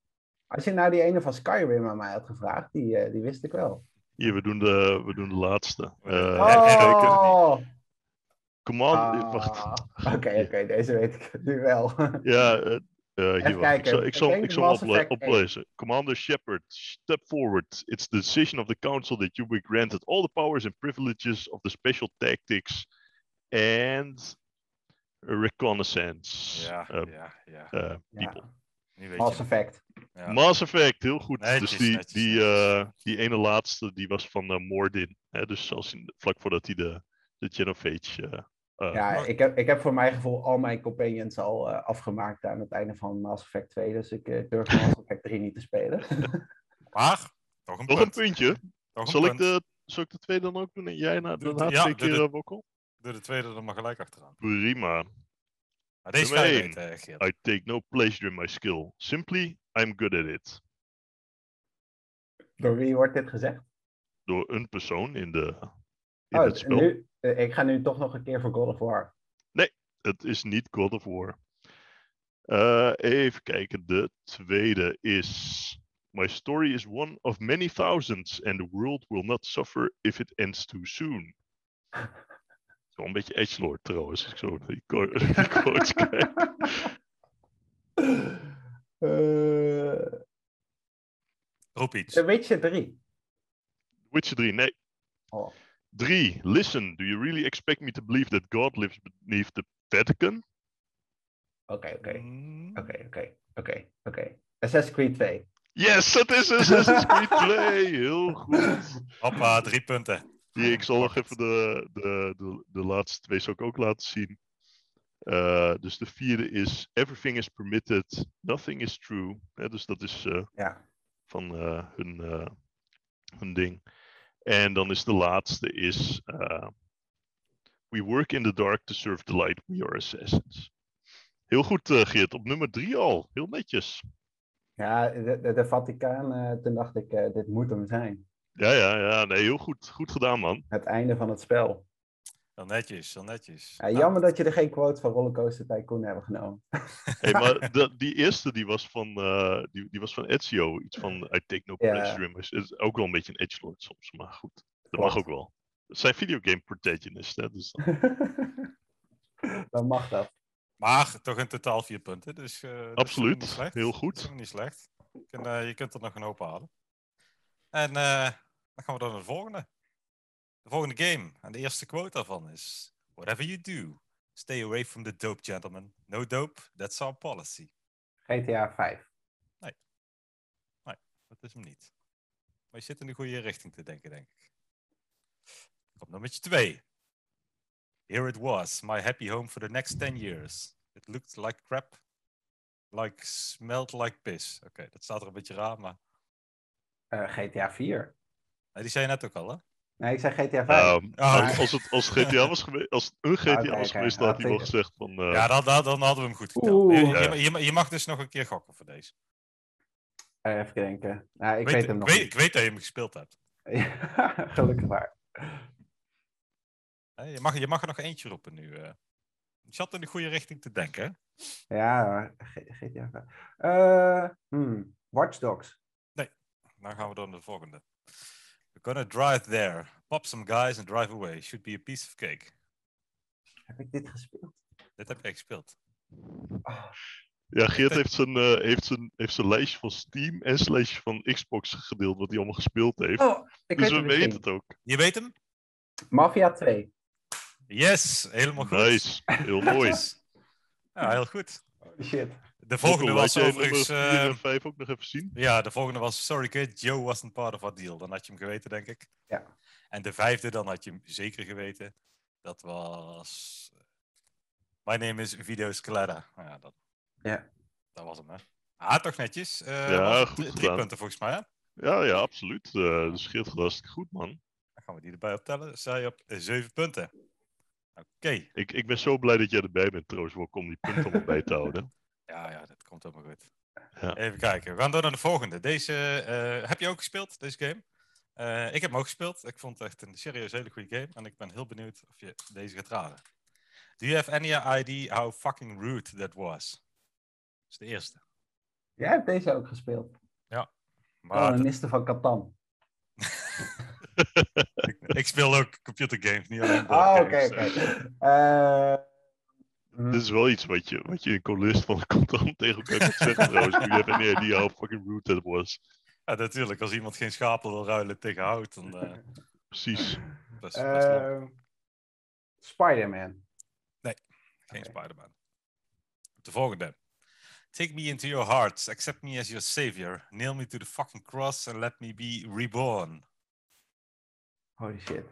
Speaker 4: Als je nou die ene van Skyrim aan mij had gevraagd, die, eh, die wist ik wel.
Speaker 2: Hier, we doen de, we doen de laatste.
Speaker 3: We doen de
Speaker 2: Eh,
Speaker 3: laatste.
Speaker 2: even
Speaker 3: Oh.
Speaker 2: kijken.
Speaker 4: Ah,
Speaker 2: Command, Oh, wacht.
Speaker 4: Oké, Ah, oké, deze weet ik nu wel.
Speaker 2: Ja, eh, eh, hier, wacht. Ik
Speaker 4: kijken.
Speaker 2: zal, ik
Speaker 4: Ik
Speaker 2: zal,
Speaker 4: denk
Speaker 2: ik zal
Speaker 4: Mass
Speaker 2: ople-
Speaker 4: Effect één.
Speaker 2: oplezen. Commander Shepard, step forward. It's the decision of the council that you be granted all the powers and privileges of the special tactics and reconnaissance
Speaker 3: ja,
Speaker 2: eh,
Speaker 3: ja, ja.
Speaker 2: eh,
Speaker 4: Ja,
Speaker 2: people.
Speaker 3: Nu weet
Speaker 4: Mass
Speaker 3: je.
Speaker 4: Effect.
Speaker 3: Ja.
Speaker 2: Mass Effect, heel goed.
Speaker 3: Netjes,
Speaker 2: dus die,
Speaker 3: netjes,
Speaker 2: die,
Speaker 3: netjes.
Speaker 2: eh, die ene laatste die was van eh, Moordin. Hè? Dus zelfs in, vlak voordat hij de, de Genophage. eh, eh,
Speaker 4: Ja,
Speaker 3: maar-
Speaker 4: ik heb, ik heb voor mijn gevoel al mijn companions al eh, afgemaakt aan het einde van Mass Effect 2, dus ik eh, durf Mass Effect 3 niet te spelen.
Speaker 3: Maar, toch een
Speaker 2: Nog een
Speaker 3: punt.
Speaker 2: puntje.
Speaker 3: Toch een
Speaker 2: Zal ik,
Speaker 3: punt.
Speaker 2: de, zal ik de twee dan ook doen? En jij na,
Speaker 3: Doe-
Speaker 2: daarna
Speaker 3: ja,
Speaker 2: twee
Speaker 3: doe
Speaker 2: keer
Speaker 3: de-
Speaker 2: eh, wokkel?
Speaker 3: Doe de tweede er maar gelijk achteraan.
Speaker 2: Prima.
Speaker 3: Maar deze
Speaker 2: Nummer
Speaker 3: ga je
Speaker 2: één.
Speaker 3: weten, eh, Geert.
Speaker 2: I take no pleasure in my skill. Simply, I'm good at it.
Speaker 4: Door wie wordt dit gezegd?
Speaker 2: Door een persoon in, de, in
Speaker 3: Ah,
Speaker 4: Oh,
Speaker 2: het spel.
Speaker 4: nu, eh, ik ga nu toch nog een keer voor God of War.
Speaker 2: Het is niet God of War. Eh, even kijken. De tweede is. My story is one of many thousands, and the world will not suffer if it ends too soon. Wel een beetje edgelord trouwens, als ik zo naar die co- die quotes kijk.
Speaker 4: Eh,
Speaker 3: Roep iets.
Speaker 4: The Witcher 3.
Speaker 2: Witcher 3, nee.
Speaker 4: Oh.
Speaker 2: 3. Listen, do you really expect me to believe that God lives beneath the Vatican?
Speaker 4: Oké, oké.
Speaker 3: Mm.
Speaker 4: Oké, oké. Oké, oké. Assassin's Creed 2.
Speaker 2: Yes, dat is Assassin's Creed 2. Heel goed.
Speaker 3: Hoppa, drie punten.
Speaker 2: Die, ik zal nog
Speaker 3: Fuck it.
Speaker 2: even de, de, de, de laatste twee zal ik ook laten zien. Eh, dus de vierde is Everything is permitted, nothing is true. Hè, dus dat is eh,
Speaker 4: Ja.
Speaker 2: van eh, hun, eh, hun ding. En dan is de laatste is eh, We work in the dark to serve the light, we are assassins. Heel goed, eh, Geert. Op nummer drie al. Heel netjes.
Speaker 4: Ja, de, de, de Vaticaan, eh, toen dacht ik, eh, dit moet hem zijn.
Speaker 2: Ja, ja, ja. Nee, heel goed. Goed gedaan, man.
Speaker 4: Het einde van het spel.
Speaker 3: Heel netjes, heel netjes.
Speaker 4: Ja, jammer dat je er geen quote van Rollercoaster Tycoon hebben genomen.
Speaker 2: Hey, maar de- die eerste die was van, eh, die, die was van Ezio. Iets van I take no
Speaker 4: Ja.
Speaker 2: pleasure in my... Het is ook wel een beetje een edgelord soms, maar goed. Dat
Speaker 4: Klopt.
Speaker 2: mag ook wel. Het zijn videogame protagonists, hè. Dus dan-
Speaker 4: Dan mag dat.
Speaker 3: Maar toch in totaal vier punten. Dus, eh, dat is helemaal
Speaker 2: Absoluut,
Speaker 3: niet slecht.
Speaker 2: heel
Speaker 3: Dat is
Speaker 2: goed.
Speaker 3: helemaal niet slecht. Je kunt, eh, je kunt er nog een hoop halen. En eh, dan gaan we dan naar de volgende. De volgende game. En de eerste quote daarvan is: Whatever you do, stay away from the dope, gentlemen. No dope, that's our policy.
Speaker 4: GTA 5.
Speaker 3: Dat is hem niet. Maar je zit in de goede richting te denken, denk ik. Kom dan met je twee. Here it was, my happy home for the next 10 years. It looked like crap. Like smelled like piss. Oké, dat staat er een beetje raar, maar...
Speaker 4: Eh, GTA 4.
Speaker 3: Nee, die zei je net ook al, hè?
Speaker 4: Nee, ik zei GTA 5.
Speaker 3: Oh.
Speaker 2: Ja, Ehm, als,
Speaker 3: oké.
Speaker 2: als het als GTA was geweest, als het een GTA
Speaker 4: oké,
Speaker 2: was
Speaker 4: oké.
Speaker 2: geweest, dan
Speaker 4: Ah,
Speaker 2: had hij wel
Speaker 4: tegen.
Speaker 2: gezegd van... eh,
Speaker 3: Ja, dan, dan, dan hadden we hem goed geteld.
Speaker 4: Oeh.
Speaker 3: Je, je-
Speaker 2: Ja.
Speaker 3: je ma- je mag dus nog een keer gokken voor deze.
Speaker 4: Eh, even denken. Nou, ik weet, hem nog
Speaker 3: ik, weet, ik
Speaker 4: niet.
Speaker 3: weet dat je hem gespeeld hebt.
Speaker 4: Gelukkig maar.
Speaker 3: Hè, Je mag, je mag er nog eentje roepen nu. eh. Je zat in de goede richting te denken, hè?
Speaker 4: Ja, G- GTA 5. Eh, hmm, Watch Dogs.
Speaker 3: Dan gaan we door naar de volgende. We're gonna drive there. Pop some guys and drive away. Should be a piece of cake.
Speaker 4: Heb ik dit gespeeld?
Speaker 3: Dit heb jij gespeeld.
Speaker 4: Ah,
Speaker 2: Ja, Geert
Speaker 3: denk-
Speaker 2: heeft zijn, eh, heeft, zijn, heeft zijn lijstje van Steam en zijn lijstje van Xbox gedeeld, wat hij allemaal gespeeld heeft.
Speaker 4: Oh,
Speaker 2: dus
Speaker 4: ik weet
Speaker 2: we
Speaker 4: het
Speaker 2: weten
Speaker 4: misschien.
Speaker 2: het ook.
Speaker 3: Je weet hem?
Speaker 4: Mafia 2.
Speaker 3: Yes, helemaal goed.
Speaker 2: Nice, heel mooi.
Speaker 3: Yes. Ja, heel goed.
Speaker 4: Oh, Shit.
Speaker 3: De volgende
Speaker 2: Laat
Speaker 3: was
Speaker 2: jij
Speaker 3: overigens...
Speaker 2: nummer vier
Speaker 3: eh,
Speaker 2: en vijf ook nog even zien.
Speaker 3: ja, de volgende was... Sorry kid, Joe wasn't part of our deal. Dan had je hem geweten, denk ik.
Speaker 4: Ja.
Speaker 3: En de vijfde, dan had je hem zeker geweten. Dat was... eh, My name is Vito Scalera. Ja, dat,
Speaker 4: Ja.
Speaker 3: dat was hem, hè. Ah, toch netjes. Eh,
Speaker 2: Ja,
Speaker 3: was het
Speaker 2: goed
Speaker 3: drie- Drie
Speaker 2: gedaan.
Speaker 3: punten volgens mij, hè?
Speaker 2: Ja, ja, absoluut. Eh dus Geert gaat hartstikke goed, man.
Speaker 3: Dan gaan we die erbij optellen. Zij op 7 punten. Oké.
Speaker 2: Ik, ik ben zo blij dat jij erbij bent trouwens, Wok, om die punten allemaal bij te houden.
Speaker 3: Ja, ja, dat komt helemaal goed.
Speaker 2: Ja.
Speaker 3: Even kijken. We gaan door naar de volgende. Deze eh, heb je ook gespeeld, deze game? Eh, ik heb hem ook gespeeld. Ik vond het echt een serieus hele goede game. En ik ben heel benieuwd of je deze gaat raden. Do you have any idea how fucking rude that was? Dat is de eerste.
Speaker 4: Jij hebt deze ook gespeeld.
Speaker 3: Maar dat-
Speaker 4: Kolonisten van Catan.
Speaker 3: ik, ik speel ook computergames, niet alleen
Speaker 4: Ah,
Speaker 3: boardgames.
Speaker 4: oké, oké.
Speaker 3: dus.
Speaker 4: Eh, hmm,
Speaker 2: Dit is wel iets wat je, wat je in columnist van de contant tegen elkaar kunt zeggen trouwens. Nu even nee, die how fucking rude that was.
Speaker 3: Ja, natuurlijk. Als iemand geen schapen wil ruilen tegen hout, dan... eh,
Speaker 2: Precies.
Speaker 3: dat is best wel
Speaker 4: eh, Spider-Man.
Speaker 3: Geen
Speaker 4: Oké.
Speaker 3: Spider-Man. De volgende. Take me into your hearts, accept me as your savior, nail me to the fucking cross and let me be reborn.
Speaker 4: Holy shit.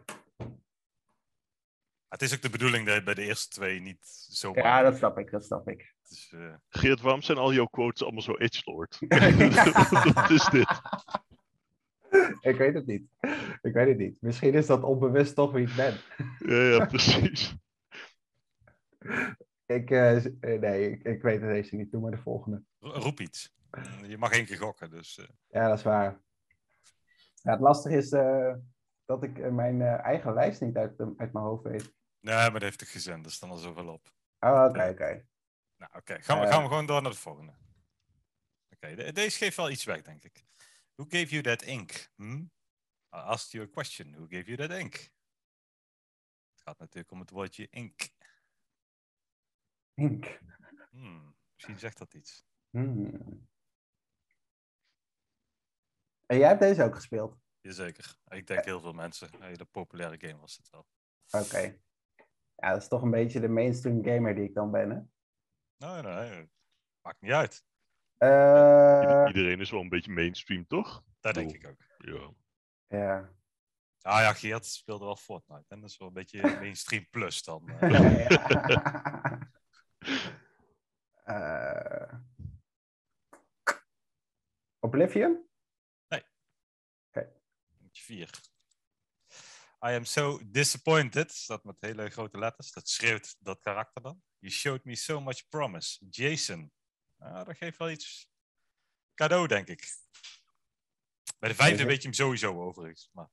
Speaker 3: Het is ook de bedoeling dat je bij de eerste twee niet zo
Speaker 4: Ja, dat snap ik, dat snap ik.
Speaker 3: Dus, eh,
Speaker 2: Geert, waarom zijn al jouw quotes allemaal zo edgelord? Wat is dit?
Speaker 4: ik weet het niet. Ik weet het niet. Misschien is dat onbewust toch wie ik ben.
Speaker 2: Ja, ja,
Speaker 3: Eh.
Speaker 2: precies.
Speaker 4: Ik, eh, z- eh, nee, ik, ik weet het deze niet. Doe maar de volgende.
Speaker 3: ro- roep iets. Je mag één keer gokken, dus... eh,
Speaker 4: Ja, dat is waar. Ja, het lastige is eh, dat ik eh, mijn eh, eigen lijst niet uit, eh, uit mijn hoofd weet.
Speaker 3: nee, maar dat heeft ik gezend, dus dan al zoveel op.
Speaker 4: Oh, oké, oké.
Speaker 3: Nou, oké. Gaan, we,
Speaker 4: Eh.
Speaker 3: gaan we gewoon door naar de volgende. Oké, de- deze geeft wel iets weg, denk ik. Who gave you that ink? Hm? I asked you a question. Who gave you that ink? Het gaat natuurlijk om het woordje ink.
Speaker 4: Ink.
Speaker 3: Hmm, misschien zegt dat iets.
Speaker 4: Hmm. En jij hebt deze ook gespeeld?
Speaker 3: Jazeker. Ik denk heel veel mensen. Een hele populaire game was het wel.
Speaker 4: Oké. Ja, dat is toch een beetje de mainstream gamer die ik dan ben, hè?
Speaker 3: Nee, nee, nee. Maakt niet uit.
Speaker 4: Eh,
Speaker 2: Ieder- Iedereen is wel een beetje mainstream, toch?
Speaker 3: Dat denk
Speaker 2: Oh.
Speaker 3: ik ook.
Speaker 2: Ja.
Speaker 4: ja.
Speaker 3: Nou ja, Geert speelde wel Fortnite. En dat is wel een beetje mainstream plus dan. eh.
Speaker 4: Ja. Eh, Oblivion?
Speaker 3: Puntje 4. I am so disappointed. Staat met hele grote letters. Dat schreeuwt dat karakter dan. You showed me so much promise. Jason. Nou, dat geeft wel iets cadeau, denk ik. Bij de vijfde
Speaker 4: Deze-
Speaker 3: weet je hem sowieso overigens. Maar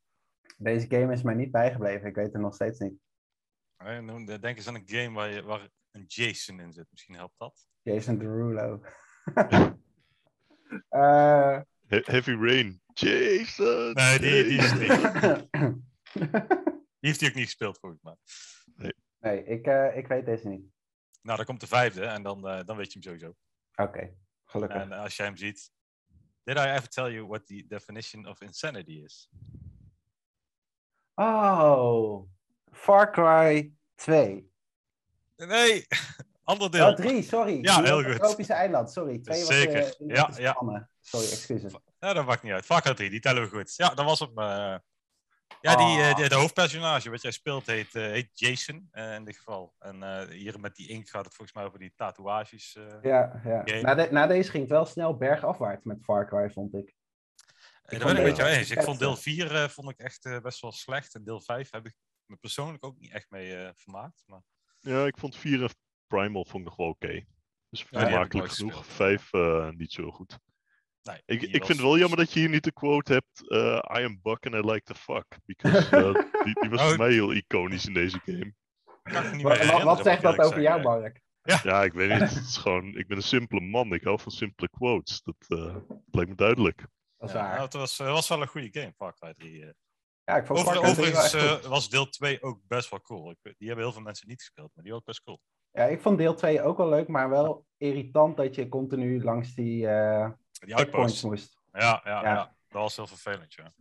Speaker 4: Deze game is mij niet bijgebleven. Ik weet het nog steeds niet.
Speaker 3: eh, nou, denk eens aan een game waar, je, waar een Jason in zit. Misschien helpt dat.
Speaker 4: Jason Derulo. Eh
Speaker 2: He- Heavy Rain. Jason!
Speaker 3: Nee, die, die, is
Speaker 2: Jason.
Speaker 3: niet. die heeft hij ook niet gespeeld volgens mij.
Speaker 4: nee, ik, eh, ik weet deze niet.
Speaker 3: Nou, dan komt de vijfde en dan, eh, dan weet je hem sowieso.
Speaker 4: Oké, gelukkig.
Speaker 3: En eh, als jij hem ziet. Did I ever tell you what the definition of insanity is?
Speaker 4: Oh, Far Cry 2.
Speaker 3: Nee, ander deel.
Speaker 4: Oh, 3, sorry.
Speaker 3: Ja,
Speaker 4: Die
Speaker 3: heel
Speaker 4: was het
Speaker 3: goed.
Speaker 4: Tropische eiland, sorry. 2 was
Speaker 3: Zeker.
Speaker 4: eh, in de
Speaker 3: Ja, ja.
Speaker 4: Spannen. Sorry, excuses.
Speaker 3: Ja, dat maakt niet uit. Vaak had die, die tellen we goed. Ja, dat was hem. eh. ja, die, eh,
Speaker 4: Ah.
Speaker 3: die- de hoofdpersonage wat jij speelt heet, eh, heet Jason eh, in dit geval. En eh, hier met die ink gaat het volgens mij over die tatoeages. eh.
Speaker 4: Ja, ja.
Speaker 3: Oké.
Speaker 4: Na, de- na deze ging het wel snel bergafwaarts met Far Cry, vond ik.
Speaker 3: En
Speaker 4: vond
Speaker 3: daar ben ik met
Speaker 4: deze
Speaker 3: jou eens. Ik
Speaker 4: echt
Speaker 3: vond deel 4 eh, vond ik echt eh, best wel slecht. En deel 5 heb ik me persoonlijk ook niet echt mee eh, vermaakt. Maar
Speaker 2: Ja, ik vond 4 en Primal vond ik nog wel oké. Dus
Speaker 3: die heb ik
Speaker 2: vermakelijk
Speaker 3: nooit
Speaker 2: genoeg.
Speaker 3: gespeeld.
Speaker 2: 5 niet zo goed.
Speaker 3: nee,
Speaker 2: Ik,
Speaker 3: die
Speaker 2: ik
Speaker 3: was- dus
Speaker 2: vind het wel jammer dat je hier niet de quote hebt: eh, I am Buck and I like to fuck. Because eh, die, die was
Speaker 3: Oh.
Speaker 2: voor mij heel iconisch in deze game.
Speaker 3: kan ik me niet
Speaker 4: Wat,
Speaker 3: meer
Speaker 4: wat,
Speaker 3: herinneren,
Speaker 4: zegt
Speaker 3: moet
Speaker 4: dat
Speaker 3: ik eerlijk
Speaker 4: over jou,
Speaker 3: zeggen.
Speaker 4: Mark?
Speaker 2: Ja, ik weet niet. Het is gewoon, ik ben een simpele man. Ik hou van simpele quotes. Dat eh, lijkt me duidelijk.
Speaker 4: Dat is
Speaker 3: Ja, nou,
Speaker 4: waar.
Speaker 3: het was, eh, was wel een goede game, Far Cry 3. eh.
Speaker 4: Ja, ik vond
Speaker 3: Over-
Speaker 4: Far Cry 3 wel
Speaker 3: overigens
Speaker 4: echt goed.
Speaker 3: eh, was deel 2 ook best wel cool. Ik, weet- die hebben heel veel mensen niet gespeeld, maar die was best cool.
Speaker 4: Ja, ik vond deel 2 ook wel leuk, maar wel irritant dat je continu langs die eh
Speaker 3: Die
Speaker 4: checkpoints
Speaker 3: outposts.
Speaker 4: moest.
Speaker 3: Ja, ja,
Speaker 4: Ja.
Speaker 3: ja. dat was heel vervelend, ja.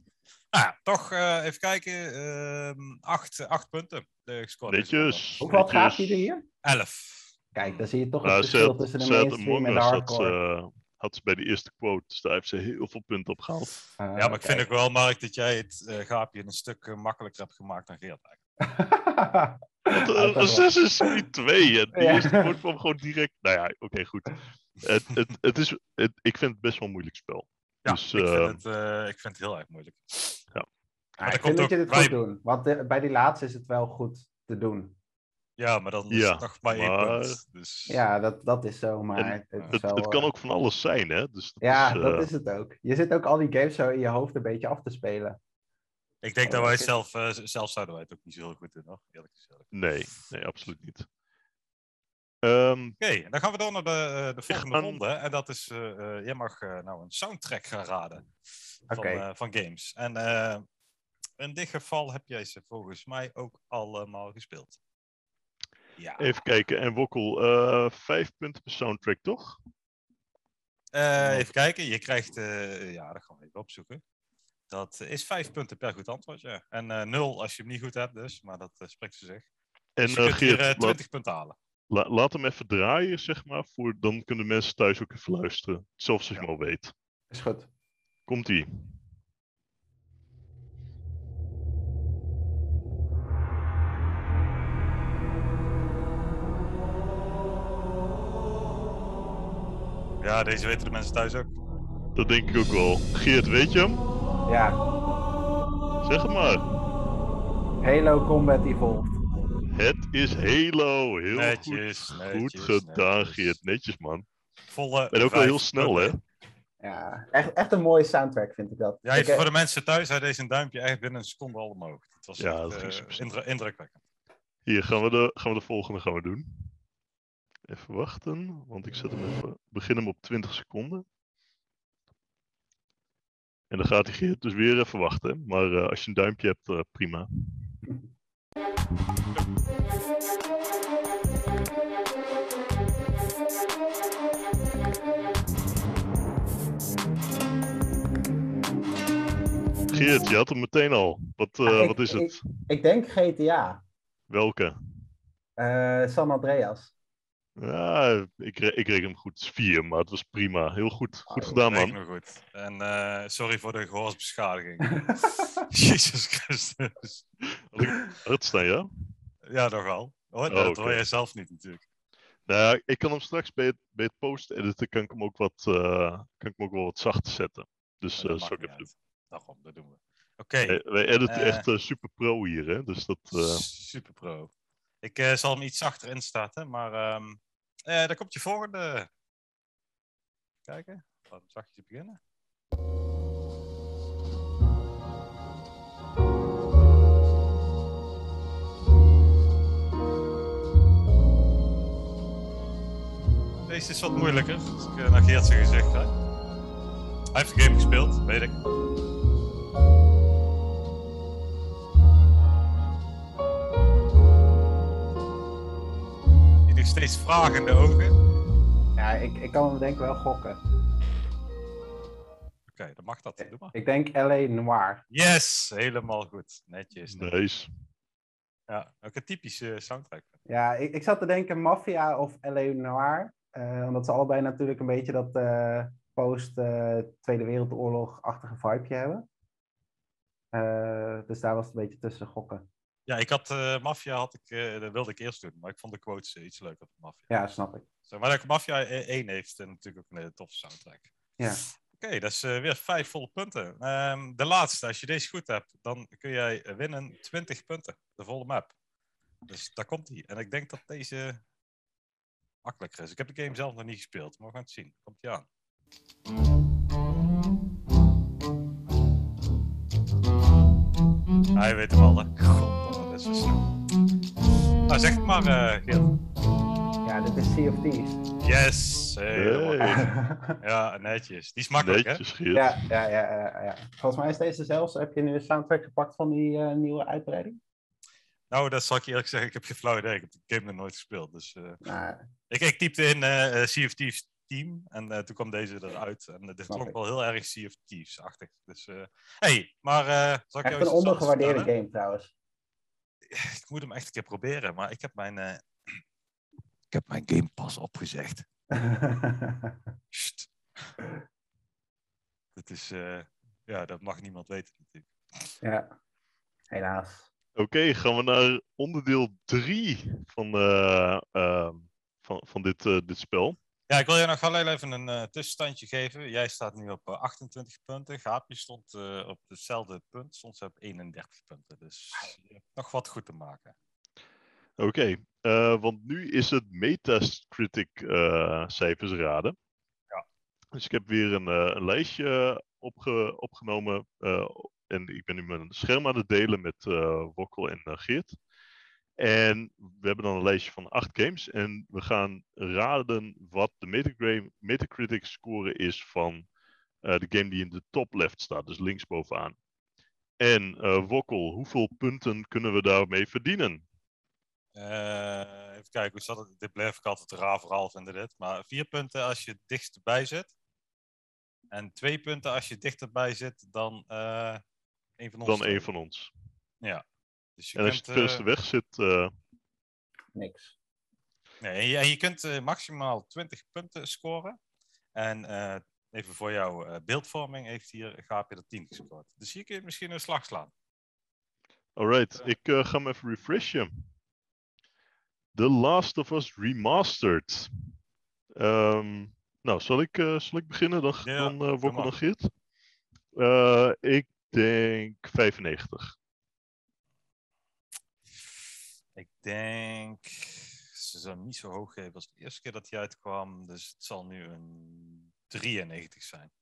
Speaker 3: Nou ja, toch eh, even kijken. ehm acht, acht punten eh, gescoord.
Speaker 2: Netjes.
Speaker 4: Hoeveel
Speaker 3: dus-
Speaker 4: had
Speaker 2: netjes.
Speaker 4: Gaafje er hier?
Speaker 3: Elf.
Speaker 4: Kijk, dan zie je toch het
Speaker 2: Nou,
Speaker 4: verschil
Speaker 2: Sad-
Speaker 4: tussen de
Speaker 2: Sad
Speaker 4: mainstream
Speaker 2: Among
Speaker 4: en de
Speaker 2: Us had ze,
Speaker 4: hardcore.
Speaker 2: eh, had ze bij de eerste quote. Dus daar heeft ze heel veel punten op gehaald.
Speaker 4: Ah,
Speaker 3: Ja, maar ik vind
Speaker 4: kijk.
Speaker 3: ook wel, Mark, dat jij het eh, gaapje een stuk eh, makkelijker hebt gemaakt dan Geert. eigenlijk.
Speaker 2: Want,
Speaker 4: Ja, dat
Speaker 2: eh,
Speaker 4: wel.
Speaker 2: Assassin's Creed 2. eh, die
Speaker 4: Ja.
Speaker 2: eerste quote kwam gewoon direct. Nou ja, oké, goed. Het, het, het is, het- ik vind het best wel een moeilijk spel.
Speaker 3: Ja,
Speaker 2: Dus,
Speaker 3: ik,
Speaker 2: eh,
Speaker 3: vind het, eh, ik vind het heel erg moeilijk.
Speaker 4: Ja,
Speaker 3: dat komt
Speaker 4: ik vind dat
Speaker 3: ook
Speaker 4: je dit
Speaker 3: bij-
Speaker 4: goed doet, want eh, bij die laatste is het wel goed te doen.
Speaker 3: Ja, maar dan is
Speaker 2: Ja,
Speaker 3: het nog maar één
Speaker 2: maar-
Speaker 3: punt. Dus...
Speaker 4: Ja, dat, dat is zo, maar
Speaker 2: En
Speaker 4: het, is
Speaker 2: Het,
Speaker 4: wel,
Speaker 2: het kan
Speaker 4: eh,
Speaker 2: ook van alles zijn, hè? Dus dat
Speaker 4: Ja,
Speaker 2: is, eh,
Speaker 4: dat is het ook. Je zit ook al die games zo in je hoofd een beetje af te spelen.
Speaker 3: Ik denk dat
Speaker 4: Ja,
Speaker 3: wij
Speaker 4: dat
Speaker 3: het
Speaker 4: is-
Speaker 3: zelf, eh, z- zelf zouden wij het ook niet zo heel goed doen, hoor. Eerlijk gezegd. Oké,
Speaker 2: Nee, nee, absoluut niet. Ehm,
Speaker 3: en dan gaan we door naar de, eh, de volgende
Speaker 2: gaan-
Speaker 3: ronde. En dat is, eh, eh, jij mag eh, nou een soundtrack gaan raden van,
Speaker 4: Oké.
Speaker 3: eh, van games. En eh, in dit geval heb jij ze volgens mij ook allemaal gespeeld. Ja.
Speaker 2: even kijken. En Wokkel, eh, vijf punten per soundtrack, toch?
Speaker 3: Eh, even kijken, je krijgt, eh, ja, dat gaan we even opzoeken. Dat is vijf punten per goed antwoord, ja. En eh, nul als je hem niet goed hebt, dus. Maar dat eh, spreekt ze zich.
Speaker 2: En
Speaker 3: Dus je
Speaker 2: eh,
Speaker 3: kunt hier
Speaker 2: Geert,
Speaker 3: eh,
Speaker 2: laat-
Speaker 3: 20 punten halen.
Speaker 2: la- laat hem even draaien, zeg maar. Voor, dan kunnen mensen thuis ook even luisteren. Zelfs als je hem al weet.
Speaker 4: Is goed.
Speaker 2: Komt-ie.
Speaker 3: Ja, deze weten de mensen thuis ook.
Speaker 2: Dat denk ik ook wel. Geert, weet je hem?
Speaker 4: Ja,
Speaker 2: Zeg het maar.
Speaker 4: Halo Combat Evolved.
Speaker 2: Het is Halo. Heel
Speaker 3: Netjes,
Speaker 2: goed, goed
Speaker 3: netjes,
Speaker 2: gedaan,
Speaker 3: netjes.
Speaker 2: Geert. Netjes, man.
Speaker 3: Volle
Speaker 2: En ook wel
Speaker 3: vijf
Speaker 2: heel snel, hè?
Speaker 3: punten.
Speaker 4: Ja, echt, echt een mooie soundtrack vind ik dat.
Speaker 3: Ja, even
Speaker 4: Ik, eh,
Speaker 3: voor de mensen thuis, hij deed zijn duimpje echt binnen een seconde al omhoog. Het was
Speaker 2: Ja,
Speaker 3: echt,
Speaker 2: dat ging
Speaker 3: eh,
Speaker 2: supersnel.
Speaker 3: indru- indrukwekkend.
Speaker 2: Hier, gaan we, de, gaan we de volgende gaan we doen. Even wachten, want ik zet hem even... Begin hem op 20 seconden. En dan gaat hij Geert dus weer even wachten. hè. Maar eh, als je een duimpje hebt, eh, prima. Geert, je had hem meteen al. Wat, eh,
Speaker 4: Ja, Ah, ik-
Speaker 2: wat is het?
Speaker 4: Ik denk GTA,
Speaker 2: Welke?
Speaker 4: eh, San Andreas.
Speaker 2: Ja, ik, re- ik reken hem goed. Het is vier, maar het was prima. Heel
Speaker 3: Ah,
Speaker 2: goed. Goed
Speaker 4: Oh,
Speaker 2: gedaan,
Speaker 3: Reken
Speaker 2: man.
Speaker 3: me goed. En eh, sorry voor de gehoorsbeschadiging. Jezus Christus.
Speaker 2: Had ik hard staan, ja?
Speaker 3: Ja, nogal. Hoor,
Speaker 2: Oh,
Speaker 3: dat
Speaker 2: oké.
Speaker 3: hoor jij zelf niet natuurlijk.
Speaker 2: Nou, ja, ik kan hem straks bij het, bij het post-editen kan ik hem ook wat, eh, kan ik hem ook wel wat zacht zetten. Dus
Speaker 3: Maar
Speaker 2: eh
Speaker 3: dat
Speaker 2: zou ik
Speaker 3: maakt
Speaker 2: even
Speaker 3: niet
Speaker 2: doen.
Speaker 3: uit. Daarom, dat doen we. Oké,
Speaker 2: Wij, wij editen
Speaker 3: Eh.
Speaker 2: echt eh, super pro hier, hè? Dus dat. eh,
Speaker 3: super pro. Ik eh, zal hem iets zachter instarten, maar ehm eh, daar komt je volgende. Kijken, laat hem zachtjes beginnen. Deze is wat moeilijker, als ik eh, naar Geert zijn gezegd had. Hij heeft de game gespeeld, weet ik. Die nog steeds vragende ogen.
Speaker 4: Ja, ik, ik kan hem denk ik wel gokken.
Speaker 3: Oké, dan mag dat. Doe maar.
Speaker 4: Ik denk L.A. Noir.
Speaker 3: Yes, helemaal goed. Netjes.
Speaker 2: nice.
Speaker 3: Ja, ook een typische soundtrack.
Speaker 4: Ja, ik, ik zat te denken Mafia of L.A. Noir. eh, omdat ze allebei natuurlijk een beetje dat eh, post-Tweede Wereldoorlog-achtige vibeje hebben. Eh, dus daar was het een beetje tussen gokken.
Speaker 3: Ja, ik had eh Mafia, had ik, eh, dat wilde ik eerst doen, maar ik vond de quotes eh, iets leuker van Mafia.
Speaker 4: Ja, snap ik.
Speaker 3: Zo, maar dat Mafia eh, 1 heeft eh, natuurlijk ook een hele toffe soundtrack.
Speaker 4: Ja.
Speaker 3: Oké, dat is eh, weer vijf volle punten. Ehm, de laatste, als je deze goed hebt, dan kun jij eh, winnen 20 punten, de volle map. Dus daar komt hij. En ik denk dat deze makkelijker is. Ik heb de game zelf nog niet gespeeld, maar we gaan het zien. Komt hij aan. Hij weet hem al, hè? God, dat is zo snel. Nou, zeg het maar, eh Geert.
Speaker 4: Ja, dit is Sea of Thieves.
Speaker 3: Yes! helemaal
Speaker 2: Hey.
Speaker 3: goed. Ja, netjes. Die is makkelijk, hè?
Speaker 2: Netjes, Geert.
Speaker 4: Ja, ja, ja, ja, ja. Volgens mij is deze zelfs. Heb je nu een soundtrack gepakt van die eh, nieuwe uitbreiding?
Speaker 3: Nou, dat zal ik je eerlijk zeggen. Ik heb geen flauw idee. Ik heb de game nog nooit gespeeld. Dus, eh,
Speaker 4: Nou,
Speaker 3: ik, ik typte in eh eh, Sea of Thieves team. En eh, toen kwam deze eruit. En eh, dit
Speaker 4: Snap
Speaker 3: klonk
Speaker 4: ik.
Speaker 3: wel heel erg Sea of Thieves-achtig. Dus, eh, hey, maar... eh zal ik jou
Speaker 4: echt
Speaker 3: iets
Speaker 4: een ondergewaardeerde
Speaker 3: vertellen?
Speaker 4: game trouwens.
Speaker 3: Ik moet hem echt een keer proberen. Maar ik heb mijn... eh, ik heb mijn Game Pass opgezegd. Sst. Dat is... eh, ja, dat mag niemand weten natuurlijk.
Speaker 4: ja, helaas.
Speaker 2: Oké, gaan we naar onderdeel 3 van, eh, ehm, van, van dit, eh, dit spel.
Speaker 3: Ja, ik wil je nog wel heel even een eh, tussenstandje geven. Jij staat nu op eh, 28 punten. Gaapje stond eh, op hetzelfde punt. Soms heb 31 punten. Dus je hebt nog wat goed te maken.
Speaker 2: Oké, eh, want nu is het Metacritic eh, cijfers raden.
Speaker 3: Ja.
Speaker 2: Dus ik heb weer een, eh, een lijstje opge- opgenomen. eh, en ik ben nu mijn scherm aan het delen met eh Wokkel en eh, Geert. En we hebben dan een lijstje van acht games. En we gaan raden wat de Metagra- Metacritic score is van eh, de game die in de top left staat. Dus linksbovenaan. En eh Wokkel, hoeveel punten kunnen we daarmee verdienen?
Speaker 3: Eh, even kijken, hoe zat het? Dit blijf ik altijd een raar verhaal vinden dit. Maar vier punten als je het dichtstbij zit. En twee punten als je dichterbij zit dan eh een van ons.
Speaker 2: dan
Speaker 3: twee.
Speaker 2: één van ons.
Speaker 3: Dus je
Speaker 2: En als je
Speaker 3: kunt,
Speaker 2: het
Speaker 3: eh,
Speaker 2: verste weg zit, eh,
Speaker 4: Niks.
Speaker 3: Nee, en je- en je kunt eh, maximaal 20 punten scoren. En eh, even voor jouw eh, beeldvorming heeft hier Gaapje er 10 gescoord. Dus hier kun je misschien een slag slaan.
Speaker 2: alright,
Speaker 3: Ja.
Speaker 2: ik eh, ga hem even refreshen. The Last of Us Remastered. Ehm, nou, zal ik, eh, zal ik beginnen? Dan,
Speaker 3: Ja,
Speaker 2: dan eh
Speaker 3: dat
Speaker 2: Wokkel
Speaker 3: mag.
Speaker 2: en Geert. Eh, ik denk 95.
Speaker 3: Ik denk, ze zullen hem niet zo hoog geven als de eerste keer dat hij uitkwam. Dus het zal nu een 93 zijn.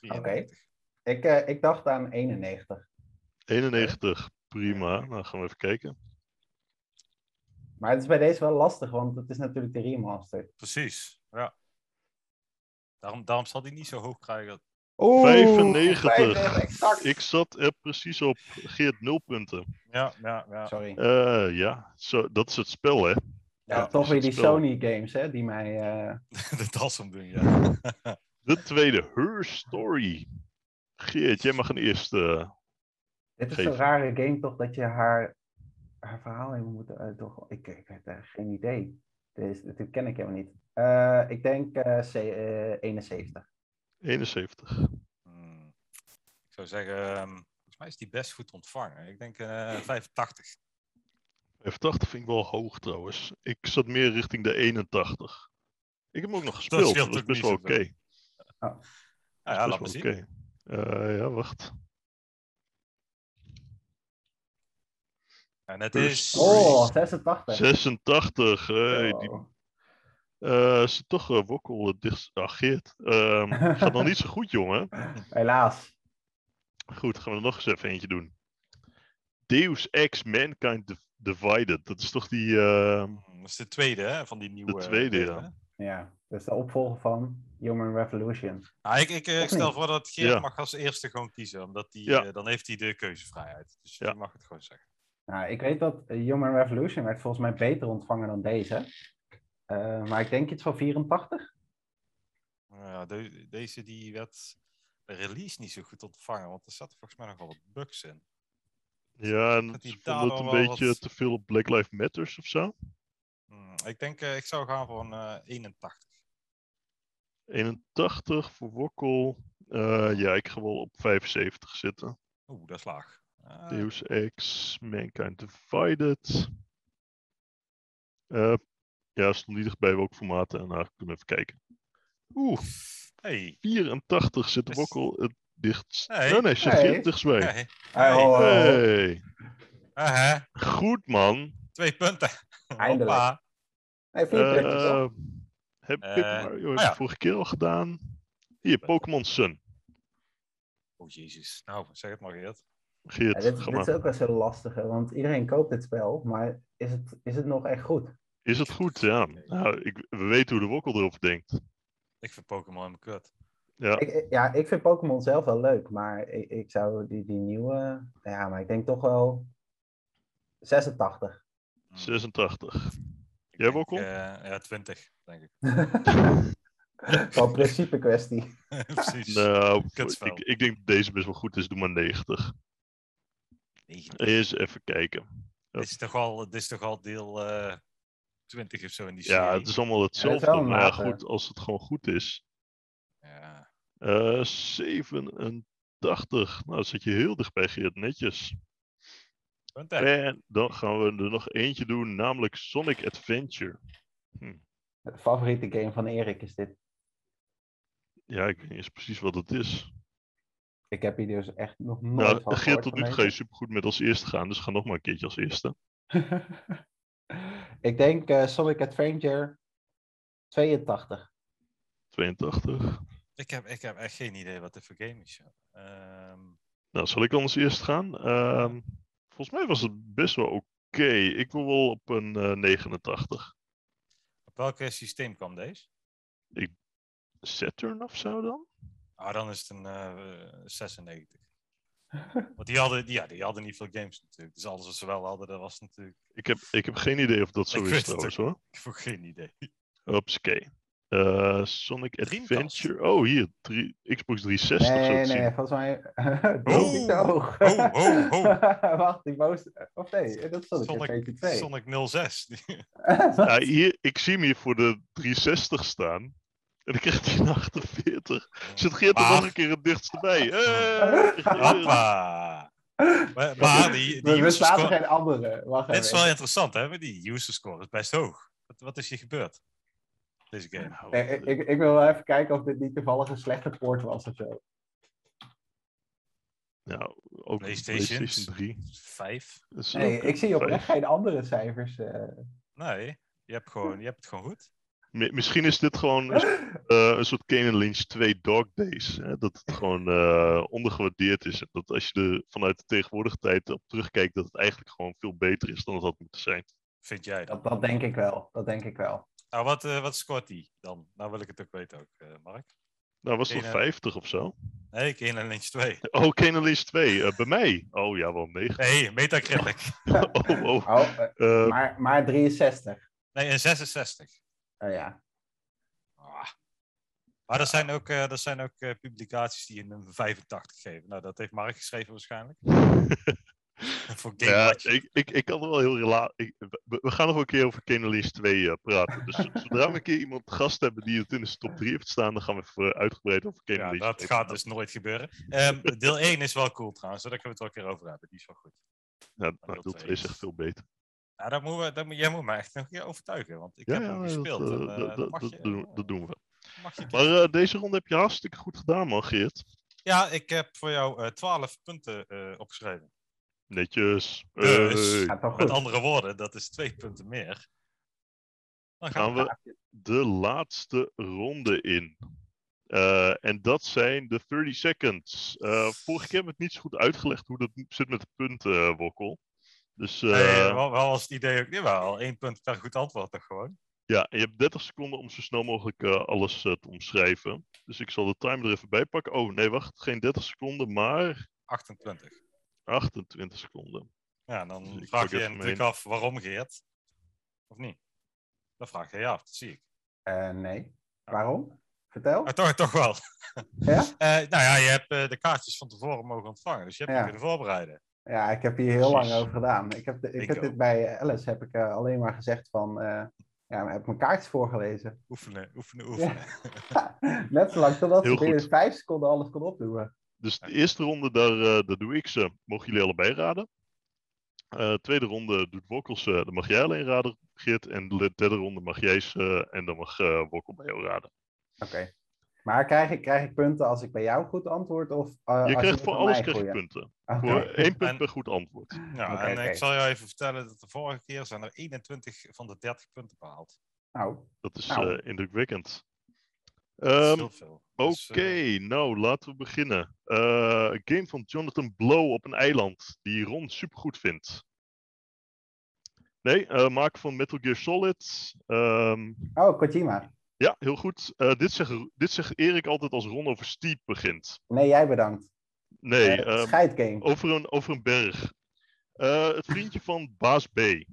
Speaker 3: 93.
Speaker 4: Ik, eh, ik dacht aan 91.
Speaker 2: 91, prima. Nou, gaan we even kijken.
Speaker 4: Maar het is bij deze wel lastig, want het is natuurlijk de remaster.
Speaker 3: Precies, ja. Daarom, daarom zal hij niet zo hoog krijgen.
Speaker 2: 95.
Speaker 4: 95, exact.
Speaker 2: Ik zat er precies op. Geert, 0 punten.
Speaker 3: Ja, ja, ja.
Speaker 4: Sorry.
Speaker 2: Eh, ja, zo, dat is het spel, hè?
Speaker 4: ja,
Speaker 3: ja,
Speaker 4: toch weer die
Speaker 2: spel.
Speaker 4: Sony games, hè, die mij... eh,
Speaker 3: De tas om doen, ja.
Speaker 2: De tweede, Her Story. Geert, jij mag een eerste.
Speaker 4: Dit is zo'n
Speaker 2: Geven.
Speaker 4: rare game toch dat je haar, haar verhaal even moet uitdoen. Ik, ik heb daar geen idee. Dus, dit ken ik helemaal niet. Eh, ik denk eh, C, eh, 71.
Speaker 2: eh, 71.
Speaker 3: Hmm. Ik zou zeggen, ehm, volgens mij is die best goed ontvangen. Ik denk eh 85.
Speaker 2: 85 vind ik wel hoog trouwens. Ik zat meer richting de 81. Ik heb hem ook nog gespeeld.
Speaker 3: scheelt
Speaker 2: dat is
Speaker 3: ook
Speaker 2: best
Speaker 3: niet
Speaker 2: wel oké.
Speaker 3: zoveel.
Speaker 2: Dat
Speaker 3: Nou
Speaker 2: is
Speaker 3: ja,
Speaker 2: best
Speaker 3: laat me zien.
Speaker 2: wel oké. Eh, ja, wacht.
Speaker 3: En het
Speaker 2: Dus-
Speaker 3: is...
Speaker 4: Oh, 86.
Speaker 2: 86. Hey,
Speaker 4: Wow.
Speaker 2: die, eh, is toch eh, Wokkel het dichtst. Ah, Geert. Ehm, gaat nog niet zo goed, jongen.
Speaker 4: Helaas.
Speaker 2: Goed, gaan we er nog eens even eentje doen. Deus Ex Mankind Div- Divided. Dat is toch die. ehm,
Speaker 3: Hmm, Dat is de tweede hè, van die nieuwe.
Speaker 2: tweede,
Speaker 3: eh,
Speaker 2: ja.
Speaker 4: Ja, dat is de opvolger van Human Revolution.
Speaker 3: Nou, ik, ik, eh, ik stel
Speaker 4: niet?
Speaker 3: voor dat Geert
Speaker 2: Ja.
Speaker 3: mag als eerste gewoon kiezen. Omdat die,
Speaker 2: Ja.
Speaker 3: eh, dan heeft hij de keuzevrijheid. Dus
Speaker 2: Ja.
Speaker 3: die mag het gewoon zeggen.
Speaker 4: Nou, ik weet dat eh, Human Revolution werd volgens mij beter ontvangen dan deze. Eh, maar ik denk iets van 84.
Speaker 3: Nou Ja, de- deze die werd bij release niet zo goed ontvangen. Want er zaten volgens mij nogal wat bugs in.
Speaker 2: ja, en
Speaker 3: Dus dat die
Speaker 2: ze
Speaker 3: daar
Speaker 2: vonden het
Speaker 3: al
Speaker 2: een
Speaker 3: wel
Speaker 2: beetje
Speaker 3: wat-
Speaker 2: te veel op Black Lives Matters of zo.
Speaker 3: Hmm, ik denk, eh, ik zou gaan voor een eh, 81.
Speaker 2: 81 voor Wokkel. Eh, ja, ik ga wel op 75 zitten.
Speaker 3: Oeh, dat is laag. Ah,
Speaker 2: Deus Ex, Mankind Divided. Eh, ja, stond niet echt bij welk formaat. En nou, kunnen we even kijken. Oeh,
Speaker 3: Hey.
Speaker 2: 84 zit
Speaker 3: Is-
Speaker 2: Wokkel het dichtst.
Speaker 3: Nee.
Speaker 2: Nee, nee, zit
Speaker 4: Nee.
Speaker 2: het dichtst bij.
Speaker 3: Hey.
Speaker 4: Ah,
Speaker 3: Hey.
Speaker 4: oh,
Speaker 2: Hey,
Speaker 3: Ah, hè.
Speaker 2: goed man.
Speaker 3: Twee punten.
Speaker 4: Eindelijk.
Speaker 3: Hoppa.
Speaker 4: Nee, vier punten, toch?
Speaker 2: Eh, heb ik
Speaker 3: Eh,
Speaker 2: Mario heb
Speaker 3: ah ja. Eh.
Speaker 2: ik vorige keer al gedaan. Hier, Pokémon Sun.
Speaker 3: Oh, jezus. Nou, zeg het maar, Geert.
Speaker 2: Geert,
Speaker 4: Ja, dit,
Speaker 2: ga
Speaker 4: dit is
Speaker 2: maar.
Speaker 4: ook wel zo lastig, hè, want iedereen koopt dit spel, maar is het, is het nog echt goed?
Speaker 2: Is het goed? Ja. Nou, ik, we weten hoe de Wokkel erover denkt.
Speaker 3: Ik vind Pokémon helemaal kut.
Speaker 2: Ja.
Speaker 4: Ik, ik- ja, ik vind Pokémon zelf wel leuk, maar ik, ik zou die, die nieuwe, nou ja, maar ik denk toch wel 86.
Speaker 3: Hmm.
Speaker 2: 86.
Speaker 3: Ik
Speaker 2: Jij,
Speaker 3: denk,
Speaker 2: Wokkel?
Speaker 3: eh, ja, 20, denk ik.
Speaker 4: Van principe kwestie.
Speaker 3: Precies.
Speaker 2: Nou,
Speaker 3: Kutspel.
Speaker 2: ik, ik denk dat deze best wel goed is. Doe maar 90.
Speaker 3: 19.
Speaker 2: Eens even kijken.
Speaker 3: Dit is toch al, dit is toch al deel eh 20 of zo in die serie.
Speaker 2: Ja, dus- het is allemaal hetzelfde.
Speaker 4: wel een
Speaker 2: maar ja,
Speaker 4: maker.
Speaker 2: goed, als het gewoon goed is.
Speaker 3: Ja.
Speaker 2: Eh 87. Nou, dan zit je heel dichtbij, Geert. Netjes.
Speaker 3: Punten.
Speaker 2: En dan gaan we er nog eentje doen, namelijk Sonic Adventure.
Speaker 4: De favoriete game van Erik is dit.
Speaker 2: Ja, ik weet niet eens precies wat het is.
Speaker 4: Ik heb hier dus echt nog nooit
Speaker 2: Nou,
Speaker 4: van
Speaker 2: Geert, tot nu toe
Speaker 4: gehoord
Speaker 2: ga je
Speaker 4: van
Speaker 2: supergoed met als eerste gaan. Dus ga nog maar een keertje als eerste.
Speaker 4: deze. ik denk eh, Sonic Adventure 82.
Speaker 2: 82.
Speaker 3: Ik, heb, ik heb echt geen idee wat dit voor game is. joh. Ehm,
Speaker 2: Nou, zal ik dan als eerst gaan? Ehm, volgens mij was het best wel oké. Ik wil wel op een eh, 89.
Speaker 3: op welk eh, systeem kwam deze?
Speaker 2: Saturn of zo dan?
Speaker 3: Ah, dan is het een eh, 96. Want die hadden, die- ja, die hadden niet veel games natuurlijk. Dus alles wat ze wel hadden, dat was natuurlijk...
Speaker 2: Ik heb, ik heb geen idee of dat zo
Speaker 3: Ik
Speaker 2: is
Speaker 3: weet het
Speaker 2: trouwens hoor.
Speaker 3: Ik heb ook geen idee.
Speaker 2: Hupsakee. Eh Sonic
Speaker 3: Dreamcast.
Speaker 2: Adventure. Oh, hier. drie- Xbox 360
Speaker 4: Nee,
Speaker 2: zo
Speaker 4: nee,
Speaker 2: te Dus zien.
Speaker 4: nee, volgens mij. Donkey Dog.
Speaker 3: ho, ho, ho.
Speaker 4: Wacht, die boos. Of nee, dat stond ik in
Speaker 3: Sonic,
Speaker 4: Adventure
Speaker 3: Sonic
Speaker 4: 2.
Speaker 3: 06.
Speaker 2: Ja, hier, ik zie hem hier voor de 360 staan. En dan krijgt hij een 48. Zit Geert er nog
Speaker 3: Maar-
Speaker 2: een keer het dichtst bij? Hey, Geert.
Speaker 3: Hoppa! Maar, maar Ah, die, die
Speaker 4: we
Speaker 3: user
Speaker 4: bestaan
Speaker 3: score-
Speaker 4: geen andere. Wacht
Speaker 3: Dit is
Speaker 4: even.
Speaker 3: wel interessant, hè? maar Die user score is best hoog. Wat, wat is hier gebeurd? Deze game.
Speaker 4: Eh, eh, Ik, ik wil wel even kijken of dit niet toevallig een slechte poort was of zo.
Speaker 2: Nou, ook
Speaker 3: PlayStations.
Speaker 2: PlayStation 3.
Speaker 3: Vijf?
Speaker 2: Dat is
Speaker 4: Nee,
Speaker 2: ook
Speaker 4: ik
Speaker 2: een
Speaker 4: zie
Speaker 2: vijf.
Speaker 4: oprecht geen andere cijfers. eh.
Speaker 3: Nee, je hebt, gewoon, je hebt het gewoon goed.
Speaker 2: Mi- Misschien is dit gewoon een, soort- eh, een soort Kane Lynch 2 Dog Days. Hè? Dat het gewoon eh, ondergewaardeerd is. En dat als je er vanuit de tegenwoordige tijd op terugkijkt, dat het eigenlijk gewoon veel beter is dan het had moeten zijn.
Speaker 3: Vind jij dan?
Speaker 4: Dat, dat denk ik wel. Dat denk ik wel.
Speaker 3: Nou, wat, eh, wat scoort die dan? Nou wil ik het ook weten ook, eh, Mark.
Speaker 2: Nou, was het
Speaker 3: Kane-
Speaker 2: toch 50 of zo?
Speaker 3: Nee, ik 1 en Lynch 2.
Speaker 2: Oh, Kane Lynch 2. eh, bij mij? Oh ja, wel 9.
Speaker 3: Nee, Metacritic.
Speaker 2: Oh, oh.
Speaker 4: Oh, eh,
Speaker 2: Eh,
Speaker 4: maar, maar 63.
Speaker 3: Nee, een 66.
Speaker 4: Oh ja.
Speaker 3: Ah, Maar er zijn ook, eh, er zijn ook eh, publicaties die een 85 geven. Nou, dat heeft Mark geschreven waarschijnlijk. Voor Game
Speaker 2: Ja,
Speaker 3: Watch.
Speaker 2: ik, ik, ik kan er wel heel rela. ik- we, we gaan nog wel een keer over Kennelis 2 eh, praten. Dus zo- zodra we een keer iemand te gast hebben die het in de top 3 heeft staan, dan gaan we even eh, uitgebreid over
Speaker 3: Ja,
Speaker 2: Kennelis
Speaker 3: dat gaat dus nooit gebeuren. Ehm, deel 1 is wel cool trouwens, daar kunnen we het wel een keer over hebben. Die is wel goed.
Speaker 2: Ja,
Speaker 3: deel
Speaker 2: nou, deel
Speaker 3: twee
Speaker 2: 2 is
Speaker 3: is-
Speaker 2: echt veel beter.
Speaker 3: Nou, daar moeten we, daar moet, jij moet me echt nog een keer overtuigen, want ik
Speaker 2: Ja,
Speaker 3: heb
Speaker 2: ja,
Speaker 3: hem
Speaker 2: dat,
Speaker 3: gespeeld.
Speaker 2: eh,
Speaker 3: en, eh,
Speaker 2: dat-
Speaker 3: dat
Speaker 2: dat-
Speaker 3: mag
Speaker 2: dat
Speaker 3: je-
Speaker 2: doen- dat doen we.
Speaker 3: mag je
Speaker 2: Maar eh, deze ronde heb je hartstikke goed gedaan, man, Geert.
Speaker 3: Ja, ik heb voor jou eh 12 punten eh, opgeschreven.
Speaker 2: Netjes.
Speaker 3: Dus-
Speaker 2: Hey.
Speaker 4: Gaat wel
Speaker 3: Met
Speaker 4: goed.
Speaker 3: andere woorden, dat is twee punten meer. Dan
Speaker 2: Gaan
Speaker 3: gaan
Speaker 2: we de laatste ronde in. Eh, en dat zijn de 30 seconds. Eh, vorige keer hebben we het niet zo goed uitgelegd hoe dat zit met de punten, eh, Wokkel. Dus eh,
Speaker 3: Eh, wel, wel als het idee ook. Jawel, één punt per goed antwoord toch gewoon.
Speaker 2: ja, en je hebt 30 seconden om zo snel mogelijk eh, alles eh, te omschrijven. Dus ik zal de timer er even bij pakken. Oh nee, wacht, geen 30 seconden, maar
Speaker 3: 28.
Speaker 2: 28 seconden.
Speaker 3: Ja, en
Speaker 2: Dus
Speaker 3: dan
Speaker 2: ik
Speaker 3: vraag
Speaker 2: pak
Speaker 3: je je
Speaker 2: even
Speaker 3: natuurlijk af waarom Geert. Of niet? Dat vraag je je af, dat zie ik.
Speaker 4: Eh, nee. Waarom? Vertel.
Speaker 3: Maar Ah, toch, toch wel.
Speaker 4: Ja?
Speaker 3: Eh, nou ja, je hebt eh, de kaartjes van tevoren mogen ontvangen, dus je hebt
Speaker 4: Ja.
Speaker 3: je kunnen voorbereiden.
Speaker 4: Ja, ik heb hier heel
Speaker 2: Precies.
Speaker 4: lang over gedaan. Ik heb, de- ik
Speaker 3: Ik
Speaker 4: heb dit
Speaker 3: ook.
Speaker 4: bij Alice heb ik eh, alleen maar gezegd van, eh, ja, maar heb mijn kaartjes voorgelezen.
Speaker 3: Oefenen, oefenen, oefenen.
Speaker 4: Net zolang totdat
Speaker 2: Heel
Speaker 4: ze binnen
Speaker 2: goed.
Speaker 4: vijf seconden alles kon opdoemen.
Speaker 2: Dus de eerste ronde, daar, eh, daar doe ik ze. Mogen jullie allebei raden. Eh, tweede ronde doet Wokkel ze. Dan mag jij alleen raden, Geert. En de derde ronde mag jij ze. En dan mag eh Wokkel bij jou raden.
Speaker 4: Oké. Maar krijg ik, krijg ik punten als ik bij jou goed antwoord? Of, eh,
Speaker 2: je
Speaker 4: als
Speaker 2: krijgt
Speaker 4: het
Speaker 2: voor
Speaker 4: aan
Speaker 2: alles
Speaker 4: mij
Speaker 2: krijg je
Speaker 4: goeie?
Speaker 2: punten.
Speaker 4: Oké.
Speaker 2: Voor één punt
Speaker 3: En-
Speaker 2: per goed antwoord.
Speaker 3: Ja,
Speaker 4: Oké,
Speaker 3: Nou, en
Speaker 4: oké.
Speaker 3: ik zal jou even vertellen dat de vorige keer zijn er 21 van de 30 punten behaald.
Speaker 4: Nou,
Speaker 2: Dat is
Speaker 4: Nou.
Speaker 2: eh, indrukwekkend.
Speaker 3: Dat is
Speaker 2: Ehm,
Speaker 3: heel veel.
Speaker 2: Oké,
Speaker 3: Dus, eh,
Speaker 2: nou laten we beginnen. Eh, een game van Jonathan Blow op een eiland die Ron supergoed vindt. Nee, eh maak van Metal Gear Solid. Ehm,
Speaker 4: Oh, Kojima.
Speaker 2: Ja, heel goed. Eh, dit, zegt, dit zegt Erik altijd als Ron over Steep begint.
Speaker 4: Nee, jij bedankt.
Speaker 2: Nee,
Speaker 4: Eh,
Speaker 2: ehm,
Speaker 4: scheidgame.
Speaker 2: over, een, over een berg. Eh, het vriendje van Baas B.
Speaker 4: Eh,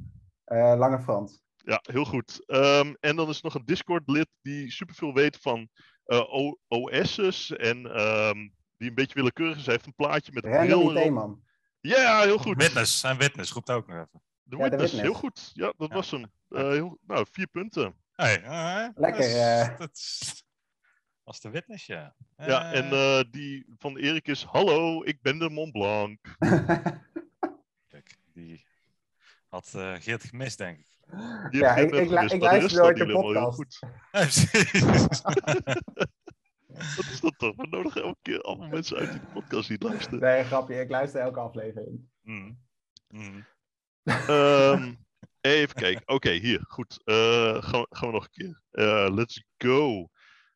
Speaker 4: Lange Frans.
Speaker 2: Ja, heel goed. Ehm, en dan is er nog een Discord-lid die superveel weet van eh, O- OS's en ehm, die een beetje willekeurig is. Hij heeft een plaatje met een bril
Speaker 4: Random
Speaker 2: erop.
Speaker 4: IT-man.
Speaker 2: Ja, heel goed.
Speaker 3: Witness, en Witness, roept ook nog even.
Speaker 2: De
Speaker 4: Ja, de
Speaker 2: Witness,
Speaker 4: Witness.
Speaker 2: heel goed. Ja, dat
Speaker 3: Ja.
Speaker 2: was hem. Eh, heel, nou, vier punten.
Speaker 3: Hey, eh,
Speaker 4: Lekker,
Speaker 3: dat is-
Speaker 4: eh.
Speaker 3: dat is- Als de Witness, ja.
Speaker 2: Ja,
Speaker 3: Eh,
Speaker 2: en eh, die van Erik is... Hallo, ik ben de Mont Blanc.
Speaker 3: Kijk, die had eh, Geert gemist, denk ik.
Speaker 2: Die
Speaker 4: Ja,
Speaker 2: heb
Speaker 4: ik-
Speaker 2: net
Speaker 4: ik lu-
Speaker 2: gemist,
Speaker 4: ik
Speaker 2: maar de
Speaker 4: luister
Speaker 2: rest
Speaker 4: nooit
Speaker 2: hadden
Speaker 4: de
Speaker 2: jullie allemaal heel
Speaker 4: podcast.
Speaker 2: goed.
Speaker 3: Nee, precies.
Speaker 2: Wat is dat toch? We nodigen elke keer allemaal mensen uit die de podcast niet luisteren.
Speaker 4: nee, grapje. Ik luister elke aflevering.
Speaker 3: Mm. Mm.
Speaker 2: Ehm, even kijken. Oké, hier. Goed. Eh, gaan, we- gaan we nog een keer. Eh, let's go.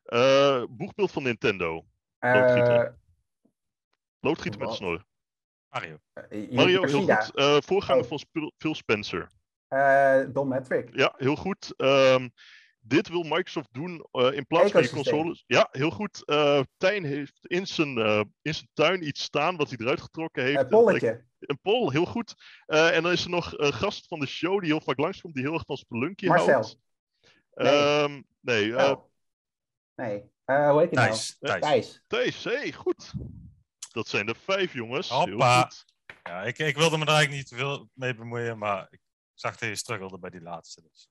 Speaker 2: Eh boegbeeld van Nintendo. Loodgieter. Loodgieter met de
Speaker 4: Wat?
Speaker 2: snor.
Speaker 3: Mario.
Speaker 2: Mario, heel goed. Eh,
Speaker 4: Oh.
Speaker 2: voorganger van Spil- Phil Spencer.
Speaker 4: Don Matrick.
Speaker 2: Ja, heel goed. Ehm, dit wil Microsoft doen eh, in plaats van je
Speaker 4: Ecosysteem.
Speaker 2: consoles. Ja, heel goed. Eh, Tijn heeft in zijn, eh, in zijn tuin iets staan wat hij eruit getrokken heeft.
Speaker 4: Eh,
Speaker 2: en trekt-
Speaker 4: polletje.
Speaker 2: Een Paul, heel goed. Eh, en dan is er nog een gast van de show die heel vaak langskomt, die heel erg van Spelunky
Speaker 4: Marcel.
Speaker 2: houdt. Ehm, nee, eh,
Speaker 4: Oh. Nee. Eh, hoe heet hij
Speaker 3: Thijs.
Speaker 4: nou?
Speaker 3: Thijs.
Speaker 4: Thijs.
Speaker 2: Thijs, hey, goed. Dat zijn er vijf, jongens. Heel
Speaker 3: Hoppa.
Speaker 2: goed.
Speaker 3: Ja, ik, ik wilde me daar eigenlijk niet te veel mee bemoeien, maar ik zag dat je struggelde bij die laatste. Dus.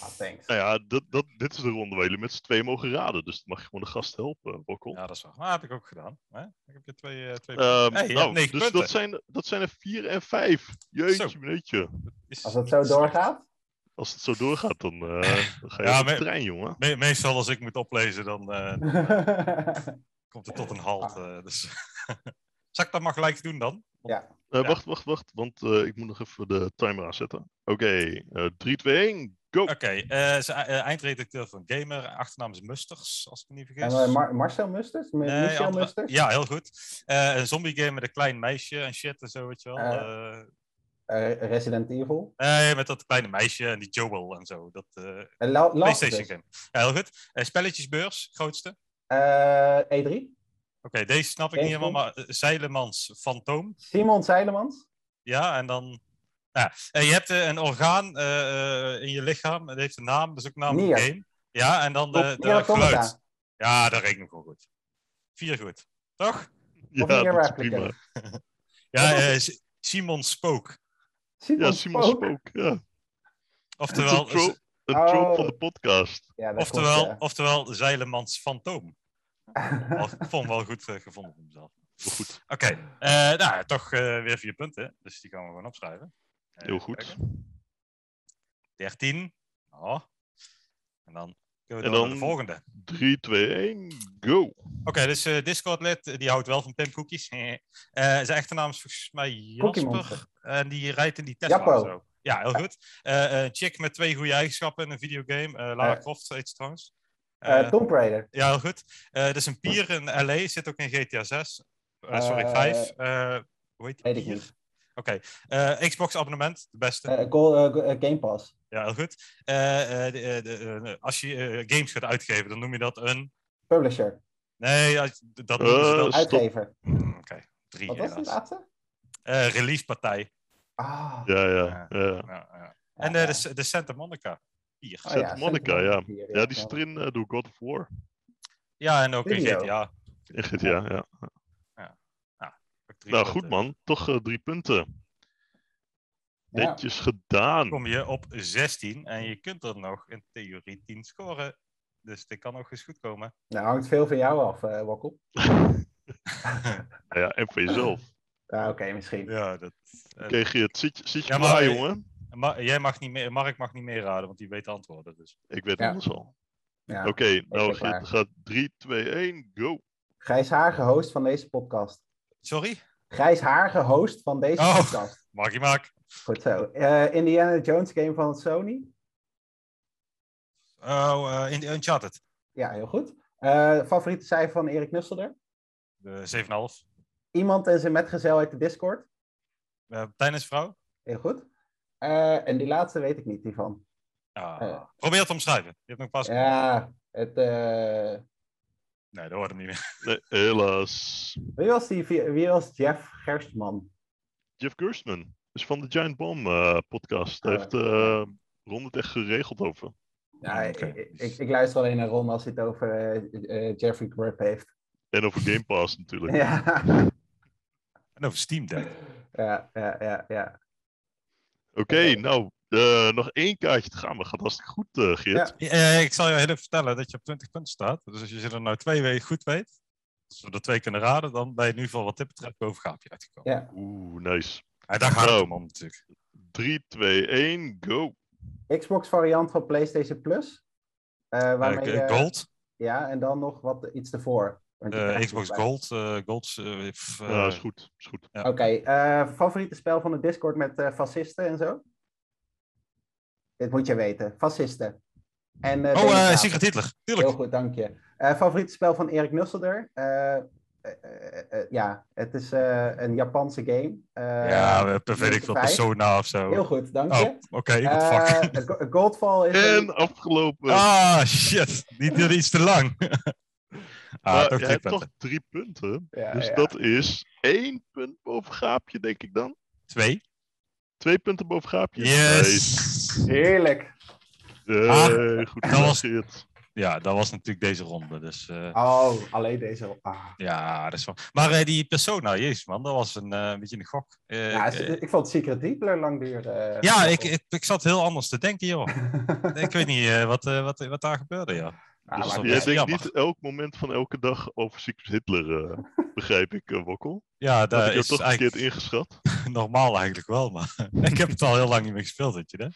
Speaker 4: Ah, thanks.
Speaker 2: Nou ja, dat, dat, dit is de ronde waar jullie met z'n twee mogen raden. Dus dan mag je gewoon de gast helpen, eh, Wokkel.
Speaker 3: Ja, dat is waar. Maar dat heb ik ook gedaan. Hè? Ik heb je twee, eh, twee
Speaker 2: Ehm,
Speaker 3: Hey, je
Speaker 2: nou,
Speaker 3: hebt negen
Speaker 2: dus
Speaker 3: punten.
Speaker 2: dat zijn, dat zijn er vier en vijf. Jeetje,
Speaker 3: Zo.
Speaker 2: meneetje.
Speaker 3: Is-
Speaker 4: Als dat zo doorgaat.
Speaker 2: Als het zo doorgaat, dan, eh, dan ga je
Speaker 3: Ja,
Speaker 2: op de
Speaker 3: maar-
Speaker 2: trein, jongen.
Speaker 3: Me- meestal als ik moet oplezen, dan eh, komt het tot een halt.
Speaker 4: Ah.
Speaker 3: eh, dus. Zal ik dat maar gelijk doen dan?
Speaker 2: Eh,
Speaker 3: Ja.
Speaker 2: Wacht, wacht, wacht. Want eh, ik moet nog even de timer aanzetten. Oké, eh 3, 2, 1, go.
Speaker 3: Oké, eh, ze- eh, eindredacteur van Gamer, achternaam is Musters, als ik me niet vergis.
Speaker 4: en, eh, Mar- Marcel Musters? M-
Speaker 3: Nee,
Speaker 4: Michel
Speaker 3: andere-
Speaker 4: Musters?
Speaker 3: Ja, heel goed. Eh, een zombie game met een klein meisje en shit en zo, weet je wel.
Speaker 4: Eh.
Speaker 3: Eh,
Speaker 4: Eh, Resident Evil?
Speaker 3: nee, met dat kleine meisje en die Joel en zo. Dat eh,
Speaker 4: Eh, La- Last
Speaker 3: PlayStation
Speaker 4: dus.
Speaker 3: game. Ja, heel goed. Eh, spelletjesbeurs, grootste.
Speaker 4: Eh, E3?
Speaker 3: Oké, deze snap ik niet helemaal, maar eh, Zeilemans Fantoom.
Speaker 4: Simon Zeilemans?
Speaker 3: Ja, en dan... Ja. eh, je hebt eh, een orgaan eh, eh, in je lichaam, dat heeft een naam, dat is ook een naam van
Speaker 4: Nier.
Speaker 3: de game. Ja, en dan de,
Speaker 4: Top-
Speaker 3: de
Speaker 4: Nier Automata.
Speaker 3: geluid. Ja, dat reken ik gewoon goed. Vier goed. Toch?
Speaker 2: Ja,
Speaker 4: een
Speaker 2: dat is
Speaker 4: replica.
Speaker 2: prima.
Speaker 3: Ja, eh, Si- Simon Spook.
Speaker 4: Simon,
Speaker 2: Ja, Simon
Speaker 4: Spook.
Speaker 2: Spook. Ja.
Speaker 3: Oftewel,
Speaker 2: Een trope, een
Speaker 4: Oh.
Speaker 2: trope van de podcast.
Speaker 4: Ja, dat
Speaker 3: oftewel,
Speaker 4: klopt,
Speaker 3: oftewel Zeilemans Fantoom.
Speaker 4: ja.
Speaker 3: Wel- Ik vond hem wel goed eh, gevonden van mezelf.
Speaker 2: Heel goed.
Speaker 3: Oké, eh, nou, toch eh, weer vier punten. Dus die gaan we gewoon opschrijven. Eh,
Speaker 2: Heel
Speaker 3: even
Speaker 2: goed.
Speaker 3: kijken. 13. Oh. En dan kunnen we
Speaker 2: En
Speaker 3: door naar de
Speaker 2: dan-
Speaker 3: volgende.
Speaker 2: 3, 2, 1, go.
Speaker 3: Oké, dus eh Discord-lid, eh, die houdt wel van Pimkoekjes. Eh zijn echte naam is volgens mij
Speaker 4: Cookie Monster.
Speaker 3: Jasper. En die rijdt in die Tesla
Speaker 4: Jappo.
Speaker 3: of zo. Ja, heel goed. Eh, een chick met twee goede eigenschappen in een videogame. Eh, Lara
Speaker 4: Eh.
Speaker 3: Croft heet ze trouwens.
Speaker 4: Eh,
Speaker 3: Eh,
Speaker 4: Tomb Raider.
Speaker 3: ja, heel goed. Eh dat is een pier in LA, zit ook in GTA 6. Eh, sorry,
Speaker 4: Eh,
Speaker 3: 5. Eh hoe heet die
Speaker 4: weet ik
Speaker 3: pier?
Speaker 4: niet.
Speaker 3: Oké, eh, Xbox-abonnement, de beste.
Speaker 4: Eh, Go- eh, Go- eh, Game Pass.
Speaker 3: ja, heel goed. Eh, eh, de- de- de- als je eh, games gaat uitgeven, dan noem je dat een...
Speaker 4: Publisher.
Speaker 3: Nee, als- dat noemen ze
Speaker 2: Eh,
Speaker 3: dan...
Speaker 2: Stop.
Speaker 4: Uitgever.
Speaker 3: Mm, Oké, drie
Speaker 4: Wat was de
Speaker 3: helaas.
Speaker 4: laatste?
Speaker 3: Eh, Reliefpartij.
Speaker 4: Ah.
Speaker 2: Ja, ja. ja.
Speaker 3: Ja, ja.
Speaker 4: Ja,
Speaker 3: En
Speaker 4: ja.
Speaker 3: eh, de, S- de Santa Monica. Hier.
Speaker 4: Oh,
Speaker 2: Santa Monica,
Speaker 4: Santa
Speaker 2: ja.
Speaker 4: hier,
Speaker 2: Ja, die zit
Speaker 4: klopt.
Speaker 2: erin eh, door God of War.
Speaker 3: Ja, en ook in
Speaker 4: Video.
Speaker 3: GTA.
Speaker 2: In GTA, ja.
Speaker 3: Ook drie
Speaker 2: Nou,
Speaker 3: punten.
Speaker 2: goed man. Toch eh, drie punten.
Speaker 4: Ja.
Speaker 2: Netjes gedaan.
Speaker 3: Kom je op 16 en je kunt er nog in theorie 10 scoren. Dus dit kan nog eens goed komen.
Speaker 4: Nou, hangt veel van jou af, eh Wokkel.
Speaker 2: Nou ja, en voor jezelf.
Speaker 4: Ah, Oké, misschien.
Speaker 3: Ja, dat, eh,
Speaker 2: Kreeg je het zitje, zitje
Speaker 3: Ja,
Speaker 2: maar,
Speaker 3: maar-
Speaker 2: jongen?
Speaker 3: Ma- jij mag niet meer, Mark mag niet meer raden, want die weet de antwoorden. Dus.
Speaker 2: Ik weet het
Speaker 4: Ja.
Speaker 2: anders al.
Speaker 4: Ja.
Speaker 2: Oké, nou
Speaker 4: ook waar.
Speaker 2: gaat, gaat 3, 2, 1, go.
Speaker 4: Grijs Hagen, host van deze podcast.
Speaker 3: Sorry?
Speaker 4: Grijs Hagen, host van deze
Speaker 3: Oh.
Speaker 4: podcast.
Speaker 3: Mag je Mark?
Speaker 4: Goed zo. Eh, Indiana Jones game van Sony.
Speaker 3: Oh, eh, in Uncharted.
Speaker 4: Ja, heel goed. Eh, favoriete cijfer van Erik Nusselder.
Speaker 3: De 7,5.
Speaker 4: Iemand en zijn metgezel uit de Discord.
Speaker 3: Eh Tennisvrouw.
Speaker 4: Heel goed. Eh, en die laatste weet ik niet, die van.
Speaker 3: Ah.
Speaker 4: Eh.
Speaker 3: Probeer het te omschrijven. Je hebt nog pas.
Speaker 4: Ja, het... eh,
Speaker 3: Nee, dat hoort hem niet meer.
Speaker 2: Nee, helaas.
Speaker 4: Wie was, die, wie was Jeff Gerstman?
Speaker 2: Jeff Gerstman is van de Giant Bomb eh, podcast. Hij
Speaker 4: Ah.
Speaker 2: heeft eh Ron het echt geregeld over.
Speaker 4: Ja,
Speaker 3: Oké.
Speaker 4: ik, ik, ik luister alleen naar Ron als hij het over eh, eh, Jeffrey Grubb heeft.
Speaker 2: En over Game Pass natuurlijk.
Speaker 4: Ja,
Speaker 3: En over Steam Deck.
Speaker 4: ja, ja, ja. ja.
Speaker 2: Oké, nou, eh, nog één kaartje te gaan. Dat gaat hartstikke goed, eh, Geert.
Speaker 3: Eh, ik zal je heel even vertellen dat je op 20 punten staat. Dus als je ze er nou twee weet, goed weet, als we er twee kunnen raden, dan ben je nu voor wat dit betreft boven Gaapje uitgekomen.
Speaker 4: Ja.
Speaker 2: Oeh, nice.
Speaker 3: En daar gaat
Speaker 2: Oh.
Speaker 3: het om, natuurlijk.
Speaker 2: 3, 2, 1, go.
Speaker 4: Xbox variant van PlayStation Plus. eh, waarmee
Speaker 3: Eh,
Speaker 4: je-
Speaker 3: Gold,
Speaker 4: Ja, en dan nog wat iets ervoor. Want die
Speaker 3: eh,
Speaker 4: krijg je
Speaker 3: Xbox
Speaker 4: bij.
Speaker 3: Gold, eh, Gold. eh, f-
Speaker 2: Ja,
Speaker 3: eh,
Speaker 2: is goed. Is goed.
Speaker 4: Oké, eh, favoriete spel van de Discord met eh, fascisten en zo? Dit moet je weten. Fascisten. En, eh,
Speaker 3: oh, eh
Speaker 4: democraten.
Speaker 3: Secret Hitler, tuurlijk.
Speaker 4: Heel goed, dank je. Eh, favoriete spel van Erik Nusselder? Eh, eh, eh, eh, ja, het is eh, een Japanse game. Eh,
Speaker 3: ja, we hebben weet ik veel,
Speaker 4: vijf.
Speaker 3: Persona of zo.
Speaker 4: Heel goed, dank
Speaker 3: oh,
Speaker 4: je.
Speaker 3: oké, what the fuck.
Speaker 4: Eh, Go- Goldfall is een-
Speaker 2: En
Speaker 4: Eh,
Speaker 2: afgelopen.
Speaker 3: Ah, shit, die duurde iets te lang. ah,
Speaker 2: maar
Speaker 3: toch
Speaker 2: je
Speaker 3: drie
Speaker 2: hebt
Speaker 3: punten.
Speaker 2: toch drie punten.
Speaker 4: Ja,
Speaker 2: dus
Speaker 4: ja.
Speaker 2: dat is één punt boven Gaapje, denk ik dan.
Speaker 3: Twee.
Speaker 2: Twee punten boven Gaapje. Nice.
Speaker 3: Yes.
Speaker 4: Heerlijk.
Speaker 2: Eh,
Speaker 3: Ah,
Speaker 2: goed
Speaker 3: dat
Speaker 2: gedaan,
Speaker 3: was-
Speaker 2: Geert.
Speaker 3: Ja, dat was natuurlijk deze ronde, dus... eh,
Speaker 4: Oh, alleen deze. Ah.
Speaker 3: Ja, dat is wel. Maar eh, die persona, jezus man, dat was een eh, beetje een gok. Eh,
Speaker 4: Ja,
Speaker 3: eh,
Speaker 4: ik vond Secret Deepler lang duren. eh.
Speaker 3: ja, ik, ik, ik zat heel anders te denken, joh. ik weet niet eh, wat, eh, wat, wat daar gebeurde, ja.
Speaker 4: Ah,
Speaker 3: Dus
Speaker 4: maar
Speaker 3: dat
Speaker 4: het
Speaker 2: Jij
Speaker 3: is
Speaker 4: is-
Speaker 2: denkt
Speaker 3: jammer.
Speaker 2: niet elk moment van elke dag over Secret Hitler, eh, begrijp ik, eh, Wokkel.
Speaker 3: Ja,
Speaker 2: Dat
Speaker 3: dat
Speaker 2: ik heb
Speaker 3: is
Speaker 2: toch verkeerd
Speaker 3: eigenlijk
Speaker 2: ingeschat.
Speaker 3: normaal eigenlijk wel, maar ik heb het al heel lang niet meer gespeeld, weet je hè?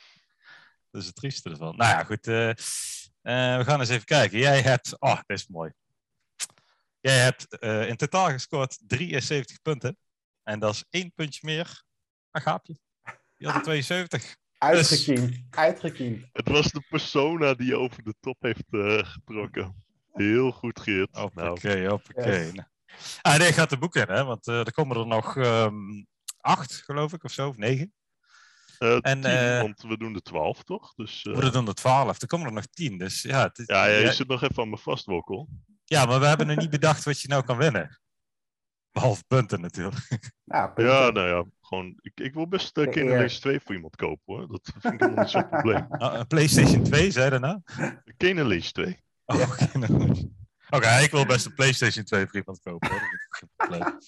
Speaker 3: Dat is het trieste ervan. Nou ja, goed. eh, eh, we gaan eens even kijken. Jij hebt... Oh, dit is mooi. Jij hebt eh, in totaal gescoord 73 punten. En dat is één puntje meer. Een gaapje. Die had er 72.
Speaker 4: Uitgekiend. Uitgekiend.
Speaker 2: Het was de persona die je over de top heeft eh, getrokken. Heel goed, Geert.
Speaker 3: Oh,
Speaker 2: nou,
Speaker 3: Hoppakee, hoppakee.
Speaker 4: Yes.
Speaker 3: Nou. Ah, nee, gaat de boek in, hè? Want eh, er komen er nog ehm, acht, geloof ik, of zo, of negen.
Speaker 2: eh,
Speaker 3: en,
Speaker 2: tien,
Speaker 3: eh,
Speaker 2: want we doen de twaalf, toch? Dus, eh,
Speaker 3: We doen er twaalf, er komen er nog tien. Dus ja, het is-
Speaker 2: ja, ja, je
Speaker 3: ja,
Speaker 2: zit nog even aan me vast, Wokkel.
Speaker 3: ja, maar we hebben nog niet bedacht wat je nou kan winnen. Behalve punten natuurlijk.
Speaker 4: Nou, punten.
Speaker 2: Ja, nou ja, gewoon. Ik, ik wil best eh,
Speaker 4: De
Speaker 2: Kingdom
Speaker 4: eer.
Speaker 2: Hearts 2 voor iemand kopen hoor. Dat vind ik helemaal niet zo'n probleem.
Speaker 3: eh, Ah, een PlayStation 2, zei je daarna?
Speaker 2: Kingdom Hearts 2.
Speaker 3: Oh, oké, nou goed. Oké, ik wil best een PlayStation 2 voor iemand kopen. Hoor. Dat vind ik geen probleem.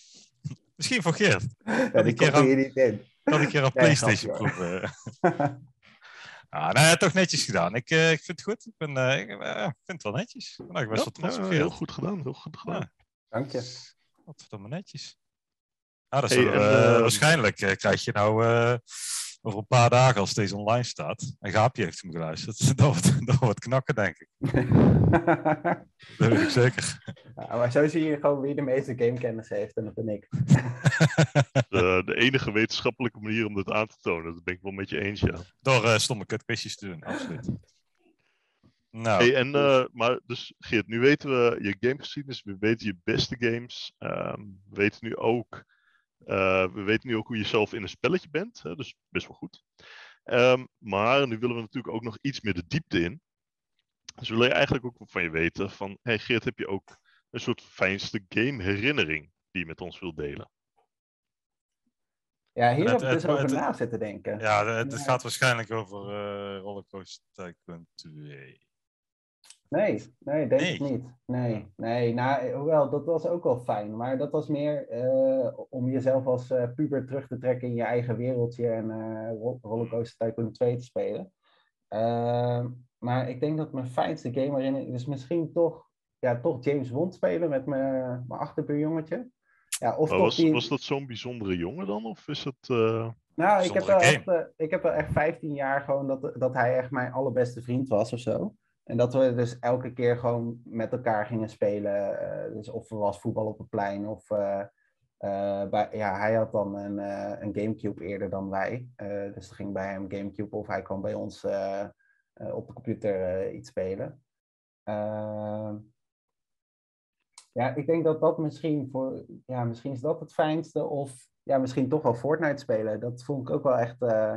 Speaker 3: Misschien voor Geert.
Speaker 4: Ja, die
Speaker 3: ik hier
Speaker 4: komt hier niet in.
Speaker 3: Kan ik hier aan
Speaker 4: Nee,
Speaker 3: PlayStation
Speaker 4: grapje,
Speaker 3: proeven. ah, nou ja, toch netjes gedaan. Ik, eh, ik vind het goed. Ik, ben, eh, ik eh, ik vind het wel netjes. Nou, ik ben best wel trots op
Speaker 2: ja,
Speaker 3: Geert.
Speaker 2: heel goed gedaan, heel goed gedaan.
Speaker 3: Ja.
Speaker 4: Dank je.
Speaker 3: Wat verdomme netjes. Ah, dat is
Speaker 2: Hey,
Speaker 3: wel,
Speaker 2: en,
Speaker 3: eh,
Speaker 2: eh,
Speaker 3: waarschijnlijk eh, krijg je nou eh, over een paar dagen, als deze online staat, en Gaapje heeft hem geluisterd, dat wordt, dat wordt knakken, denk ik. Dat weet ik zeker.
Speaker 4: Ja, maar zo zie je gewoon wie de meeste gamekennis heeft en dat ben ik.
Speaker 2: De, Eh, de enige wetenschappelijke manier om dit aan te tonen, dat ben ik wel met je eens, ja.
Speaker 3: Door eh, stomme kutquizjes te doen, absoluut. Nou,
Speaker 2: Hey, en, eh, maar dus Geert, nu weten we je gamegeschiedenis, we weten je beste games. ehm, we, weten nu ook, eh, we weten nu ook hoe je zelf in een spelletje bent, hè, dus best wel goed. Ehm, maar nu willen we natuurlijk ook nog iets meer de diepte in. Dus we willen eigenlijk ook van je weten van, hey Geert, heb je ook een soort fijnste gameherinnering die je met ons wilt delen?
Speaker 4: Ja,
Speaker 3: Het-
Speaker 4: hier heb ik
Speaker 3: het-
Speaker 4: dus over
Speaker 3: het-
Speaker 4: na zitten
Speaker 2: eh,
Speaker 4: denken.
Speaker 3: ja, het, het
Speaker 4: Ja.
Speaker 3: gaat waarschijnlijk over eh Rollercoaster Tycoon 2.
Speaker 4: Nee, nee, denk
Speaker 3: Nee.
Speaker 4: ik niet. Nee, nee, nou, hoewel, dat was ook wel fijn. Maar dat was meer eh, om jezelf als eh, puber terug te trekken in je eigen wereldje en eh, Ro- Rollercoaster Tycoon 2 te spelen. Ehm, maar ik denk dat mijn fijnste game erin is misschien toch, ja, toch James Bond spelen met mijn, mijn achterbuurjongetje. Ja, of
Speaker 2: Maar
Speaker 4: toch
Speaker 2: Oh, was,
Speaker 4: die...
Speaker 2: was dat zo'n bijzondere jongen dan? Of is het... eh,
Speaker 4: Nou, ik heb, wel
Speaker 3: Bijzondere
Speaker 4: echt, eh, ik heb wel echt 15 jaar gewoon dat, dat hij echt mijn allerbeste vriend was of zo. En dat we dus elke keer gewoon met elkaar gingen spelen. eh, dus of er was voetbal op het plein of... eh, eh, bij, ja, hij had dan een, eh, een Gamecube eerder dan wij. Eh, dus er ging bij hem Gamecube of hij kwam bij ons eh, eh, op de computer eh, iets spelen. Ehm, ja, ik denk dat dat misschien voor. Ja, misschien is dat het fijnste. Of ja, misschien toch wel Fortnite spelen. Dat vond ik ook wel echt. eh,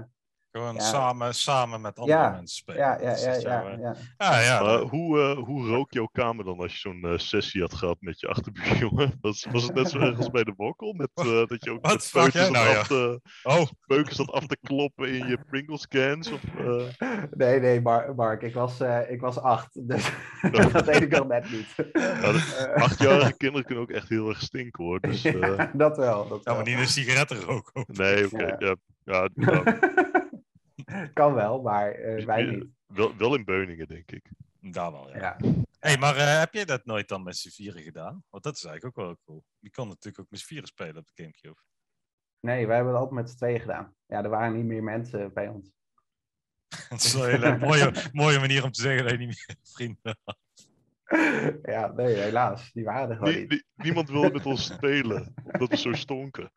Speaker 3: Gewoon
Speaker 4: Ja.
Speaker 3: samen, samen met andere
Speaker 4: Ja,
Speaker 3: mensen spelen.
Speaker 4: ja, ja,
Speaker 3: Dat is
Speaker 4: ja,
Speaker 3: echt
Speaker 4: ja,
Speaker 3: jouw, eh,
Speaker 4: ja.
Speaker 3: ja, ja,
Speaker 2: Maar hoe, eh, hoe rook jouw kamer dan als je zo'n eh, sessie had gehad met je achterbuurjongen? Was, was het net zo erg als bij de wokkel? Met, eh, dat je ook
Speaker 3: Wat
Speaker 2: met
Speaker 3: vraag
Speaker 2: peukers zat,
Speaker 3: jij nou,
Speaker 2: af te,
Speaker 3: Oh,
Speaker 2: peukers zat af te kloppen in je Pringles cans? Of, eh,
Speaker 4: Nee, nee, Mar- Mark, ik was, eh, ik was acht. Dus dat weet ik nog net niet.
Speaker 2: dat-
Speaker 4: Eh,
Speaker 2: achtjarige kinderen kunnen ook echt heel erg stinken hoor. Dus eh,
Speaker 4: ja, dat wel. Dat
Speaker 3: ja, maar
Speaker 4: wel.
Speaker 3: niet een sigarettenrook. hoor.
Speaker 2: nee, oké.
Speaker 4: Ja.
Speaker 2: ja, ja, nou,
Speaker 4: kan wel, maar eh, wij niet.
Speaker 2: wel, wel in Beuningen denk ik.
Speaker 3: Daar wel, ja.
Speaker 4: Ja.
Speaker 3: hey, maar eh, heb jij dat nooit dan met z'n vieren gedaan? Want dat is eigenlijk ook wel cool. Je kan natuurlijk ook met z'n vieren spelen op de Gamecube.
Speaker 4: Nee, wij hebben het altijd met z'n tweeën gedaan. Ja, er waren niet meer mensen bij ons.
Speaker 3: Dat is wel een hele mooie, mooie manier om te zeggen dat je niet meer vrienden had.
Speaker 4: ja, nee, helaas. Die waren er gewoon
Speaker 2: Nie-
Speaker 4: niet.
Speaker 2: nie- niemand wilde met ons spelen, omdat we zo stonken.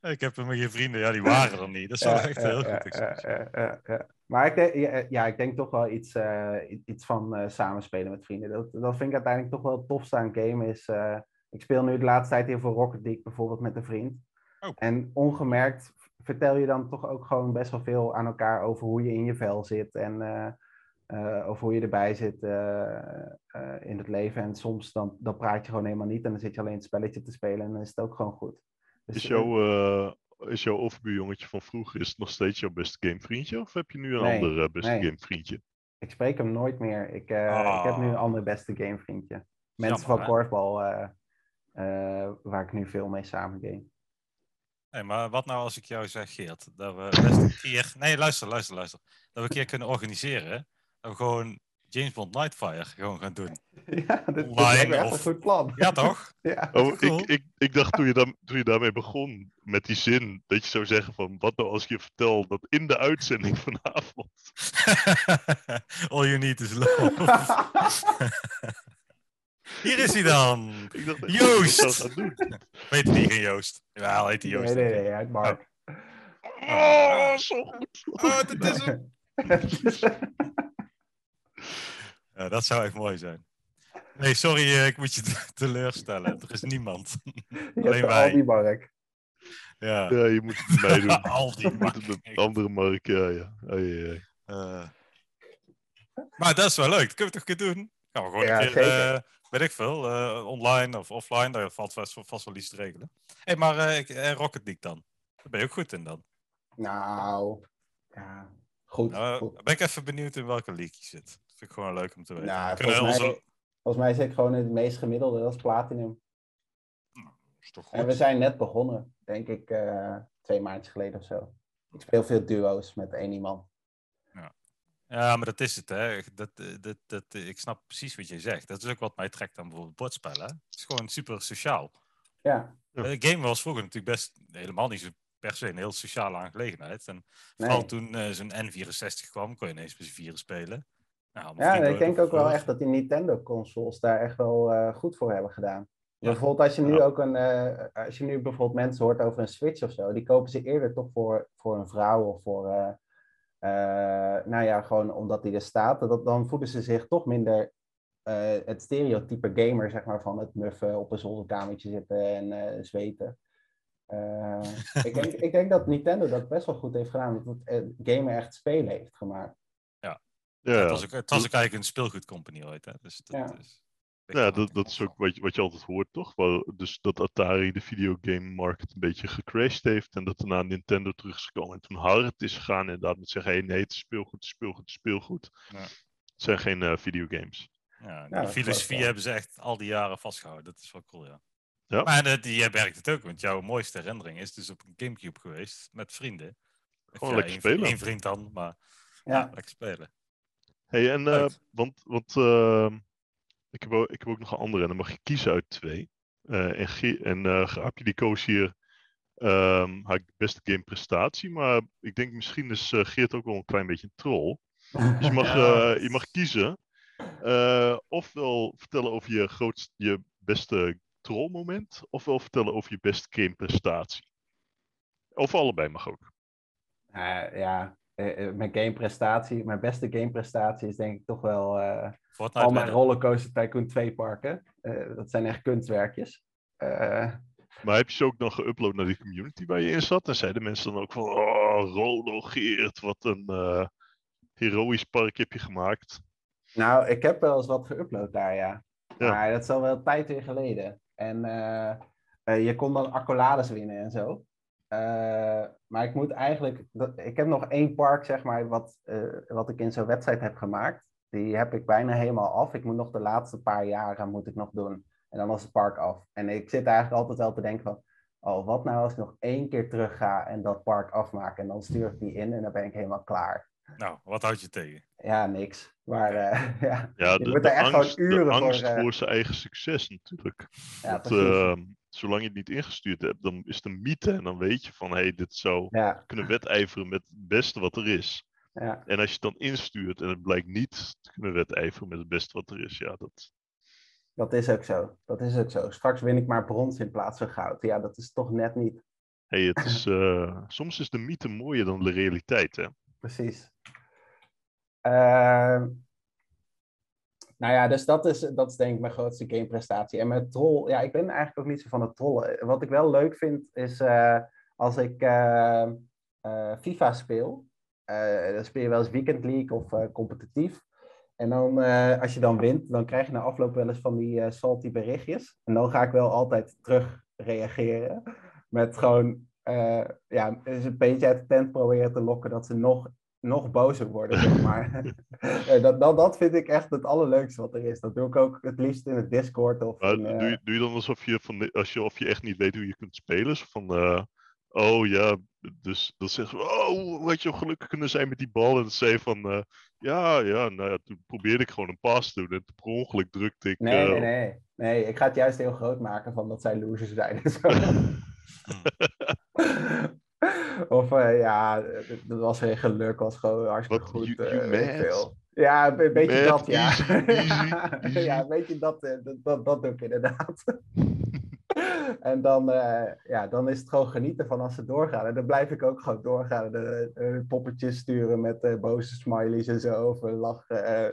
Speaker 3: Ik heb hem geen vrienden. Ja, die waren er niet. Dat is wel echt heel
Speaker 4: ja,
Speaker 3: goed.
Speaker 4: ja,
Speaker 3: excuus.
Speaker 4: ja, ja, ja. eh, Maar ik denk, ja, ja, ik denk toch wel iets, eh, i- iets van eh, samenspelen met vrienden. Dat, dat vind ik uiteindelijk toch wel het tofste aan game is. eh, ik speel nu de laatste tijd heel veel Rocket League bijvoorbeeld met een vriend.
Speaker 3: Oh.
Speaker 4: En ongemerkt vertel je dan toch ook gewoon best wel veel aan elkaar over hoe je in je vel zit en eh, eh, over hoe je erbij zit eh, eh, in het leven. En soms dan, dan praat je gewoon helemaal niet en dan zit je alleen het spelletje te spelen en dan is het ook gewoon goed. Dus,
Speaker 2: Is
Speaker 4: eh,
Speaker 2: jouw, eh is jouw overbuurjongetje van vroeger is het nog steeds jouw beste gamevriendje? Of heb je nu een
Speaker 4: Nee,
Speaker 2: ander eh, beste
Speaker 4: nee.
Speaker 2: gamevriendje?
Speaker 4: Ik spreek hem nooit meer. Ik, eh, ik heb nu een
Speaker 3: Ah.
Speaker 4: ander beste gamevriendje.
Speaker 3: Jammer,
Speaker 4: Mensen van
Speaker 3: hè?
Speaker 4: korfbal, eh, eh, waar ik nu veel mee samen game.
Speaker 3: Hey, maar wat nou als ik jou zeg, Geert, dat we best een keer... Nee, luister, luister, luister. Dat we een keer kunnen organiseren. Dat we gewoon James Bond Nightfire gewoon gaan doen.
Speaker 4: ja, dit, dit
Speaker 3: Online
Speaker 4: lijkt me echt
Speaker 3: of-
Speaker 4: een goed plan.
Speaker 3: Ja, toch?
Speaker 4: Ja.
Speaker 2: Oh,
Speaker 3: Cool.
Speaker 2: ik, ik, ik dacht toen je, daar, toen je daarmee begon, met die zin, dat je zou zeggen van, wat nou als ik je vertel dat in de uitzending vanavond.
Speaker 3: All you need is love. Hier is hij dan.
Speaker 2: Ik dacht, echt dat je dat zou
Speaker 3: Joost!
Speaker 2: gaan doen.
Speaker 3: Weet hij niet geen Joost? Ja, heet hij Joost.
Speaker 4: nee, nee, nee, uit Mark.
Speaker 3: Ah.
Speaker 2: Oh, zo goed.
Speaker 3: Oh, dat is hem. Ja, Eh, dat zou echt mooi zijn. Nee, sorry, eh, ik moet je te- teleurstellen. Er is niemand.
Speaker 4: Je
Speaker 3: Alleen
Speaker 4: hebt de
Speaker 3: wij.
Speaker 4: Aldi Mark.
Speaker 3: Ja.
Speaker 2: Ja, je moet het bij mij doen.
Speaker 3: Al die
Speaker 2: Je moet het met
Speaker 3: markt.
Speaker 2: andere mark, ja, ja. Ai, ai, ai.
Speaker 3: Eh, Maar dat is wel leuk. Dat kunnen we toch een keer doen? Gaan we gewoon
Speaker 4: Ja,
Speaker 3: een keer,
Speaker 4: zeker.
Speaker 3: eh, weet ik veel, eh, online of offline. Daar valt vast, vast wel iets te regelen. Hé, hey, maar eh, ik- eh, Rocket League dan? Daar ben je ook goed in dan.
Speaker 4: Nou, ja, goed.
Speaker 3: Nou,
Speaker 4: goed. Oh.
Speaker 3: ben ik even benieuwd in welke league je zit. Dat vind ik gewoon leuk om te weten.
Speaker 4: Nou,
Speaker 3: Kunnen
Speaker 4: volgens
Speaker 3: onze,
Speaker 4: mij- Volgens mij zit ik gewoon in het meest gemiddelde, dat is platinum.
Speaker 3: Is toch goed?
Speaker 4: En we zijn net begonnen, denk ik eh, twee maandjes geleden of zo. Ik speel veel duo's met één iemand.
Speaker 3: Ja, maar dat is het, hè. Dat, eh, dat, dat, eh, ik snap precies wat jij zegt. Dat is ook wat mij trekt aan bijvoorbeeld bordspellen. hè. Het is gewoon super sociaal.
Speaker 4: Ja,
Speaker 2: Ja.
Speaker 3: Eh, game was vroeger natuurlijk best helemaal niet zo per se een heel sociale aangelegenheid. En
Speaker 4: nee.
Speaker 3: vooral toen eh, zo'n N64 kwam, kon je ineens met z'n vieren spelen. Nou, allemaal
Speaker 4: ja
Speaker 3: vrienden
Speaker 4: ik denk
Speaker 3: werden
Speaker 4: ook wel
Speaker 3: vervuld.
Speaker 4: echt dat die Nintendo-consoles daar echt wel eh, goed voor hebben gedaan.
Speaker 3: Ja.
Speaker 4: Bijvoorbeeld als je nu
Speaker 2: Ja.
Speaker 4: ook een, eh, als je nu bijvoorbeeld mensen hoort over een Switch of zo, die kopen ze eerder toch voor, voor een vrouw of voor, eh, eh, nou ja, gewoon omdat die er staat. Dat, dan voelen ze zich toch minder eh, het stereotype gamer, zeg maar, van het muffen op een zolderkamertje zitten en eh, zweten. Eh, ik, denk, ik denk dat Nintendo dat best wel goed heeft gedaan, dat het eh, gamen echt spelen heeft gemaakt.
Speaker 2: Ja,
Speaker 3: Het was, ook, het was ook eigenlijk een speelgoedcompagnie ooit, hè. Dus dat
Speaker 4: Ja.
Speaker 3: is...
Speaker 2: ja dat, dat is ook wat je, wat je altijd hoort, toch? Wel, dus dat Atari de videogame-market een beetje gecrashed heeft en dat daarna Nintendo terug is gekomen en toen hard is gegaan inderdaad met zeggen, hey, nee, het is speelgoed, speelgoed, speelgoed.
Speaker 3: Ja.
Speaker 2: Het zijn geen eh, videogames.
Speaker 3: Ja, die
Speaker 4: dat is
Speaker 3: filosofie
Speaker 4: wel-
Speaker 3: hebben ze echt al die jaren vastgehouden. Dat is wel cool, ja.
Speaker 2: Ja.
Speaker 3: Maar eh, die- jij merkt het ook, want jouw mooiste herinnering is dus op een Gamecube geweest met vrienden. Of
Speaker 2: Gewoon Oh, lekker
Speaker 3: één-
Speaker 2: spelen.
Speaker 3: één vriend dan, maar ja.
Speaker 4: Ja,
Speaker 3: lekker spelen.
Speaker 2: Hey, en, eh,
Speaker 3: Uit.
Speaker 2: want, want eh, ik, heb ook, ik heb ook nog een andere en dan mag je kiezen uit twee. Eh, en Gie- en eh, Grapje die koos hier ehm, haar beste gameprestatie, maar ik denk misschien is eh, Geert ook wel een klein beetje een troll. Dus je mag,
Speaker 3: Ja.
Speaker 2: eh, je mag kiezen. eh, ofwel vertellen over je, grootst, je beste trollmoment, ofwel vertellen over je beste gameprestatie. Of allebei mag ook.
Speaker 4: Nou ja, eh, eh, mijn gameprestatie, mijn beste gameprestatie is denk ik toch wel eh,
Speaker 3: Fortnite
Speaker 4: al mijn
Speaker 3: winnen.
Speaker 4: Rollercoaster Tycoon 2 parken. Eh, dat zijn echt kunstwerkjes. Eh,
Speaker 2: Maar heb je ze ook dan geüpload naar die community waar je in zat? En zeiden mensen dan ook van, oh, Rollo Geert, wat een eh, heroïsch park heb je gemaakt.
Speaker 4: nou, ik heb wel eens wat geüpload daar, ja.
Speaker 2: Ja.
Speaker 4: Maar dat is al wel een tijd weer geleden. En eh, eh, je kon dan accolades winnen en zo. Eh, maar ik moet eigenlijk... dat- ik heb nog één park, zeg maar, wat, eh, wat ik in zo'n wedstrijd heb gemaakt. Die heb ik bijna helemaal af. Ik moet nog de laatste paar jaren moet ik nog doen. En dan was het park af. En ik zit eigenlijk altijd wel te denken van... Oh, wat nou als ik nog één keer terug ga en dat park afmaak. En dan stuur ik die in en dan ben ik helemaal klaar.
Speaker 3: Nou, wat houd je tegen?
Speaker 4: Ja, niks. Maar eh, ja,
Speaker 2: Ja,
Speaker 4: Je
Speaker 2: de,
Speaker 4: wordt
Speaker 2: de
Speaker 4: er echt gewoon
Speaker 2: angst, de
Speaker 4: uren voor,
Speaker 2: angst
Speaker 4: eh.
Speaker 2: voor zijn eigen succes natuurlijk.
Speaker 4: ja,
Speaker 2: Want,
Speaker 4: precies.
Speaker 2: ehm, zolang je het niet ingestuurd hebt, dan is het een mythe. En dan weet je van, hé, hey, dit zou
Speaker 4: ja,
Speaker 2: kunnen wedijveren met het beste wat er is.
Speaker 4: ja.
Speaker 2: En als je het dan instuurt en het blijkt niet te kunnen wedijveren met het beste wat er is, ja, dat.
Speaker 4: Dat is ook zo. Dat is ook zo. Straks win ik maar brons in plaats van goud. Ja, dat is toch net niet
Speaker 2: Hey, het is, eh, soms is de mythe mooier dan de realiteit, hè?
Speaker 4: precies. Ehm, nou ja, dus dat is, dat is denk ik mijn grootste gameprestatie. En mijn troll, ja, ik ben eigenlijk ook niet zo van het trollen. Wat ik wel leuk vind is eh, als ik eh, eh, FIFA speel, eh, dan speel je wel eens Weekend League of eh, competitief. En dan, eh, als je dan wint, dan krijg je na afloop wel eens van die eh, salty berichtjes. En dan ga ik wel altijd terug reageren. Met gewoon, eh, ja, dus een beetje uit de tent proberen te lokken dat ze nog, nog bozer worden, zeg maar. Eh, dat, dat, dat vind ik echt het allerleukste wat er is. Dat doe ik ook het liefst in het Discord of
Speaker 2: Maar
Speaker 4: in, eh,
Speaker 2: Oh, doe, je, doe je dan alsof je, van, de- als je, of je echt niet weet hoe je kunt spelen? Zo van, eh, oh ja, dus dan zeggen ze, oh, hoe had je gelukkig kunnen zijn met die bal? En dan zei je van, eh, ja, ja, nou ja, toen probeerde ik gewoon een paas te doen en per ongeluk drukte ik...
Speaker 4: Nee,
Speaker 2: eh,
Speaker 4: nee, nee. Nee, ik ga het juist heel groot maken van dat zij losers zijn. en zo. of eh, ja, eh, dat was weer geluk, was gewoon hartstikke
Speaker 2: Wat,
Speaker 4: goed.
Speaker 2: you-
Speaker 4: eh,
Speaker 2: you
Speaker 4: weet ik
Speaker 2: mad?
Speaker 4: veel. Ja, een be- beetje
Speaker 2: mad,
Speaker 4: dat, ja.
Speaker 2: easy, easy,
Speaker 4: ja,
Speaker 2: easy.
Speaker 4: een beetje dat, eh, dat, dat, dat doe ik inderdaad. en dan, eh, ja, dan is het gewoon genieten van als ze doorgaan. En dan blijf ik ook gewoon doorgaan. En, eh, eh, poppetjes sturen met eh, boze smileys en zo. Of een lach, eh,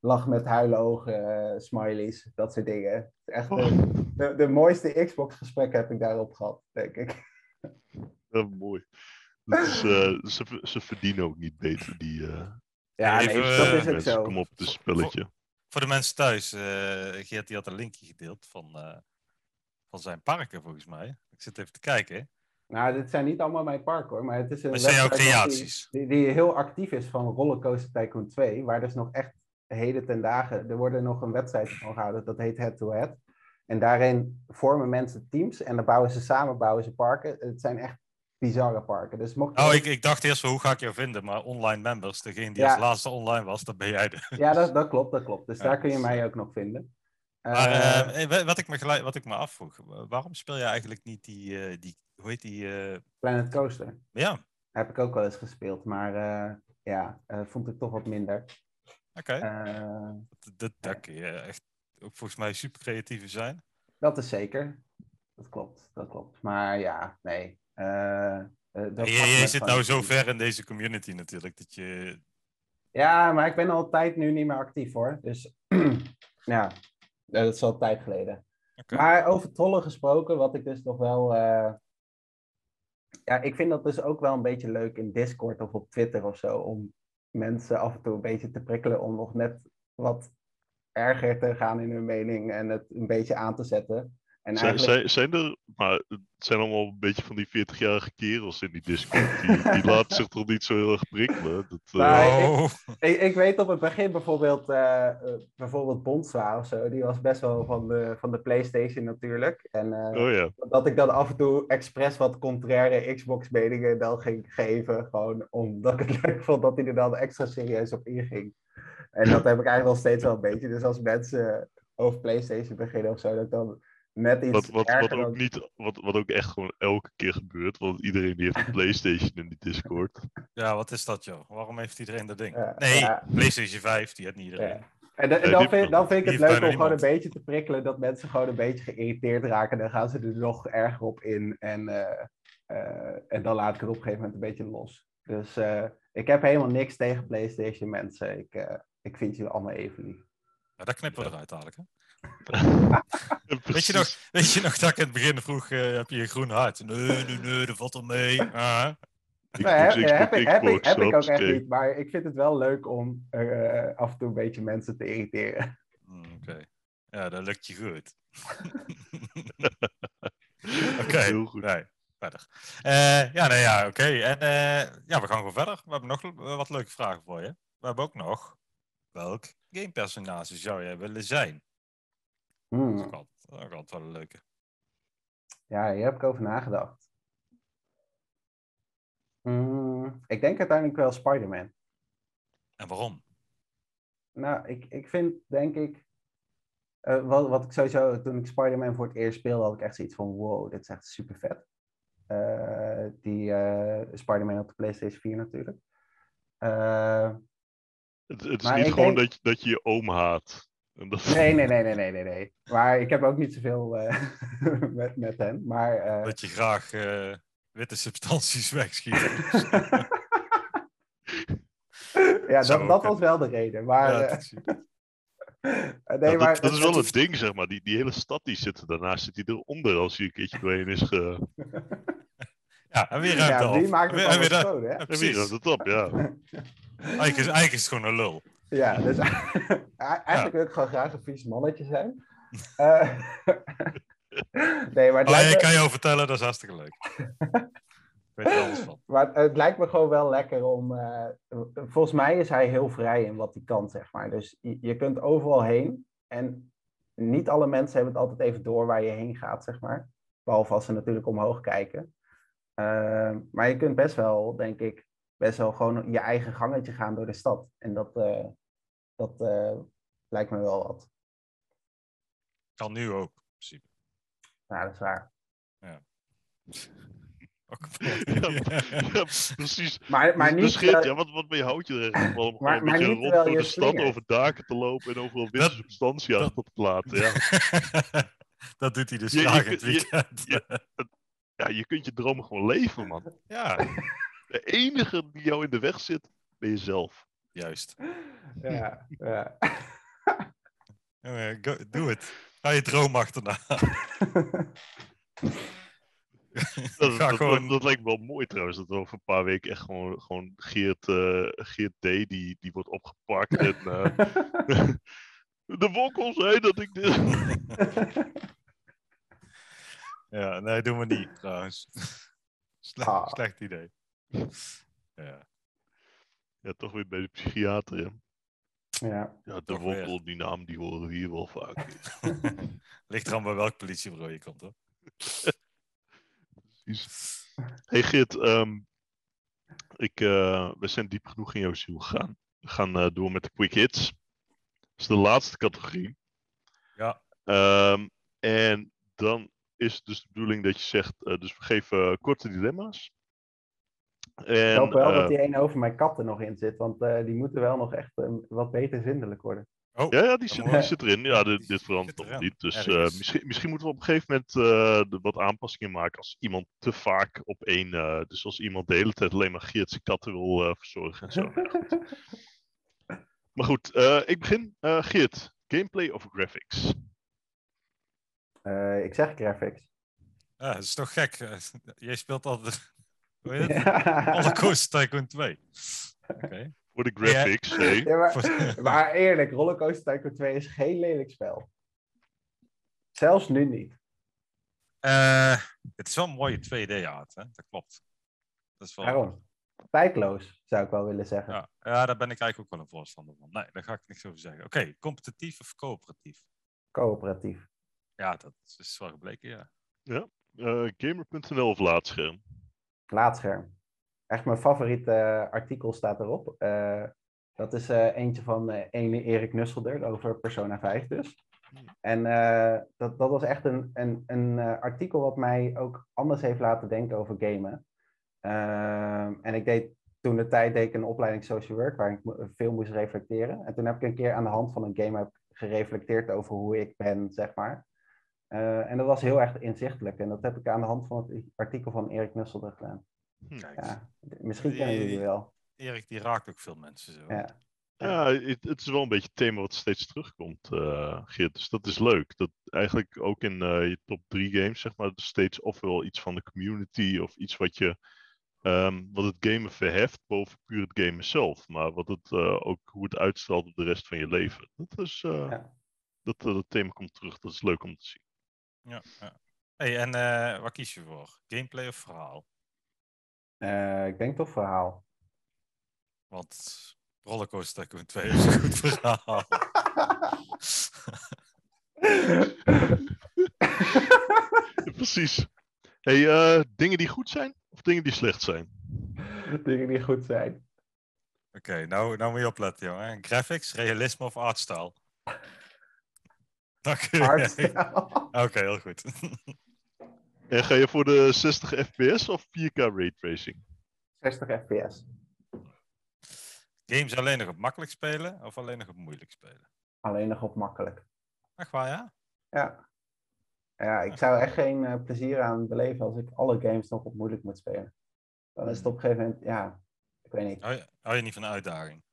Speaker 4: lach met huilenogen eh, smileys. Dat soort dingen. Echt eh,
Speaker 2: oh,
Speaker 4: de, de mooiste Xbox-gesprekken heb ik daarop gehad, denk ik.
Speaker 2: eh, mooi. Dat is, eh, ze, ver- ze verdienen ook niet beter, die eh,
Speaker 4: Ja,
Speaker 3: Even,
Speaker 4: nee, dat is
Speaker 3: eh,
Speaker 4: ook
Speaker 2: mensen.
Speaker 4: zo.
Speaker 2: Kom op, het is een spelletje.
Speaker 3: Voor de mensen thuis, eh, Geert die had een linkje gedeeld van, eh, van zijn parken, volgens mij. Ik zit even te kijken.
Speaker 4: Nou, dit zijn niet allemaal mijn park hoor, maar het is een
Speaker 3: Maar het zijn jouw
Speaker 4: website die-
Speaker 3: creaties.
Speaker 4: Die, die, heel actief is van Rollercoaster Tycoon 2, waar dus nog echt heden ten dagen, er wordt nog een wedstrijd van gehouden, dat heet head-to-head. En daarin vormen mensen teams en dan bouwen ze samen, bouwen ze parken. Het zijn echt bizarre parken. Dus mocht je-
Speaker 3: Oh, ik, ik dacht eerst van hoe ga ik jou vinden, maar online members, degene die
Speaker 4: Ja.
Speaker 3: als laatste online was, dat ben jij de.
Speaker 4: Ja, dat, dat klopt, dat klopt. Dus
Speaker 3: Ja,
Speaker 4: daar kun je
Speaker 3: dus,
Speaker 4: mij ook nog vinden.
Speaker 3: Maar
Speaker 4: Eh,
Speaker 3: eh, eh, wat, ik me gelijk, wat ik me afvroeg, wa- waarom speel je eigenlijk niet die, eh, die hoe heet die, eh,
Speaker 4: Planet Coaster
Speaker 3: ja, oké.
Speaker 4: heb ik ook wel eens gespeeld, maar eh, ja, eh, vond ik toch wat minder. Eh,
Speaker 3: dat, dat, daar kun je echt ook volgens mij super creatief in zijn.
Speaker 4: dat is zeker. Dat klopt, dat klopt. Maar ja, nee. eh, eh, dat
Speaker 3: En
Speaker 4: pakt
Speaker 3: Je,
Speaker 4: me
Speaker 3: je zit
Speaker 4: gewoon
Speaker 3: nou
Speaker 4: niet.
Speaker 3: zo ver in deze community natuurlijk, dat je,
Speaker 4: Ja, maar ik ben al een tijd nu niet meer actief hoor. Dus ja, eh, dat is al een tijd geleden.
Speaker 3: Oké.
Speaker 4: Maar over trollen gesproken, wat ik dus nog wel. eh, Ja, ik vind dat dus ook wel een beetje leuk in Discord of op Twitter of zo. Om mensen af en toe een beetje te prikkelen om nog net wat erger te gaan in hun mening en het een beetje aan te zetten. En
Speaker 2: Zijn, zijn, zijn er, maar het zijn allemaal een beetje van die 40-jarige kerels in die Discord. Die, die laten zich toch niet zo heel erg prikkelen. Dat, eh,
Speaker 4: Maar- ik-
Speaker 3: oh,
Speaker 4: Ik, ik weet op het begin bijvoorbeeld, eh eh, bijvoorbeeld Bondswa of zo. Die was best wel van de, van de PlayStation natuurlijk. En eh,
Speaker 2: oh ja.
Speaker 4: dat ik dan af en toe expres wat contraire Xbox-meningen dan ging geven. Gewoon omdat ik het leuk vond dat hij er dan extra serieus op inging. En dat heb ik eigenlijk nog steeds wel een beetje. Dus als mensen over PlayStation beginnen of zo, dat ik dan net iets
Speaker 2: Wat, wat,
Speaker 4: erger
Speaker 2: wat, ook
Speaker 4: dan-
Speaker 2: niet, wat, wat ook echt gewoon elke keer gebeurt. Want iedereen die heeft een PlayStation in die Discord.
Speaker 3: ja, wat is dat joh, waarom heeft iedereen dat ding?
Speaker 4: Ja,
Speaker 3: nee,
Speaker 4: ja.
Speaker 3: PlayStation 5, die had niet iedereen.
Speaker 4: Ja. En, da- en
Speaker 2: Nee,
Speaker 4: dan,
Speaker 2: die-
Speaker 4: vind, dan vind ik
Speaker 3: die
Speaker 4: het
Speaker 3: heeft
Speaker 4: leuk om
Speaker 3: bijna
Speaker 4: gewoon een
Speaker 3: niemand.
Speaker 4: beetje te prikkelen dat mensen gewoon een beetje geïrriteerd raken. Dan gaan ze er nog erger op in en, eh, eh, en dan laat ik het op een gegeven moment een beetje los. Dus eh, ik heb helemaal niks tegen PlayStation mensen. Ik, eh, ik vind jullie allemaal even lief.
Speaker 3: Maar dat knippen we eruit dadelijk. Hè?
Speaker 2: Precies.
Speaker 3: nog- Weet je nog dat ik in het begin vroeg, eh, heb je een groen hart? Nee, nee, nee, dat valt al mee. Ah.
Speaker 4: Nou, heb,
Speaker 2: Xbox,
Speaker 4: heb ik, heb, ik,
Speaker 2: Xbox,
Speaker 4: heb ik ook echt
Speaker 2: hoppakee.
Speaker 4: niet, maar ik vind het wel leuk om eh, af en toe een beetje mensen te irriteren.
Speaker 3: Hmm, Oké. Ja, dat lukt je goed. Oké.
Speaker 2: Heel goed.
Speaker 3: Nee, verder. Eh, ja, nee, ja, oké. En eh, ja, we gaan gewoon verder. We hebben nog eh, wat leuke vragen voor je. We hebben ook nog, welk gamepersonage zou jij willen zijn? Dat is
Speaker 4: Hmm,
Speaker 3: ook altijd, ook altijd wel een leuke.
Speaker 4: ja, hier heb ik over nagedacht. Hmm, ik denk uiteindelijk wel Spider-Man.
Speaker 3: En waarom?
Speaker 4: Nou, ik, ik vind denk ik. eh, wat, wat ik sowieso, toen ik Spider-Man voor het eerst speelde, had ik echt zoiets van: wow, dit is echt super vet. die eh, Spider-Man op de PlayStation 4 natuurlijk. Eh,
Speaker 2: Het, het is
Speaker 4: Maar
Speaker 2: niet
Speaker 4: ik
Speaker 2: gewoon
Speaker 4: denk-
Speaker 2: dat, je, dat je je oom haat. En dat...
Speaker 4: nee, nee, nee, nee, nee, nee, nee. Maar ik heb ook niet zoveel eh, met, met hen. Maar eh,
Speaker 3: Dat je graag eh, witte substanties wegschiet.
Speaker 4: ja,
Speaker 3: zou
Speaker 4: dat,
Speaker 3: ook
Speaker 4: dat
Speaker 3: kunnen.
Speaker 4: was wel de reden. Maar,
Speaker 3: Ja,
Speaker 4: eh,
Speaker 3: dat zie ik.
Speaker 4: eh,
Speaker 2: Ja,
Speaker 4: nee,
Speaker 2: dat,
Speaker 4: maar
Speaker 2: dat is wel
Speaker 4: het-
Speaker 2: het ding, zeg maar. Die, die hele stad die zit er. Daarnaast zit die eronder als hij een keertje doorheen is ge...
Speaker 3: ja, en weer ruimte
Speaker 4: Ja,
Speaker 3: af.
Speaker 4: wie maakt
Speaker 3: En
Speaker 4: het
Speaker 3: weer- en
Speaker 4: allemaal
Speaker 3: weer ruimte-
Speaker 4: schoon, hè?
Speaker 3: Ja,
Speaker 2: En wie ruimt
Speaker 3: precies.
Speaker 2: het op, ja.
Speaker 3: Eigenlijk is, eigenlijk is het gewoon een lul.
Speaker 4: Ja, dus eigenlijk wil ik gewoon graag een vies mannetje zijn. Eh, nee, maar het,
Speaker 3: Maar ik
Speaker 4: lijkt me,
Speaker 3: kan jou vertellen, dat is hartstikke leuk. ik weet er alles van.
Speaker 4: maar het- het lijkt me gewoon wel lekker om. eh, volgens mij is hij heel vrij in wat hij kan, zeg maar. Dus je, je kunt overal heen. En niet alle mensen hebben het altijd even door waar je heen gaat, zeg maar. Behalve als ze natuurlijk omhoog kijken. Eh, maar je kunt best wel, denk ik, best wel gewoon je eigen gangetje gaan door de stad. En dat, eh, dat eh, lijkt me wel wat.
Speaker 3: Kan nu ook, in principe.
Speaker 4: Nou, dat is waar.
Speaker 3: Ook
Speaker 2: ja. Precies.
Speaker 4: Maar, maar niet,
Speaker 2: dus Geert,
Speaker 4: eh,
Speaker 2: ja, wat, wat ben je houtje er echt van? Om gewoon
Speaker 4: Maar-
Speaker 2: een
Speaker 4: maar
Speaker 2: beetje
Speaker 4: niet
Speaker 2: rond
Speaker 4: terwijl
Speaker 2: door
Speaker 4: je
Speaker 2: de stad
Speaker 4: slingert.
Speaker 2: over daken te lopen en overal witte
Speaker 3: Dat-
Speaker 2: substantie
Speaker 3: dat-
Speaker 2: achter te platen. Ja.
Speaker 3: dat doet hij dus
Speaker 2: Je- je
Speaker 3: graag in
Speaker 2: kun-
Speaker 3: het
Speaker 2: je-
Speaker 3: weekend.
Speaker 2: ja, je kunt je dromen gewoon leven, man.
Speaker 3: ja,
Speaker 2: De enige die jou in de weg zit, ben jezelf.
Speaker 3: juist.
Speaker 4: ja, ja.
Speaker 3: Jongen, go- Doe het. Ga je droom achterna.
Speaker 2: Dat,
Speaker 3: Ga
Speaker 2: dat,
Speaker 3: gewoon-
Speaker 2: dat, dat lijkt me wel mooi trouwens. Dat we over een paar weken echt gewoon, gewoon Geert, eh, Geert D. Die, die wordt opgepakt. En, eh, de wokkel zei dat ik dit.
Speaker 3: Ja, nee, doe maar niet, trouwens. Slecht,
Speaker 4: Ah.
Speaker 3: slecht idee. Ja.
Speaker 2: Ja, toch weer bij de psychiater. hè.
Speaker 4: Ja.
Speaker 2: Ja, de
Speaker 3: Toch weer.
Speaker 2: Wobbel, die naam, die horen we hier wel vaak.
Speaker 3: Ligt er aan bij welk politiebureau je komt, hoor.
Speaker 2: Precies. Hey Geert, ehm, ik, eh, we zijn diep genoeg in jouw ziel gegaan. We gaan eh, door met de quick hits. Dat is de laatste categorie.
Speaker 3: Ja.
Speaker 2: Ehm, en dan is het dus de bedoeling dat je zegt, eh, dus we geven eh, korte dilemma's.
Speaker 4: Ik
Speaker 2: En,
Speaker 4: hoop wel
Speaker 2: eh,
Speaker 4: dat die ene over mijn kat er nog in zit, want eh, die moeten wel nog echt eh, wat beter zindelijk worden.
Speaker 3: Oh,
Speaker 2: Ja, ja die, zit, die
Speaker 4: mooi.
Speaker 2: zit erin. Ja, de-
Speaker 3: Die
Speaker 2: dit
Speaker 3: zit
Speaker 2: verandert toch
Speaker 3: eraan,
Speaker 2: niet. Dus eh,
Speaker 3: ergens.
Speaker 2: misschien, misschien moeten we op een gegeven moment eh, er wat aanpassingen maken als iemand te vaak op één. eh, dus als iemand de hele tijd alleen maar Geert zijn katten wil eh, verzorgen en zo. Nou, goed. maar goed, eh, ik begin. Eh, Geert, gameplay of graphics?
Speaker 4: Eh, ik zeg graphics.
Speaker 3: ja, dat is toch gek. Eh, Jij speelt altijd... Hoe heet het? Rollercoaster Tycoon 2. Oké.
Speaker 2: Voor de graphics, nee.
Speaker 4: Ja, maar,
Speaker 3: Voor-
Speaker 4: maar eerlijk, Rollercoaster Tycoon 2 is geen lelijk spel. Zelfs nu niet.
Speaker 3: Eh, het is wel een mooie 2D-art, hè? Dat klopt. Dat is wel...
Speaker 4: Waarom? Tijdloos, zou ik wel willen zeggen.
Speaker 3: Ja, ja, daar ben ik eigenlijk ook wel een voorstander van. Nee, daar ga ik niks over zeggen. Oké, competitief of coöperatief?
Speaker 4: Coöperatief.
Speaker 3: Ja, dat is wel gebleken, ja.
Speaker 2: Eh, Gamer.nl of laadscherm?
Speaker 4: Laadscherm. Echt mijn favoriete eh, artikel staat erop. Eh, dat is eh, eentje van eh, ene Erik Nusselder over Persona 5 dus. En eh, dat, dat was echt een, een, een eh, artikel wat mij ook anders heeft laten denken over gamen. Ehm, en ik deed toen de tijd deed ik een opleiding social work waar ik mo- veel moest reflecteren. En toen heb ik een keer aan de hand van een game heb ik gereflecteerd over hoe ik ben, zeg maar. Eh, en dat was heel erg inzichtelijk. En dat heb ik aan de hand van het artikel van Erik Nusselder gedaan.
Speaker 2: Hm.
Speaker 3: Kijk,
Speaker 4: Hm, Ja, misschien kennen jullie wel.
Speaker 3: Erik die raakt ook veel mensen zo.
Speaker 4: Ja.
Speaker 2: Ja, het, het is wel een beetje het thema wat steeds terugkomt, eh, Geert. Dus dat is leuk. Dat eigenlijk ook in eh, je top 3 games, zeg maar, dus steeds ofwel iets van de community of iets wat je ehm, wat het gamen verheft boven puur het gamen zelf. Maar wat het eh, ook hoe het uitstraalt op de rest van je leven. Dat is eh,
Speaker 4: Ja.
Speaker 2: dat, eh, dat thema komt terug. Dat is leuk om te zien.
Speaker 3: Ja, ja. Hey, en eh waar kies je voor? Gameplay of verhaal?
Speaker 4: Eh, ik denk toch verhaal.
Speaker 3: Want Rollercoaster Tycoon 2 is een goed verhaal.
Speaker 2: Precies. Hey, eh, dingen die goed zijn of dingen die slecht zijn?
Speaker 4: Dingen die goed zijn.
Speaker 3: Oké, nou, nou moet je opletten, jongen. Graphics, realisme of artstyle? Dank u. Oké,
Speaker 4: Hardstyle.
Speaker 3: heel goed.
Speaker 2: En ga je voor de 60 fps of 4K raytracing?
Speaker 4: 60 fps.
Speaker 3: Games alleen nog op makkelijk spelen of alleen nog op moeilijk spelen?
Speaker 4: Alleen nog op makkelijk.
Speaker 3: Echt waar, ja?
Speaker 4: Ja. ja ik zou echt geen eh, plezier aan beleven als ik alle games nog op moeilijk moet spelen. Dan is het op een gegeven moment, ja, ik weet niet.
Speaker 3: Hou je, hou je niet van de uitdaging?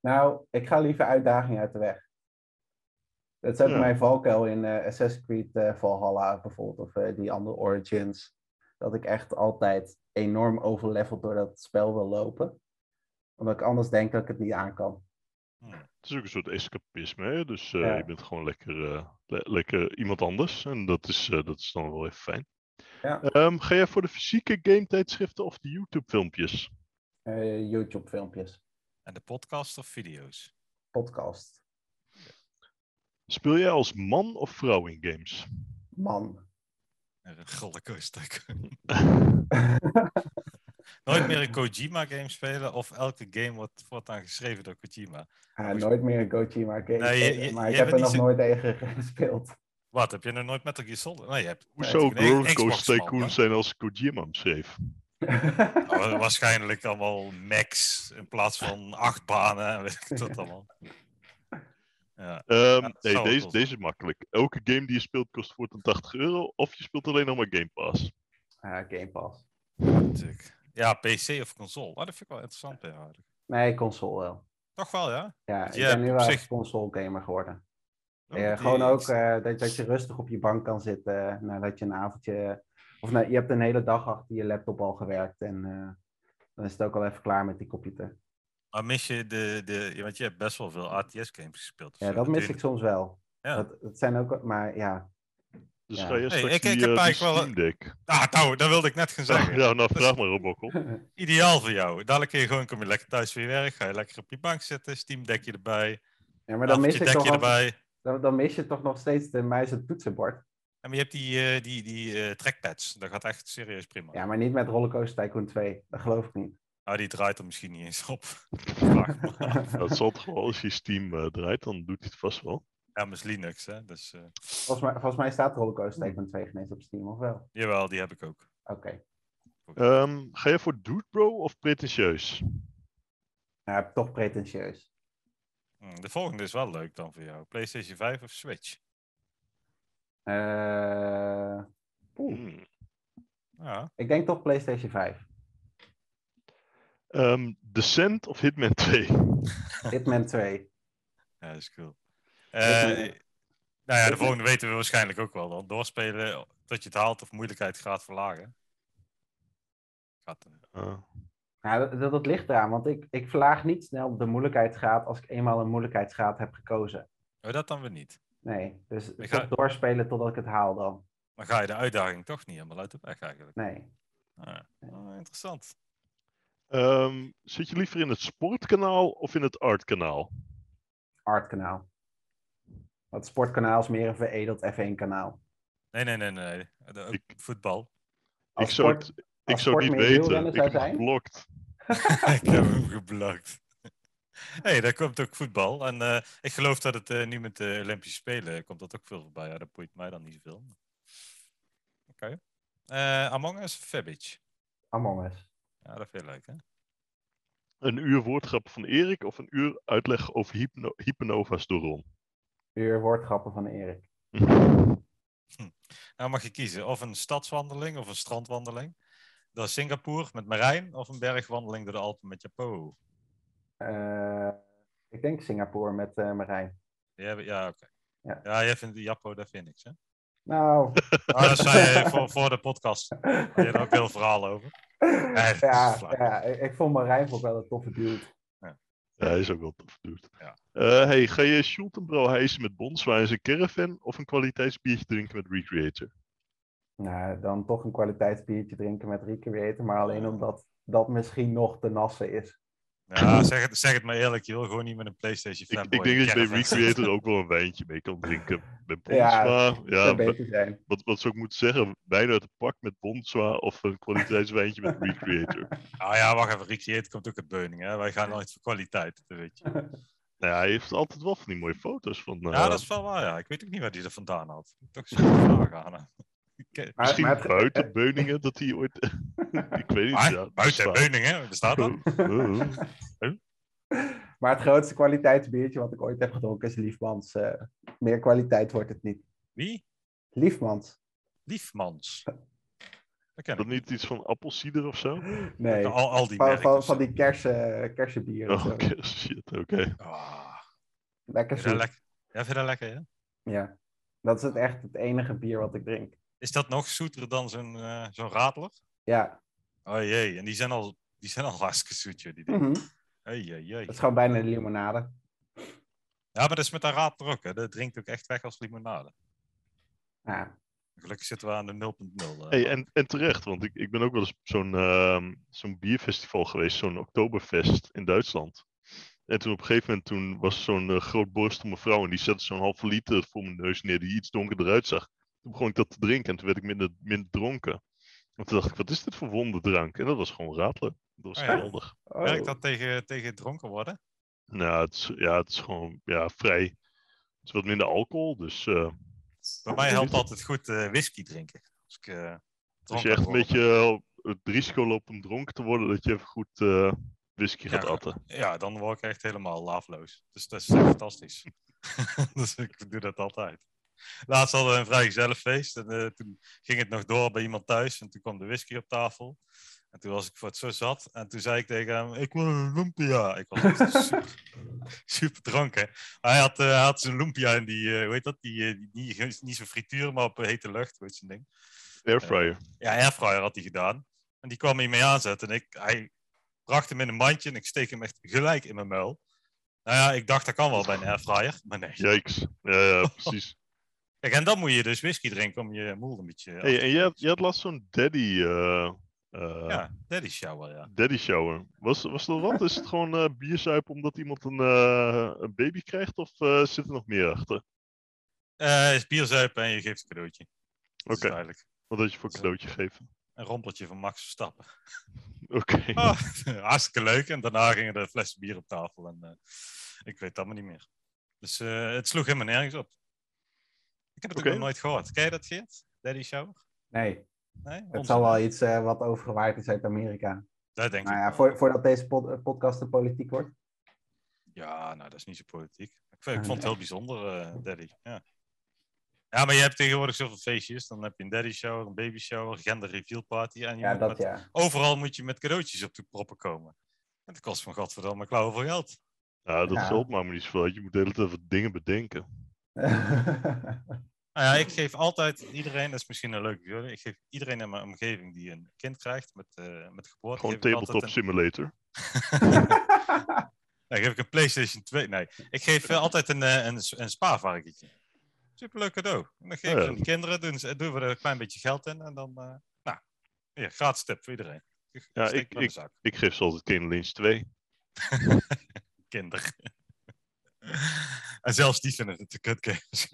Speaker 4: Nou, ik ga liever uitdagingen uit de weg. Dat is ook
Speaker 2: Ja.
Speaker 4: mijn valkuil in eh, Assassin's Creed eh, Valhalla bijvoorbeeld, of eh, die andere Origins. Dat ik echt altijd enorm overleveld door dat spel wil lopen. Omdat ik anders denk dat ik het niet aan kan.
Speaker 2: Het is ook een soort escapisme, hè? dus eh,
Speaker 4: Ja.
Speaker 2: je bent gewoon lekker, eh, le- lekker iemand anders. En dat is, eh, dat is dan wel even fijn.
Speaker 4: Ja.
Speaker 2: Ehm, ga jij voor de fysieke game-tijdschriften of de YouTube-filmpjes?
Speaker 4: Eh, YouTube-filmpjes,
Speaker 3: En de podcast of video's?
Speaker 4: podcast,
Speaker 2: Speel jij als man of vrouw in games?
Speaker 4: man.
Speaker 3: Een rollercoaster tycoon. Nooit meer een Kojima-game spelen of elke game wordt voortaan geschreven door Kojima.
Speaker 4: Ah,
Speaker 3: Goed.
Speaker 4: nooit meer een Kojima game,
Speaker 3: Nee, je- je-
Speaker 4: maar ik
Speaker 3: jij bent
Speaker 4: heb er
Speaker 3: niet
Speaker 4: nog
Speaker 3: zo-
Speaker 4: nooit tegen gespeeld.
Speaker 3: Wat, heb je nog nooit Metal Gear Solid? Nee, je hebt...
Speaker 2: Hoezo
Speaker 3: je hebt een
Speaker 2: rollercoaster
Speaker 3: Xbox-man,
Speaker 2: tycoon zijn als Kojima hem schreef?
Speaker 3: hè? Nou, waarschijnlijk allemaal max in plaats van acht banen en weet ik wat allemaal. Ja,
Speaker 2: Ehm,
Speaker 3: dat
Speaker 2: nee,
Speaker 3: zou wel
Speaker 2: deze,
Speaker 3: cool
Speaker 2: deze is makkelijk. Elke game die je speelt kost voortaan 80 euro. Of je speelt alleen nog maar Game Pass.
Speaker 4: Ah, Game Pass.
Speaker 3: natuurlijk. Ja, PC of console. Oh, dat vind ik wel interessant bij jou.
Speaker 4: Nee, console wel.
Speaker 3: Toch wel, ja?
Speaker 4: Ja, ik
Speaker 3: Ja,
Speaker 4: ben nu
Speaker 3: op
Speaker 4: wel
Speaker 3: zich-
Speaker 4: echt console gamer geworden.
Speaker 3: Oh,
Speaker 4: Ja,
Speaker 3: die-
Speaker 4: gewoon ook eh, dat, dat je rustig op je bank kan zitten eh, nadat je een avondje. Of nou, je hebt een hele dag achter je laptop al gewerkt en eh, dan is het ook al even klaar met die kopje thee.
Speaker 3: Maar mis je de, de... ja, Want je hebt best wel veel RTS-games gespeeld. of
Speaker 4: Ja,
Speaker 3: zo.
Speaker 4: dat mis
Speaker 3: doe je-
Speaker 4: ik soms wel.
Speaker 3: Ja.
Speaker 4: Dat, dat zijn ook, maar ja,
Speaker 2: Dus
Speaker 4: Ja.
Speaker 2: ga je
Speaker 3: Hey,
Speaker 2: straks
Speaker 3: ik-
Speaker 2: die,
Speaker 3: ik heb
Speaker 2: eh, die
Speaker 3: eigenlijk wel-
Speaker 2: Steam Deck.
Speaker 3: Ah, nou, dat wilde ik net gaan zeggen.
Speaker 2: Ja, nou vraag
Speaker 3: Dus-
Speaker 2: maar op, Bokkel.
Speaker 3: Ideaal voor jou. Dadelijk kun je gewoon, kom je lekker thuis van je werk, ga je lekker op je bank zitten, Steam dekje erbij,
Speaker 4: Ja, maar dan mis, ik
Speaker 3: dekje
Speaker 4: toch nog,
Speaker 3: erbij.
Speaker 4: dan, dan mis je toch nog steeds de muis en toetsenbord.
Speaker 3: En maar je hebt die, eh, die, die eh, trackpads, dat gaat echt serieus prima.
Speaker 4: Ja, maar niet met Rollercoaster Tycoon 2. Dat geloof ik niet.
Speaker 3: Nou, die draait er misschien niet eens op. Vraag me af.
Speaker 2: Dat zal toch wel, als je Steam eh, draait, dan doet hij het vast wel.
Speaker 3: ja, maar is Linux, hè. Dus, eh,
Speaker 4: Volgens mij, volgens mij staat Rollercoaster
Speaker 3: Hmm.
Speaker 4: Tycoon 2 geen eens op Steam, of wel?
Speaker 3: jawel, die heb ik ook.
Speaker 4: Oké. Eh.
Speaker 2: Ehm, ga je voor Dude Bro of pretentieus?
Speaker 4: Ja, Nou, toch pretentieus.
Speaker 3: Hm, de volgende is wel leuk dan voor jou. PlayStation 5 of Switch?
Speaker 4: Eh, oeh,
Speaker 2: Hmm.
Speaker 3: Ja.
Speaker 4: ik denk toch PlayStation 5.
Speaker 2: Ehm, Descent of Hitman 2?
Speaker 4: Hitman 2.
Speaker 3: Ja, dat is cool.
Speaker 4: is
Speaker 3: Eh,
Speaker 4: een-
Speaker 3: nou ja,
Speaker 4: dat
Speaker 3: de
Speaker 4: is-
Speaker 3: volgende weten we waarschijnlijk ook wel dan. Doorspelen tot je het haalt of moeilijkheid gaat verlagen. Gaat, eh,
Speaker 2: Eh,
Speaker 4: Ah. Ja, dat, dat, dat ligt eraan, want ik, ik verlaag niet snel de moeilijkheidsgraad als ik eenmaal een moeilijkheidsgraad heb gekozen.
Speaker 3: oh, dat dan weer niet.
Speaker 4: Nee, dus
Speaker 3: Ik
Speaker 4: toch
Speaker 3: ga-
Speaker 4: doorspelen totdat ik het haal dan.
Speaker 3: Maar ga je de uitdaging toch niet helemaal uit de weg eigenlijk.
Speaker 4: Nee.
Speaker 3: Ah, ah, interessant.
Speaker 2: ehm, zit je liever in het sportkanaal of in het artkanaal?
Speaker 4: Artkanaal. Want sportkanaal is meer een E veredeld F1-kanaal.
Speaker 3: Nee, nee, nee, nee. nee. De- ook
Speaker 2: Ik-
Speaker 3: Voetbal.
Speaker 2: Ik zou het- Ik
Speaker 4: als
Speaker 2: zou het niet
Speaker 4: sport meer
Speaker 2: weten.
Speaker 4: wielrennen
Speaker 2: Ik
Speaker 4: zou
Speaker 2: heb het
Speaker 4: zijn?
Speaker 2: geblokt.
Speaker 3: ik heb hem geblokt. Hé, hey, daar komt ook voetbal. En eh, ik geloof dat het eh, nu met de Olympische Spelen komt dat ook veel voorbij. Ja, dat boeit mij dan niet zoveel. Oké. Eh, Among Us of Fabbage?
Speaker 4: Among Us.
Speaker 3: Ja, dat vind je leuk, hè?
Speaker 2: Een uur woordgrap van Erik of een uur uitleg over hypno- hypnova's door Ron?
Speaker 4: Uur woordgrappen van Erik.
Speaker 3: Nou mag je kiezen. Of een stadswandeling of een strandwandeling. Door Singapore met Marijn. Of een bergwandeling door de Alpen met Japo.
Speaker 4: Eh, ik denk Singapore met eh, Marijn.
Speaker 3: Ja, ja oké.
Speaker 4: Ja.
Speaker 3: Ja, jij vindt Japo, dat vind ik niks, hè?
Speaker 4: Nou,
Speaker 2: Ah,
Speaker 3: Oh, dat zei je voor, voor de podcast. Had je er ook heel verhaal over. dat is
Speaker 4: ja,
Speaker 3: flauw.
Speaker 4: ja, ik, ik vond Marijn ook wel een toffe dude.
Speaker 2: Ja, hij is ook wel tof, dude.
Speaker 3: Ja.
Speaker 2: Eh, hey, ga je Schultenbrouw hijsen met Bonswaar en zijn caravan of een kwaliteitsbiertje drinken met Recreator?
Speaker 4: Nou, dan toch een kwaliteitsbiertje drinken met Recreator, maar alleen omdat dat misschien nog te nassen is.
Speaker 3: Ja, zeg het, zeg het maar eerlijk. Je wil gewoon niet met een PlayStation
Speaker 2: Ik,
Speaker 3: fanboy.
Speaker 2: ik denk dat je bij
Speaker 3: caravan zitten.
Speaker 2: Recreator ook wel een wijntje mee kan drinken. Bij
Speaker 4: Ja,
Speaker 2: Bonswaar, ja,
Speaker 4: Zou
Speaker 2: wa-
Speaker 4: beter zijn.
Speaker 2: wat, wat zou ik moeten zeggen? Wijn uit de pak met Bonswaar of een kwaliteitswijntje met Recreator?
Speaker 3: Ah ja, wacht even. Recreate komt ook uit Beuningen, hè? Wij gaan nooit voor kwaliteit, dat weet je.
Speaker 2: Nou ja, hij heeft altijd wel van die mooie foto's van... eh,
Speaker 3: Ja, dat is wel waar, ja. Ik weet ook niet waar die er vandaan had. Moet ik Toch eens een vraag aan hem. Ik-
Speaker 4: Maar-
Speaker 2: Misschien
Speaker 4: maar eh, het-
Speaker 2: buiten Beuningen dat hij ooit... ik weet niet.
Speaker 3: Ah,
Speaker 2: ja,
Speaker 3: buiten
Speaker 2: bestaat.
Speaker 3: Beuningen, bestaat dat?
Speaker 2: Eh, eh.
Speaker 4: Maar het grootste kwaliteitsbiertje wat ik ooit heb gedronken is Liefmans. eh, meer kwaliteit wordt het niet.
Speaker 3: Wie?
Speaker 4: Liefmans?
Speaker 3: Liefmans. Dat ken
Speaker 2: Dat
Speaker 3: ik.
Speaker 2: niet iets van appelsieder of zo?
Speaker 4: Nee.
Speaker 3: Al, al die
Speaker 4: Van,
Speaker 3: merken.
Speaker 4: van, van die kersen, kersenbieren.
Speaker 2: Oh,
Speaker 4: zo.
Speaker 2: oké, shit, oké.
Speaker 3: Ah,
Speaker 4: Lekker
Speaker 3: vind je dat
Speaker 4: zoet.
Speaker 3: lekker? Ja, vind je dat lekker, ja?
Speaker 4: Ja. Dat is het echt het enige bier wat ik drink.
Speaker 3: Is dat nog zoeter dan zo'n eh, zo'n radler?
Speaker 4: Ja.
Speaker 3: Oh jee, en die zijn al, die zijn al hartstikke zoet, joh, die dingen.
Speaker 4: Mhm.
Speaker 3: Hey, jee, jee.
Speaker 4: Dat is gewoon bijna limonade.
Speaker 3: Ja, maar dat is met dat radler ook, hè. Dat drinkt ook echt weg als limonade.
Speaker 4: Ja.
Speaker 3: Gelukkig zitten we aan de 0.0. eh.
Speaker 2: Hey, en, en terecht, want ik, ik ben ook wel eens op zo'n ehm, zo'n bierfestival geweest, zo'n Oktoberfest in Duitsland. En toen op een gegeven moment toen was zo'n eh, grootborstel mevrouw en die zette zo'n halve liter voor mijn neus neer die iets donkerder uitzag. Toen begon ik dat te drinken en toen werd ik minder, minder dronken. En toen dacht ik, wat is dit voor wonderdrank? En dat was gewoon ratelen. Dat was
Speaker 3: Oh ja.
Speaker 2: geweldig.
Speaker 4: Oh.
Speaker 3: Werkt dat tegen, tegen dronken worden?
Speaker 2: Nou, het is, ja, het is gewoon ja, vrij... Het is wat minder alcohol, dus... eh,
Speaker 3: Bij mij helpt altijd goed eh, whisky drinken. Als ik, eh,
Speaker 2: Als
Speaker 3: dronken
Speaker 2: je echt een
Speaker 3: word.
Speaker 2: beetje eh, het risico loopt om dronken te worden, dat je even goed eh, whisky gaat
Speaker 3: Ja.
Speaker 2: atten.
Speaker 3: Ja, dan word ik echt helemaal laafloos. Dus dat is echt fantastisch. dus ik doe dat altijd. Laatst hadden we een vrijgezellenfeest. En eh, toen ging het nog door bij iemand thuis. En toen kwam de whisky op tafel. En toen was ik voor het zo zat. En toen zei ik tegen hem, ik wil een lumpia. Ik was echt super, super dronken. Hij had, eh, hij had zijn lumpia in die, eh, hoe heet dat? Die, eh, die, niet, niet zo'n frituur, maar op hete lucht. Weet je zo'n ding.
Speaker 2: Airfryer.
Speaker 3: Ja, airfryer had hij gedaan. En die kwam hij mee aanzetten. En ik, hij bracht hem in een mandje en ik steek hem echt gelijk in mijn muil. Nou ja, ik dacht dat kan wel bij een airfryer, maar nee.
Speaker 2: Yikes. Ja, ja, precies.
Speaker 3: Kijk, en dan moet je dus whisky drinken om je moel een beetje... af
Speaker 2: Hey,
Speaker 3: te
Speaker 2: en je had,
Speaker 3: koelen.
Speaker 2: je had laatst zo'n daddy, eh, eh,
Speaker 3: Ja, daddy shower, ja.
Speaker 2: daddy shower. Was, was dat wat? Is het gewoon eh bierzuipen omdat iemand een, eh, een baby krijgt? Of eh, zit er nog meer achter?
Speaker 3: Eh is bier zuipen en je geeft een cadeautje. Dat is
Speaker 2: Oké.
Speaker 3: duidelijk.
Speaker 2: Wat had je voor
Speaker 3: Zo.
Speaker 2: cadeautje geven?
Speaker 3: Een rompeltje van Max Verstappen.
Speaker 2: Oké.
Speaker 3: Ah, hartstikke leuk. En daarna gingen er flessen bier op tafel. En eh, ik weet het allemaal niet meer. Dus eh, het sloeg helemaal nergens op. Ik heb het
Speaker 2: Oké.
Speaker 3: ook nog nooit gehoord. Ken je dat, Geert? Daddy Shower?
Speaker 4: Nee,
Speaker 3: Nee?
Speaker 4: het
Speaker 3: Onzin,
Speaker 4: zal wel
Speaker 3: hè?
Speaker 4: iets eh, wat overgewaaid is uit Amerika.
Speaker 3: Dat denk
Speaker 4: Nou
Speaker 3: ik.
Speaker 4: ja,
Speaker 3: wel.
Speaker 4: voor, voordat deze pod- eh, podcast een politiek wordt.
Speaker 3: Ja, nou, dat is niet zo politiek. Ik, vond- ik vond
Speaker 4: Ah,
Speaker 3: het
Speaker 4: nee.
Speaker 3: heel bijzonder, eh, Daddy. Ja. ja, maar je hebt tegenwoordig zoveel feestjes. Dan heb je een Daddy Shower, een Baby Shower, Gender Reveal Party. En je
Speaker 4: Ja,
Speaker 3: moet
Speaker 4: dat
Speaker 3: met-
Speaker 4: ja.
Speaker 3: Overal moet je met cadeautjes op de proppen komen. En dat kost van godverdamme klauwen voor geld.
Speaker 2: Ja, dat
Speaker 4: Ja.
Speaker 2: geldt maar niet zoveel. Je moet de hele tijd wat dingen bedenken.
Speaker 3: Nou ja, ik geef altijd iedereen, dat is misschien een leuke jullie, ik geef iedereen in mijn omgeving die een kind krijgt met, eh met geboorte.
Speaker 2: Gewoon
Speaker 3: geef ik altijd
Speaker 2: tabletop
Speaker 3: een-
Speaker 2: simulator.
Speaker 3: Nee, geef ik een PlayStation 2. Nee, ik geef eh, altijd een, eh, een, s- een spaarvarkentje. Superleuk cadeau. En dan geven
Speaker 2: Ja.
Speaker 3: ze aan de kinderen, doen, ze- doen we er een klein beetje geld in. En dan, eh, nou, ja, gratis tip voor iedereen.
Speaker 2: Ja,
Speaker 3: Steek
Speaker 2: ik-
Speaker 3: maar in de zak.
Speaker 2: Ik geef ze altijd Kane Lynch 2.
Speaker 3: Kinder. en zelfs die vinden het een kutgames.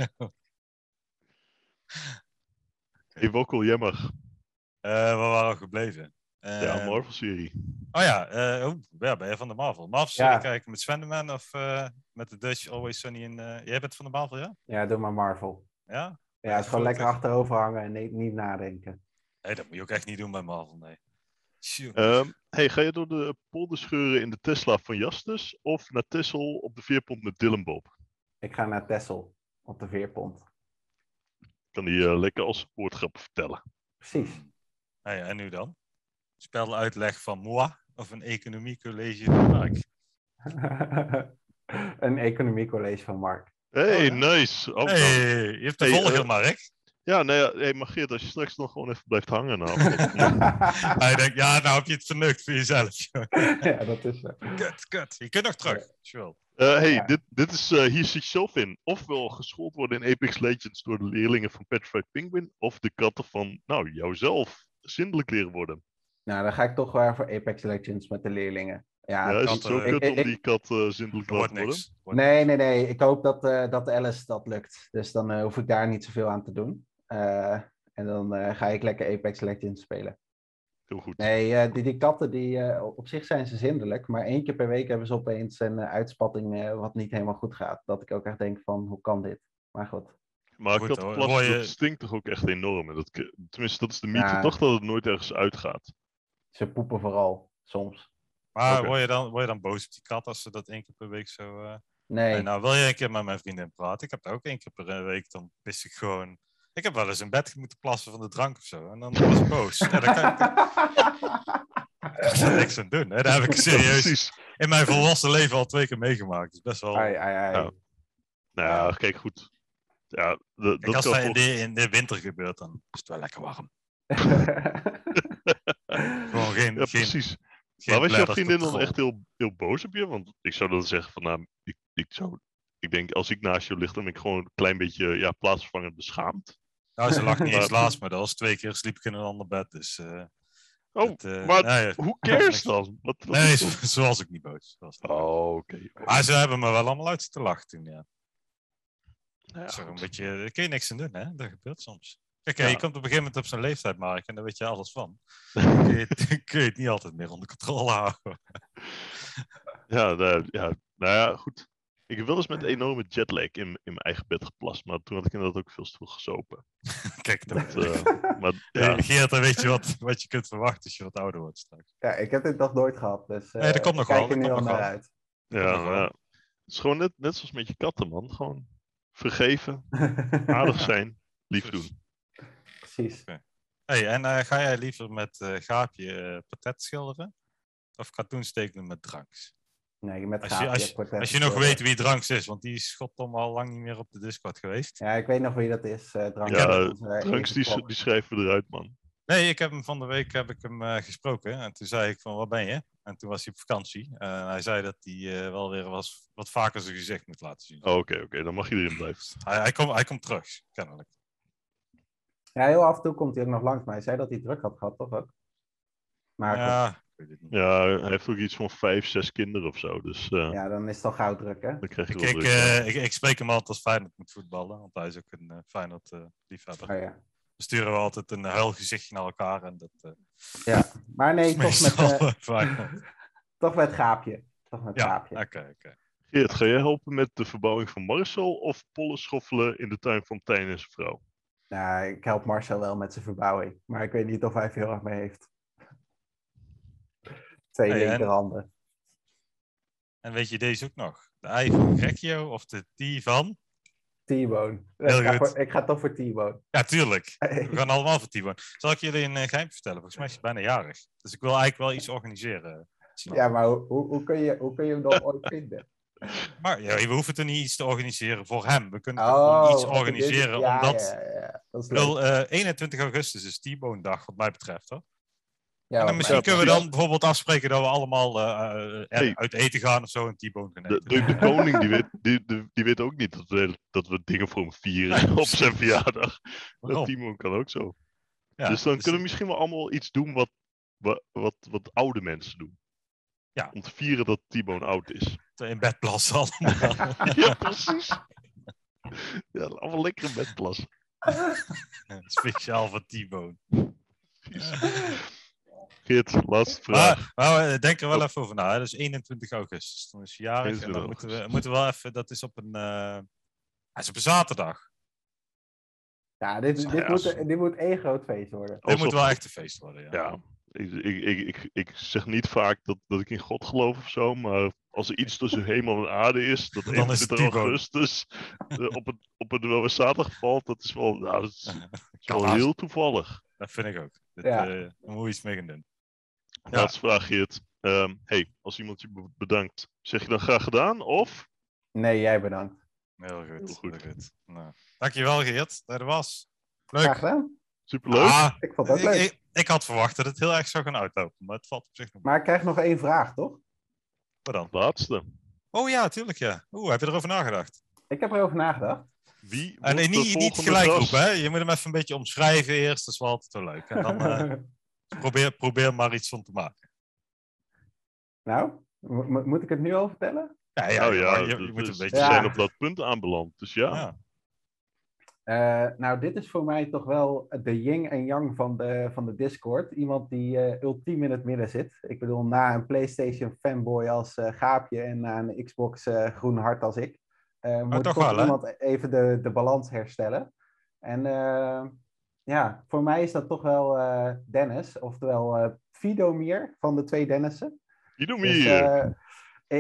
Speaker 2: Hey, Wokkel, jij mag.
Speaker 3: Eh, we waren al gebleven.
Speaker 2: Ja,
Speaker 3: Eh,
Speaker 2: Marvel-serie.
Speaker 3: Oh ja, eh, oh, ja, ben je van de Marvel? Marvel
Speaker 4: Ja.
Speaker 3: serie kijken met Slenderman of eh, met de Dutch Always Sunny in... eh, jij bent van de Marvel, ja?
Speaker 4: ja, doe maar Marvel.
Speaker 3: Ja?
Speaker 4: Ja, het is
Speaker 3: Goed,
Speaker 4: gewoon lekker
Speaker 3: hè?
Speaker 4: achterover hangen en niet, niet nadenken.
Speaker 3: Nee, dat moet je ook echt niet doen bij Marvel, nee. Tjoe.
Speaker 2: Ehm, hey, ga je door de polder scheuren in de Tesla van Jastus of naar Tessel op de veerpont met Dylan Bob?
Speaker 4: Ik ga naar Tessel op de veerpont.
Speaker 2: Kan die eh, lekker als supportgrap vertellen.
Speaker 4: Precies.
Speaker 3: Nou ja, en nu dan? Speluitleg van moi of een economiecollege van Mark.
Speaker 4: een economiecollege van Mark.
Speaker 2: Hey,
Speaker 3: ja.
Speaker 2: nice. Oh, nou.
Speaker 3: Hey, je hebt de
Speaker 2: Hey,
Speaker 3: volger,
Speaker 2: eh,
Speaker 3: Mark.
Speaker 2: Ja, nee, ja, hey, maar Geert, als je straks nog gewoon even blijft hangen. Nou,
Speaker 3: Hij denkt, ja, nou heb je het verneukt voor jezelf.
Speaker 4: ja, dat is eh. zo.
Speaker 3: kut, kut. Je kunt nog terug. als je wil.
Speaker 2: Eh, hey,
Speaker 4: Ja.
Speaker 2: dit, dit is, eh, hier zit zelf in. Ofwel geschoold worden in Apex Legends door de leerlingen van Petrified Penguin, of de katten van, nou, jouzelf zindelijk leren worden.
Speaker 4: Nou, dan ga ik toch weer voor Apex Legends met de leerlingen. Ja,
Speaker 2: Ja, is het
Speaker 3: katten-
Speaker 2: zo
Speaker 3: Ik-
Speaker 2: kut
Speaker 4: ik-
Speaker 2: om
Speaker 4: ik-
Speaker 2: die kat eh, zindelijk
Speaker 3: Er
Speaker 2: te
Speaker 3: wordt
Speaker 2: laten worden?
Speaker 3: niks. Wordt
Speaker 4: Nee, nee, nee. Ik hoop dat, eh dat Alice dat lukt. Dus dan eh, hoef ik daar niet zoveel aan te doen. Eh, en dan eh, ga ik lekker Apex Legends spelen.
Speaker 2: Heel goed.
Speaker 4: Nee, eh, die, die katten, die, eh, op zich zijn ze zindelijk. Maar één keer per week hebben ze opeens een eh, uitspatting eh, wat niet helemaal goed gaat. Dat ik ook echt denk van, hoe kan dit? Maar goed.
Speaker 2: Maar
Speaker 3: Goed, hoor.
Speaker 2: kattenplas,
Speaker 3: Hoor je-
Speaker 2: dat stinkt toch ook echt enorm. En dat, ke- tenminste, dat is de mythe
Speaker 4: Ja.
Speaker 2: toch dat het nooit ergens uitgaat.
Speaker 4: Ze poepen vooral, soms.
Speaker 3: Maar
Speaker 2: Oké.
Speaker 3: word, je dan, word je dan boos op die kat als ze dat één keer per week zo... eh,
Speaker 4: Nee,
Speaker 3: Hey, nou, wil je een keer met mijn vriendin praten? Ik heb dat ook één keer per eh, week. Dan wist ik gewoon. Ik heb wel eens in bed moeten plassen van de drank of zo. En dan was ik boos. En dan kan ik daar kan ik niks aan doen. Hè. Dat heb ik
Speaker 2: Ja,
Speaker 3: serieus
Speaker 2: precies.
Speaker 3: in mijn volwassen leven al twee keer meegemaakt. Dus best wel.
Speaker 4: Ai, ai, ai.
Speaker 2: Ja. Nou ja, kijk goed. Ja, d-
Speaker 3: Kijk,
Speaker 2: dat
Speaker 3: als
Speaker 2: kan
Speaker 3: dat in
Speaker 2: volgens-
Speaker 3: de, in de winter gebeurt, dan is het wel lekker warm. Gewoon geen.
Speaker 2: Ja,
Speaker 3: geen,
Speaker 2: precies.
Speaker 3: geen
Speaker 2: maar was jouw
Speaker 3: bladders
Speaker 2: vriendin
Speaker 3: tot
Speaker 2: dan
Speaker 3: grond.
Speaker 2: echt heel, heel boos op je? Want ik zou dan zeggen van, nou, ik, ik zou... Ik denk, als ik naast jou lig, dan ben ik gewoon een klein beetje ja, plaatsvervangend beschaamd.
Speaker 3: Nou, ze lag niet
Speaker 2: Maar-
Speaker 3: eens laatst, maar dat was twee keer sliep ik in een ander bed. Dus. eh,
Speaker 2: Oh,
Speaker 3: dat, eh,
Speaker 2: maar-
Speaker 3: nou ja.
Speaker 2: Hoe cares dan? Wat, wat
Speaker 3: Nee, Ah,
Speaker 2: is dat?
Speaker 3: zo zo was ik niet boos. Zo was ik niet boos.
Speaker 2: Oh, oké.
Speaker 3: Maar ze hebben me wel allemaal uit te lachen toen, ja.
Speaker 2: Nou ja,
Speaker 3: Zo een
Speaker 2: goed.
Speaker 3: beetje, daar kun je niks aan doen, hè? Dat gebeurt soms. Kijk, hè,
Speaker 2: Ja.
Speaker 3: je komt op een gegeven moment op zo'n leeftijd, Mark, en daar weet je alles van. Dan kun je, het- dan kun je het niet altijd meer onder controle houden.
Speaker 2: Ja, nou ja, nou ja, goed. Ik heb wel eens met enorme jetlag in, in mijn eigen bed geplast, maar toen had ik inderdaad ook veel te veel gezopen.
Speaker 3: Kijk, dan,
Speaker 2: Dat, eh, maar ja,
Speaker 3: Eh, Geert, dan weet je wat, wat je kunt verwachten als je wat ouder wordt straks.
Speaker 4: ja, ik heb dit nog nooit gehad, dus eh
Speaker 3: Nee, dat komt nog
Speaker 4: ik kijk
Speaker 3: wel,
Speaker 4: er
Speaker 3: dat
Speaker 4: nu al
Speaker 3: komt nog
Speaker 4: naar
Speaker 3: wel.
Speaker 4: uit.
Speaker 2: ja,
Speaker 3: nog wel.
Speaker 2: ja. Het is gewoon net, net zoals met je katten, man. Gewoon vergeven, aardig zijn, lief
Speaker 3: Precies.
Speaker 2: doen.
Speaker 4: Precies.
Speaker 3: Hey, en eh, ga jij liever met eh, gaapje eh, patet schilderen? Of cartoons tekenen met dranks?
Speaker 4: Nee, met eh,
Speaker 3: Als je-
Speaker 4: gaaf,
Speaker 3: als-
Speaker 4: hebt portretten
Speaker 3: Als je nog
Speaker 4: voor-
Speaker 3: weet wie dranks is, eh, want die is goddomme al lang niet meer op de Discord geweest.
Speaker 4: Ja, ik weet nog wie dat is. eh drank
Speaker 2: Ja,
Speaker 4: dat is, eh,
Speaker 2: Dranks,
Speaker 4: Erik
Speaker 2: die, s-
Speaker 4: Klok.
Speaker 2: die schrijven we eruit, man.
Speaker 3: Nee, ik heb hem van de week heb ik hem, eh, gesproken. En toen zei ik van, waar ben je? En toen was hij op vakantie. En hij zei dat hij eh, wel weer was, wat vaker zijn gezicht moet laten zien.
Speaker 2: Oké, Oh, oké, dan mag je erin blijven.
Speaker 3: Hij, hij komt hij komt terug, kennelijk.
Speaker 4: Ja, heel af en toe komt hij ook nog langs, maar hij zei dat hij druk had gehad, toch ook?
Speaker 3: Ah,
Speaker 4: Maar goed,
Speaker 3: Ja, ik weet het niet.
Speaker 2: Ja, hij heeft ook iets van vijf, zes kinderen of zo. Dus eh,
Speaker 4: ja, dan is het al gauw druk, hè?
Speaker 2: dan krijg je
Speaker 3: Ik,
Speaker 2: wel
Speaker 3: ik,
Speaker 2: druk.
Speaker 3: eh, ik, ik spreek hem altijd als Feyenoord moet voetballen, want hij is ook een eh Feyenoord eh, liefhebber.
Speaker 4: Oh, ja.
Speaker 3: We sturen wel altijd een huil gezichtje naar elkaar en dat eh,
Speaker 4: Maar
Speaker 3: is
Speaker 4: nee, toch met,
Speaker 3: meestal
Speaker 4: eh,
Speaker 3: Feyenoord.
Speaker 4: toch met gaapje. Toch met
Speaker 3: Ja,
Speaker 4: gaapje.
Speaker 3: oké, oké.
Speaker 2: Geert, ga jij helpen met de verbouwing van Marcel of pollen schoffelen in de tuin van Tijn en zijn vrouw?
Speaker 4: Nou, ik help Marcel wel met zijn verbouwing, maar ik weet niet of hij er heel erg mee heeft. Twee
Speaker 3: Hey, en-
Speaker 4: linkerhanden.
Speaker 3: En weet je deze ook nog? De I van Grecchio of de T van...
Speaker 4: T-bone. Ik
Speaker 3: Heel
Speaker 4: ga,
Speaker 3: goed.
Speaker 4: voor- ik ga toch voor T-bone.
Speaker 3: Ja, tuurlijk. We gaan allemaal voor Tibor. Zal ik jullie een eh, geheim vertellen? Volgens mij is hij bijna jarig. Dus ik wil eigenlijk wel iets organiseren.
Speaker 4: Ja, maar hoe, hoe, hoe kun je, hoe kun je hem dan ooit vinden?
Speaker 3: Maar ja, we hoeven er niet iets te organiseren voor hem. We kunnen toch
Speaker 4: Oh,
Speaker 3: gewoon iets
Speaker 4: wat ik dit-
Speaker 3: organiseren.
Speaker 4: ja,
Speaker 3: omdat...
Speaker 4: Ja, ja, ja. Dat is
Speaker 3: Ik
Speaker 4: leuk.
Speaker 3: bedoel, eh, 21 augustus is T-Bone dag, wat mij betreft. Hoor.
Speaker 4: Ja,
Speaker 3: en
Speaker 4: wat
Speaker 3: dan misschien
Speaker 4: mij-
Speaker 3: kunnen we
Speaker 2: ja.
Speaker 3: dan bijvoorbeeld afspreken dat we allemaal eh, eh, er-
Speaker 2: Hey.
Speaker 3: uit eten gaan of zo en T-Bone gaan
Speaker 2: De,
Speaker 3: eten.
Speaker 2: de, de koning die weet, die, de- die weet ook niet dat we, dat we dingen voor hem vieren op zijn verjaardag.
Speaker 3: Waarom?
Speaker 2: Dat Timo kan ook zo.
Speaker 3: Ja,
Speaker 2: dus dan
Speaker 3: dus
Speaker 2: kunnen we misschien wel allemaal iets doen wat, wa- wat, wat oude mensen doen.
Speaker 3: Ja.
Speaker 2: Om te vieren dat Timo oud is.
Speaker 3: dat we in bed plassen allemaal.
Speaker 2: ja, precies. Ja, allemaal lekker in bed plassen.
Speaker 3: Speciaal voor T-Bone.
Speaker 2: Geert, laatste vraag.
Speaker 3: Maar, maar we denken er wel even over na. Hè. Dus 21 augustus. Dan is hij jarig. En
Speaker 2: 21
Speaker 3: dan moeten we,
Speaker 2: augustus.
Speaker 3: moeten we wel even... Dat is op een... eh, dat is op een zaterdag.
Speaker 4: Ja, dit, dit,
Speaker 2: Ja,
Speaker 4: moet, dit moet één groot feest worden.
Speaker 3: Dit
Speaker 2: Alsof-
Speaker 3: moet wel echt een feest worden, ja.
Speaker 2: Ja, ik, ik, ik, ik, ik zeg niet vaak dat, dat ik in God geloof of zo, maar als er iets tussen hemel en aarde is, dat
Speaker 3: Dan is het
Speaker 2: 21
Speaker 3: Timo.
Speaker 2: augustus eh, op een, op een wel zaterdag valt, dat is wel, nou, dat is, dat is
Speaker 3: Kan
Speaker 2: wel
Speaker 3: haast.
Speaker 2: heel toevallig.
Speaker 3: Dat vind ik ook. Dat,
Speaker 4: Ja.
Speaker 3: eh, daar moeten we iets mee gaan doen. Ja.
Speaker 2: Laatste vraag, Geert. Ehm, hey, als iemand je be- bedankt, zeg je dan graag gedaan of?
Speaker 4: Nee, jij bedankt.
Speaker 3: Heel goed.
Speaker 2: Heel goed.
Speaker 3: heel goed. Nou, dankjewel, Geert. Dat was.
Speaker 4: Graag
Speaker 3: Leuk.
Speaker 4: gedaan.
Speaker 2: Superleuk.
Speaker 3: Ah,
Speaker 4: Ik vond het ook
Speaker 3: ik,
Speaker 4: leuk.
Speaker 3: ik, ik had verwacht dat het heel erg zou gaan uitlopen, maar het valt op zich nog
Speaker 4: Maar ik krijg nog één vraag, toch?
Speaker 3: Wat dan?
Speaker 2: Laatste.
Speaker 3: Oh ja, tuurlijk ja. Oeh, heb je erover nagedacht?
Speaker 4: Ik heb erover nagedacht.
Speaker 2: Wie
Speaker 3: En Ah, nee,
Speaker 2: wordt de
Speaker 3: niet, niet
Speaker 2: volgende
Speaker 3: gelijk
Speaker 2: gast?
Speaker 3: roepen, hè. Je moet hem even een beetje omschrijven eerst. Dat is wel altijd wel leuk. En dan eh, probeer, probeer maar iets van te maken.
Speaker 4: nou, mo- mo- moet ik het nu al vertellen?
Speaker 3: Ja, ja,
Speaker 2: Nou ja,
Speaker 3: je, je
Speaker 2: dat
Speaker 3: moet een
Speaker 2: is-
Speaker 3: beetje...
Speaker 2: we
Speaker 4: Ja.
Speaker 2: zijn op dat punt aanbeland, dus ja.
Speaker 3: Ja.
Speaker 4: Eh, nou, dit is voor mij toch wel de yin en yang van de, van de Discord. Iemand die eh, ultiem in het midden zit. Ik bedoel, na een PlayStation fanboy als eh, Gaapje en na een Xbox eh, groen hart als ik, eh, moet
Speaker 3: Ah, toch
Speaker 4: toch,
Speaker 3: wel, hè?
Speaker 4: iemand even de, de balans herstellen. En eh, ja, voor mij is dat toch wel eh, Dennis, oftewel eh Fidomier van de twee Dennissen.
Speaker 2: Wie doen we
Speaker 4: Dus,
Speaker 2: hier?
Speaker 4: eh,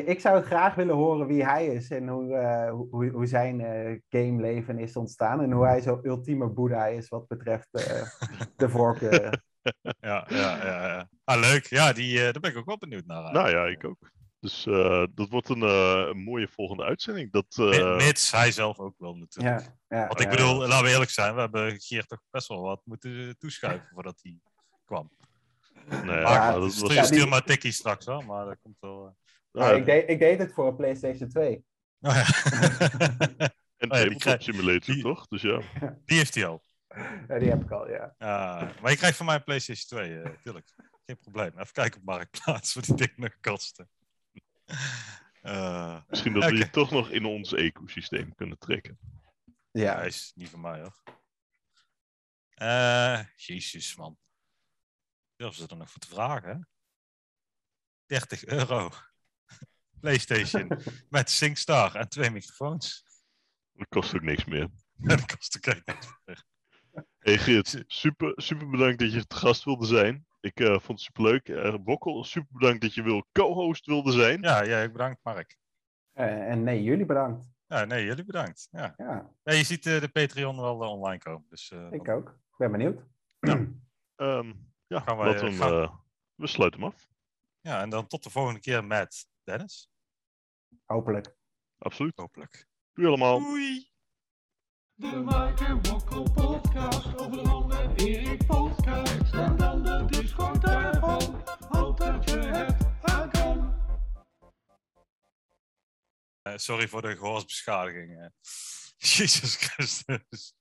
Speaker 4: ik zou graag willen horen wie hij is en hoe, eh, hoe, hoe zijn eh, gameleven is ontstaan en hoe hij zo ultieme boeddha is wat betreft eh, de voorkeur.
Speaker 3: Ja, ja, ja, ja. Ah, leuk. Ja, die, eh, daar ben ik ook wel benieuwd naar. eigenlijk.
Speaker 2: Nou ja, ik ook. Dus eh, dat wordt een, eh, een mooie volgende uitzending. Dat,
Speaker 3: Mi-
Speaker 2: eh,
Speaker 3: Mits hij zelf ook wel natuurlijk.
Speaker 4: ja, ja,
Speaker 3: Want ik
Speaker 4: ja.
Speaker 3: bedoel, laten we eerlijk zijn, we hebben Geert toch best wel wat moeten eh, toeschuiven voordat hij kwam.
Speaker 2: nou ja,
Speaker 4: Ja,
Speaker 2: dat
Speaker 3: dat
Speaker 2: was,
Speaker 3: stuur,
Speaker 4: ja, die-
Speaker 3: stuur maar tikkie straks wel, maar dat komt wel. eh.
Speaker 4: Maar Ah, ik, deed, ik deed het voor een PlayStation 2.
Speaker 3: Oh ja.
Speaker 2: en
Speaker 3: oh ja, die
Speaker 2: Tabletop
Speaker 3: krijg-
Speaker 2: Simulator,
Speaker 3: die-
Speaker 2: toch? Dus ja,
Speaker 3: die heeft hij al.
Speaker 4: Ja, Eh, die heb ik al, ja.
Speaker 3: Ah, maar je krijgt van mij een PlayStation 2, eh, tuurlijk. Geen probleem. Even kijken op Marktplaats wat die ding nog kosten. Eh,
Speaker 2: misschien dat we
Speaker 3: Oké.
Speaker 2: je toch nog in ons ecosysteem kunnen trekken.
Speaker 3: ja, hij
Speaker 4: Ja,
Speaker 3: is niet van mij hoor. Eh, jezus man. Durven ze er nog voor te vragen? hè? 30 euro. PlayStation met SingStar en twee microfoons.
Speaker 2: Dat kost ook niks meer.
Speaker 3: Dat kost ook echt niks.
Speaker 2: Hey Geert, super, super bedankt dat je te gast wilde zijn. Ik eh, vond het super leuk. Wokkel, super bedankt dat je wil co-host wilde zijn.
Speaker 3: Ja, jij ook bedankt Mark.
Speaker 4: Eh, en nee, jullie bedankt.
Speaker 3: Ja, nee, jullie bedankt. Ja.
Speaker 4: Ja,
Speaker 3: Ja, je ziet eh, de Patreon wel eh, online komen. Dus eh,
Speaker 4: ik
Speaker 3: dan
Speaker 4: ook. Ik ben benieuwd.
Speaker 2: Ehm, ja,
Speaker 3: Gaan wij,
Speaker 2: laten we,
Speaker 3: eh,
Speaker 2: hem,
Speaker 3: gaan-
Speaker 2: eh, we sluiten hem af.
Speaker 3: Ja, en dan tot de volgende keer met Dennis.
Speaker 4: Hopelijk.
Speaker 2: Absoluut.
Speaker 3: Hopelijk.
Speaker 2: Doei
Speaker 4: Oh.
Speaker 2: allemaal.
Speaker 3: Doei!
Speaker 1: De Mike en Wokkel podcast over de Ron en Erik podcast. podcast. Stem dan de Discord daarvan. Hoop dat je het aan kan.
Speaker 3: Eh, sorry voor de gehoorsbeschadiging. eh. Jezus Christus.